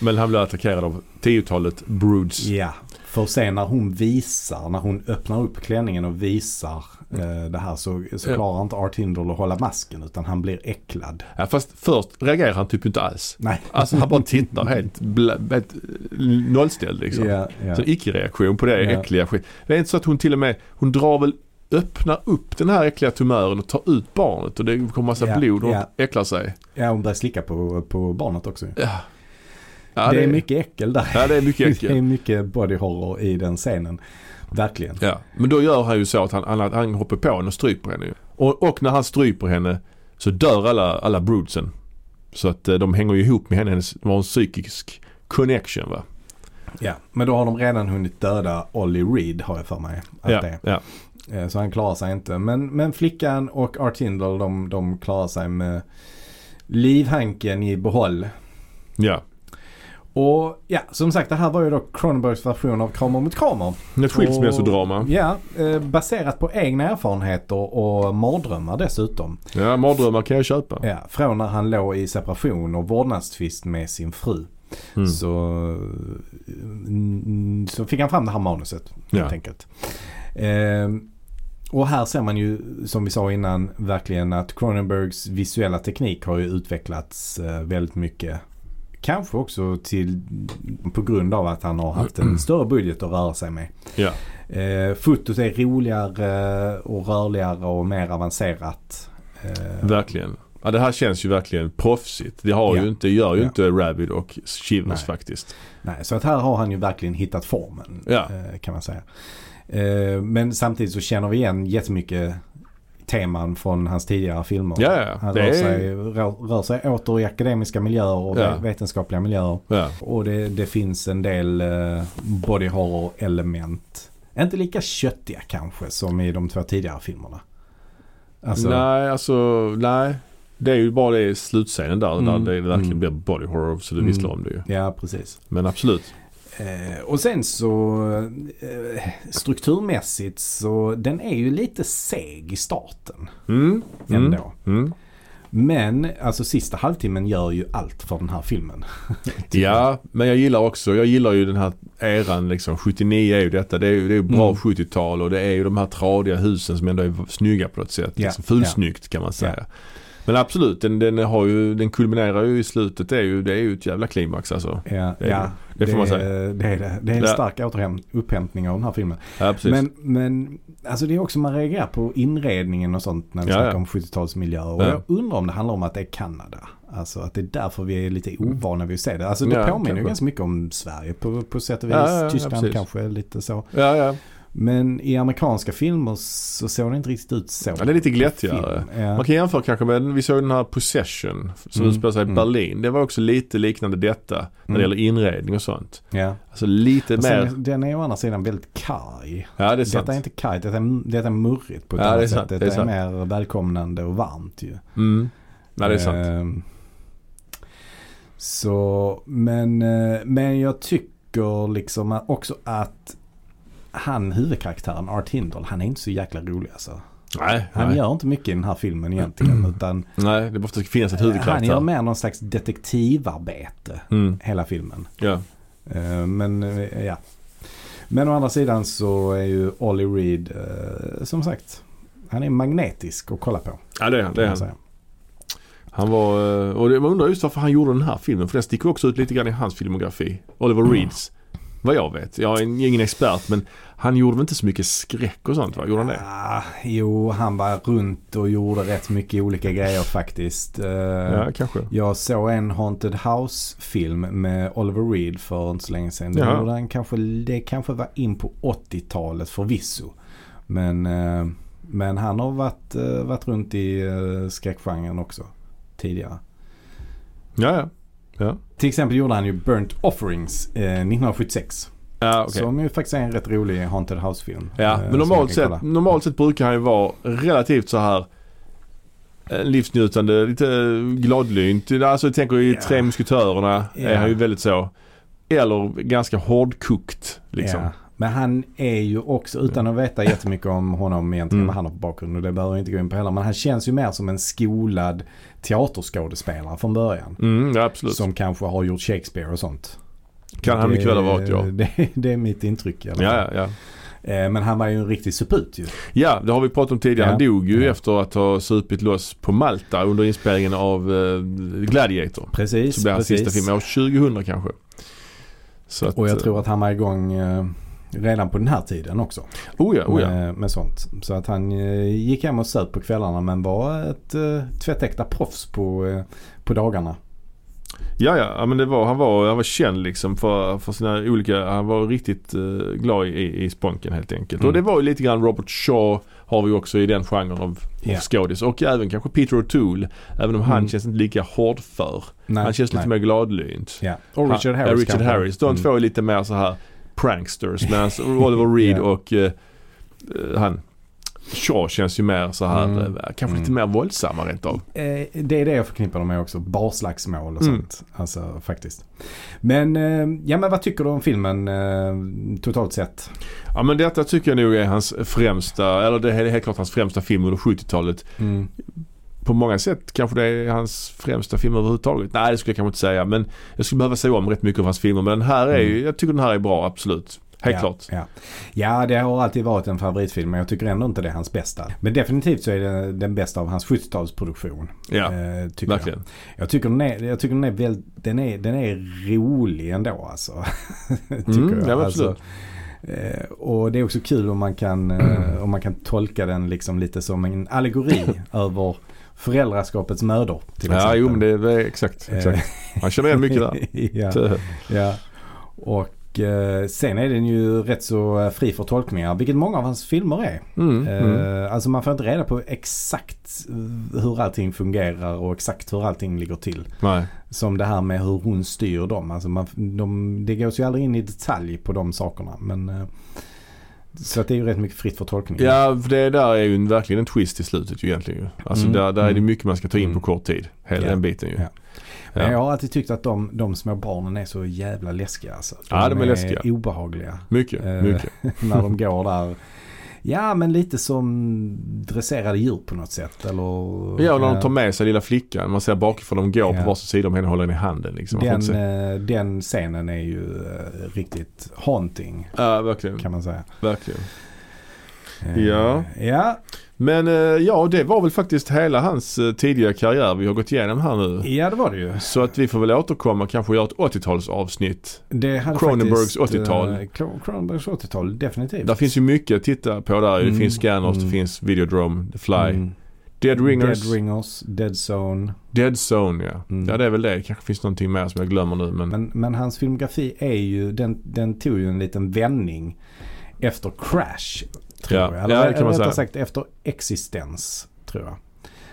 S2: Men han blir attackerad av tiotalet broods.
S1: Ja, För sen när hon visar, när hon öppnar upp klänningen och visar eh, det här så, så
S2: Mm. Ja.
S1: klarar inte Art Hindle att hålla masken utan han blir äcklad.
S2: Ja, fast först reagerar han typ inte alls.
S1: Nej.
S2: Alltså han bara tittar helt, bla, helt nollställd liksom.
S1: Ja, ja.
S2: Så en icke-reaktion på det
S1: Ja.
S2: äckliga skit. Det är inte så att hon till och med, hon drar väl, öppnar upp den här äckliga tumören och tar ut barnet och det kommer massa
S1: Ja,
S2: blod och
S1: ja.
S2: äcklar sig.
S1: ja, hon börjar slicka på, på barnet också.
S2: Ja. Ja,
S1: det är mycket äckel där.
S2: ja, det är mycket äckel.
S1: Det är mycket body horror i den scenen. Verkligen.
S2: Ja, men då gör han ju så att han, han, han hoppar på henne och stryper henne ju. Och, och när han stryper henne så dör alla, alla broodsen. Så att eh, de hänger ju ihop med henne, hennes, de har en psykisk connection va.
S1: Ja. Men då har de redan hunnit döda Ollie Reed har jag för mig. Att
S2: ja,
S1: det är.
S2: ja.
S1: Eh, Så han klarar sig inte. Men, men flickan och Art Hindle de, de klarar sig med livhanken i behåll.
S2: ja.
S1: Och ja, som sagt det här var ju då Cronenbergs version av Kramer mot Kramer.
S2: Ett skilsmässodrama.
S1: Ja, eh, baserat på egna erfarenheter och mardrömmar dessutom.
S2: Ja, mardrömmar kan jag köpa.
S1: Ja, från när han låg i separation och vårdnadstvist med sin fru.
S2: Mm.
S1: Så, mm, så fick han fram det här manuset helt
S2: Ja.
S1: enkelt. Ehm, och här ser man ju som vi sa innan verkligen att Cronenbergs visuella teknik har ju utvecklats eh, väldigt mycket. Kanske också till, på grund av att han har haft en större budget att röra sig med.
S2: Ja.
S1: Eh, fotot är roligare och rörligare och mer avancerat. Eh,
S2: Verkligen. Ja, det här känns ju verkligen proffsigt. Det har
S1: Ja.
S2: ju inte, gör ju
S1: Ja.
S2: inte Rabid och Shivers
S1: Nej.
S2: faktiskt.
S1: Nej, så att här har han ju verkligen hittat formen
S2: Ja.
S1: eh, kan man säga. Eh, Men samtidigt så känner vi igen jättemycket teman från hans tidigare filmer.
S2: Ja, ja,
S1: Han
S2: det
S1: rör
S2: är-
S1: sig, rör, rör sig åter i akademiska miljöer och
S2: Ja.
S1: vetenskapliga miljöer.
S2: Ja.
S1: Och det, det finns en del eh, body horror element. Inte lika köttiga kanske som i de två tidigare filmerna. Alltså,
S2: Nej, alltså nej. Det är ju bara det i slutscenen där,
S1: Mm.
S2: där det verkligen
S1: Mm.
S2: blir body horror så du
S1: Mm.
S2: visslar om det ju.
S1: Ja, precis.
S2: Men absolut.
S1: Eh, och sen så eh, strukturmässigt så den är ju lite seg i starten
S2: Mm. Mm.
S1: ändå.
S2: Mm.
S1: Men alltså sista halvtimmen gör ju allt för den här filmen. Typ.
S2: Ja, men jag gillar också, jag gillar ju den här eran liksom. 79 är ju detta. Det är ju det är ju bra
S1: Mm.
S2: 70-tal och det är ju de här tradiga husen som ändå är snygga på något sätt.
S1: Ja,
S2: Liksom fulsnyggt kan man säga.
S1: Ja.
S2: Men absolut, den, den, har ju, den kulminerar ju i slutet. Det är ju, det är ju ett jävla klimax alltså.
S1: Ja,
S2: Det är
S1: ja,
S2: det. Det får man
S1: är- Det är, det. det är en
S2: Ja.
S1: stark återhäm- upphämtning av den här filmen.
S2: Ja, precis.
S1: Men, men alltså det är också man reagerar på inredningen och sånt när vi
S2: Ja,
S1: snackar
S2: ja.
S1: om 70-talsmiljöer. Och
S2: Ja.
S1: jag undrar om det handlar om att det är Kanada. Alltså att det är därför vi är lite ovana vid att se det. Alltså det
S2: Mm. Ja,
S1: påminner ju
S2: kanske.
S1: ganska mycket om Sverige på, på sätt och vis.
S2: Ja, ja, ja,
S1: Tyskland
S2: precis.
S1: kanske lite så.
S2: ja, ja.
S1: Men i amerikanska filmer så såg det inte riktigt ut så.
S2: ja, det är lite
S1: Film,
S2: glättigare.
S1: Ja.
S2: Man kan jämföra kanske med, vi såg den här Possession som
S1: Mm,
S2: utspelar sig i
S1: mm.
S2: Berlin. Det var också lite liknande detta när det
S1: Mm.
S2: gäller inredning och sånt.
S1: Ja.
S2: Alltså lite
S1: Och
S2: mer,
S1: Sen, den är å andra sidan väldigt karg.
S2: ja det är sant.
S1: Detta är inte kargt, detta är, detta är murrigt på ett
S2: Ja, det är
S1: annat sätt.
S2: sant,
S1: Detta
S2: det är
S1: är,
S2: sant.
S1: mer välkomnande och varmt ju.
S2: Mm. Ja det är sant.
S1: Ehm, Så, men, eh, men jag tycker liksom att- också att han huvudkaraktären Art Hindle, han är inte så jäkla rolig alltså.
S2: Nej,
S1: Han
S2: nej.
S1: gör inte mycket i den här filmen egentligen. Utan
S2: nej, det måste finnas ett
S1: Eh, han gör
S2: huvudkaraktär.
S1: mer någon slags detektivarbete
S2: Mm.
S1: hela filmen.
S2: Ja.
S1: Eh, Men eh, ja. Men å andra sidan så är ju Ollie Reed eh, som sagt. Han är magnetisk att kolla på. kan
S2: ja, det är han. Det är
S1: man
S2: han.
S1: säga.
S2: han var, eh, och det, man undrar just varför han gjorde den här filmen. För den sticker också ut lite grann i hans filmografi. Oliver Reeds. Vad jag vet. Jag är en- ingen expert men han gjorde väl inte så mycket skräck och sånt va? Gjorde han det?
S1: Ah, jo, han var runt och gjorde rätt mycket olika grejer faktiskt. Eh,
S2: Ja, kanske.
S1: Jag såg en Haunted House-film med Oliver Reed för inte så länge sedan. Den
S2: Jaha.
S1: gjorde han kanske, det kanske var in på 80-talet förvisso. Men, eh, men han har varit, eh, varit runt i eh, skräckgenren också tidigare.
S2: Ja, ja.
S1: Till exempel gjorde han ju Burnt Offerings eh, 1976.
S2: Ja, okej.
S1: Som ju faktiskt är en rätt rolig Haunted House-film.
S2: Ja,
S1: eh, som
S2: men
S1: man
S2: normalt
S1: kan
S2: sett,
S1: kolla.
S2: normalt sett brukar han ju vara relativt så här eh, livsnjutande, lite gladlynt. Alltså jag tänker i
S1: Ja.
S2: Tre musketörerna är
S1: Ja.
S2: han ju väldigt så. Eller ganska hårdkokt liksom.
S1: Ja. Men han är ju också, utan att veta jättemycket om honom egentligen,
S2: Mm.
S1: vad han har för bakgrund och det behöver vi inte gå in på heller. Men han känns ju mer som en skolad teaterskådespelare från början.
S2: Mm, ja, absolut.
S1: Som kanske har gjort Shakespeare och sånt.
S2: Kan han
S1: Det-
S2: mycket väl ha varit, ja.
S1: Det, det är mitt intryck i alla fall.
S2: Ja, ja.
S1: Eh, Men han var ju en riktig suput ju.
S2: ja, det har vi pratat om tidigare. Han
S1: Ja.
S2: dog ju
S1: Ja.
S2: efter att ha supit loss på Malta under inspelningen av eh, Gladiator.
S1: Precis,
S2: Så blev hans
S1: precis.
S2: sista film, år 2000 kanske. Så att,
S1: Och jag tror att han var igång eh, redan på den här tiden också.
S2: Oh ja, oh ja.
S1: med, med sånt. Så att han eh, gick hem och söp på kvällarna men var ett eh, tvättäkta proffs på, eh, på dagarna.
S2: Ja, ja, ja men det var, han, var, han var känd liksom för, för sina olika, han var riktigt eh, glad i, i sponken helt enkelt.
S1: Mm.
S2: Och det var ju lite grann Robert Shaw har vi också i den genren av,
S1: Ja.
S2: av skådis. Och även kanske Peter O'Toole, även om han
S1: Mm.
S2: känns inte lika hårdför.
S1: Nej,
S2: han känns lite
S1: nej.
S2: mer gladlynt.
S1: Ja. Och Richard
S2: Han- ja,
S1: Harris
S2: eh, Richard
S1: kanske.
S2: Harris. De
S1: Mm.
S2: två är lite mer så här pranksters medan Oliver Reed
S1: Ja.
S2: och eh, eh, han Shaw känns ju mer så här,
S1: Mm.
S2: eh, kanske lite
S1: Mm.
S2: mer våldsamma rent av.
S1: Eh, det är det jag förknippar dem med också. Barslagsmål och
S2: Mm.
S1: sånt. Alltså faktiskt. Men, eh, ja, men vad tycker du om filmen eh, totalt sett?
S2: Ja men detta tycker jag nog är hans främsta, eller det är helt klart hans främsta film under 70-talet.
S1: Mm.
S2: På många sätt kanske det är hans främsta film överhuvudtaget. Nej det skulle jag kanske inte säga men jag skulle behöva säga om rätt mycket av hans filmer. Men den här är ju, jag tycker den här är bra absolut.
S1: Mm.
S2: Helt
S1: ja,
S2: klart.
S1: Ja. ja, det har alltid varit en favoritfilm men jag tycker ändå inte det är hans bästa. Men definitivt så är det den bästa av hans 70-talsproduktion.
S2: Ja,
S1: eh, tycker jag.
S2: verkligen.
S1: Jag tycker den är, jag tycker den är, väl, den är, den är rolig ändå alltså. tycker
S2: Mm, ja,
S1: jag.
S2: men
S1: alltså, eh, och det är också kul om man kan, eh, om man kan tolka den liksom lite som en allegori över föräldraskapets mödor. Till
S2: Ja
S1: exempel.
S2: jo men det, det är exakt. exakt. Han känner igen mycket där.
S1: Eh.
S2: Eh,
S1: ja,
S2: Typ.
S1: ja. Och eh, sen är den ju rätt så eh, fri för tolkningar, vilket många av hans filmer är.
S2: Mm, mm.
S1: Eh, Alltså man får inte reda på exakt eh, hur allting fungerar och exakt hur allting ligger till.
S2: Nej.
S1: Som det här med hur hon styr dem. Alltså man, de, det går ju aldrig in i detalj på de sakerna. Men, eh, så att det är ju rätt mycket fritt för tolkning.
S2: Ja för det där är ju en- verkligen en twist i slutet ju egentligen. ju. Alltså
S1: Mm,
S2: där, där är det
S1: mm.
S2: mycket man ska ta in
S1: Mm.
S2: på kort tid. Hela
S1: Ja.
S2: den biten ju.
S1: Ja.
S2: Ja.
S1: Men jag har alltid tyckt att de, de små barnen är så jävla läskiga. Alltså. De,
S2: Ja, de är läskiga.
S1: obehagliga
S2: Mycket,
S1: Eh,
S2: mycket.
S1: när de går där. Ja, men lite som dresserade djur på något sätt. Eller, eh,
S2: Ja, och när de tar med sig lilla flickan. Man ser bakifrån de går
S1: Ja.
S2: på varsin sida om henne och håller henne i handen. Liksom. Man får inte
S1: den,
S2: se.
S1: eh, den scenen är ju eh, riktigt haunting
S2: Ja, verkligen.
S1: eh, kan man säga.
S2: verkligen.
S1: Eh,
S2: Ja.
S1: Ja,
S2: Men eh, ja, det var väl faktiskt hela hans eh, tidiga karriär vi har gått igenom här nu.
S1: ja, det var det ju.
S2: Så att vi får väl återkomma och kanske göra ett 80-talsavsnitt.
S1: Det hade
S2: Cronenbergs
S1: faktiskt,
S2: 80-tal.
S1: eh, Cro- Cronenbergs 80-tal, definitivt.
S2: Där finns ju mycket att titta på där. Det
S1: Mm,
S2: finns Scanners, det
S1: mm.
S2: finns Videodrome, The Fly,
S1: Mm.
S2: Dead Ringers,
S1: Dead Ringers, Dead Zone.
S2: Dead Zone ja.
S1: Mm.
S2: Ja det är väl det. Kanske finns någonting mer som jag glömmer nu men.
S1: Men, men hans filmografi är ju, den, den tog ju en liten vändning efter Crash. Tror
S2: Ja,
S1: jag. Eller
S2: ja, det kan man
S1: rättare
S2: säga.
S1: sagt efter Existens, tror jag.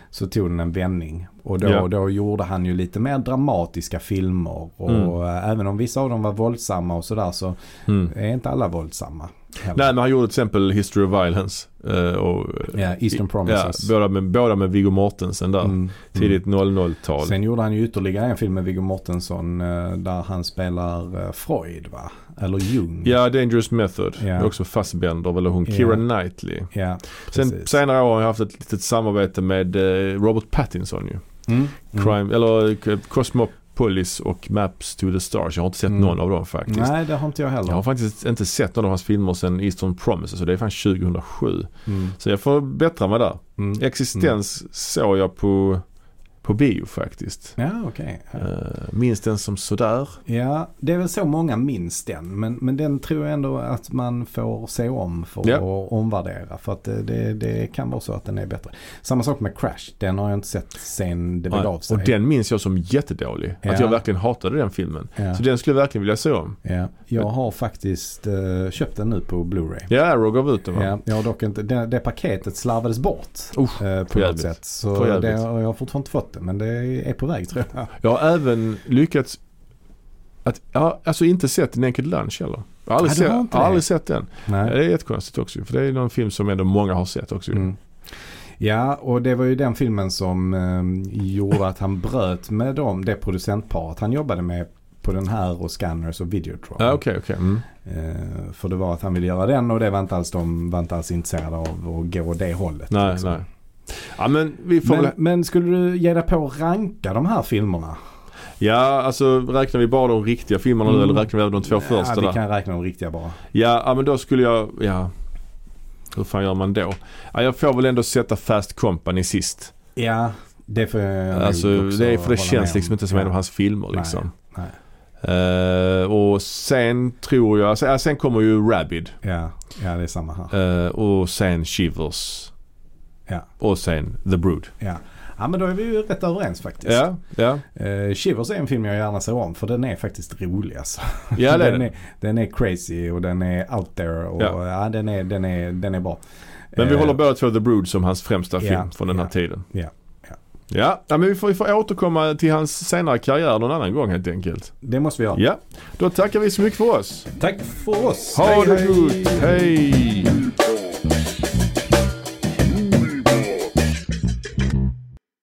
S1: Så tog den en vändning. Och då,
S2: Ja.
S1: då gjorde han ju lite mer dramatiska filmer. Och
S2: Mm.
S1: eh, även om vissa av dem var våldsamma och sådär så
S2: Mm.
S1: är inte alla våldsamma. heller.
S2: Nej men han gjorde till exempel History of Violence. eh, och,
S1: Ja, Eastern Promises.
S2: Ja, båda, med, båda med Viggo Mortensen där.
S1: Mm, mm.
S2: Tidigt 00-tal.
S1: Sen gjorde han ju ytterligare en film med Viggo Mortensen eh, där han spelar eh, Freud va? Eller Jung.
S2: Ja, Dangerous Method.
S1: Ja.
S2: Också Fassbender, väl hon
S1: Ja.
S2: Keira Knightley.
S1: Ja,
S2: Sen
S1: precis.
S2: senare år har jag haft ett litet samarbete med eh, Robert Pattinson ju.
S1: Mm, mm.
S2: Crime, eller eh, Cosmopolis och Maps to the Stars. Jag har inte sett
S1: Mm.
S2: någon av dem faktiskt.
S1: Nej, det har inte jag heller.
S2: Jag har faktiskt inte sett någon av hans filmer sedan Eastern Promises och det är fan 2007.
S1: Mm,
S2: Så jag får bättra mig där.
S1: mm.
S2: Existens såg jag på, på bio faktiskt.
S1: Ja, okej.
S2: Eh, Minns den som sådär.
S1: Ja, det är väl så många minns den. Men, men den tror jag ändå att man får se om för
S2: Ja.
S1: att omvärdera. För att det, det, det kan vara så att den är bättre. Samma sak med Crash. Den har jag inte sett sen det
S2: Ja,
S1: begav sig.
S2: Och den minns jag som jättedålig. Att
S1: Ja.
S2: jag verkligen hatade den filmen.
S1: ja,
S2: Så den skulle jag verkligen vilja se om.
S1: ja. Jag har faktiskt eh, köpt den nu på Blu-ray.
S2: Ja, Arrow gav ut den va?
S1: Ja, jag har dock inte, det, det paketet slarvades bort
S2: Usch,
S1: eh, på något
S2: förjävligt.
S1: sätt. Så
S2: Förjävligt.
S1: det, har- jag har fortfarande inte fått det men det är på väg tror jag.
S2: Jag har även lyckats att, ja, alltså inte sett Naked Lunch heller. Jag har aldrig,
S1: Ja, du har
S2: sett,
S1: inte
S2: jag har
S1: det.
S2: aldrig sett den. Ja,
S1: Nej.
S2: Det är jättekonstigt också ju, för det är någon film som ändå många har sett också ju.
S1: Mm. Ja och det var ju den filmen som eh, gjorde att han bröt med dem, det producentparet han jobbade med på den här och Scanners och Videotron.
S2: Ja, okej, okej. Mm.
S1: Eh, för det var att han ville göra den och det var inte alls de var inte alls intresserade av att gå det hållet.
S2: Nej,
S1: liksom.
S2: nej. Ja, men vi får
S1: Men,
S2: väl...
S1: men skulle du ge dig på att ranka de här filmerna?
S2: Ja, alltså räknar vi bara de riktiga filmerna nu
S1: Mm.
S2: eller räknar vi även de två första
S1: ja, vi
S2: där?
S1: kan räkna de riktiga bara.
S2: Ja, ja, men då skulle jag, ja. Hur fan gör man då? Ja, jag får väl ändå sätta Fast Company sist.
S1: Ja, det får jag nog
S2: alltså
S1: också
S2: det, är- för det
S1: hålla med
S2: känns
S1: om.
S2: liksom inte som en av
S1: Ja.
S2: hans filmer
S1: Nej,
S2: liksom.
S1: nej.
S2: Eh, och sen tror jag, sen, ja, sen kommer ju Rabid.
S1: Ja, ja, det är samma här.
S2: Eh, och sen Shivers.
S1: Ja.
S2: Och sen The Brood.
S1: Ja. ja, men då är vi ju rätt överens faktiskt.
S2: Ja, ja.
S1: Eh, Shivers är en film jag gärna ser om för den är faktiskt rolig alltså.
S2: Ja, det är
S1: den,
S2: det.
S1: är, den är crazy och den är out there och
S2: Ja.
S1: ja. den, är, den, är, den är bra.
S2: Men vi
S1: Eh,
S2: håller båda två The Brood som hans främsta
S1: Ja,
S2: film från den här
S1: ja,
S2: tiden.
S1: ja, ja.
S2: ja. ja men vi får, vi får återkomma till hans senare karriär någon annan gång helt enkelt.
S1: Det måste vi göra.
S2: Ja, då tackar vi så mycket för oss.
S1: Tack för oss.
S2: Ha
S1: Hej,
S2: det
S1: hej.
S2: gott! Hej!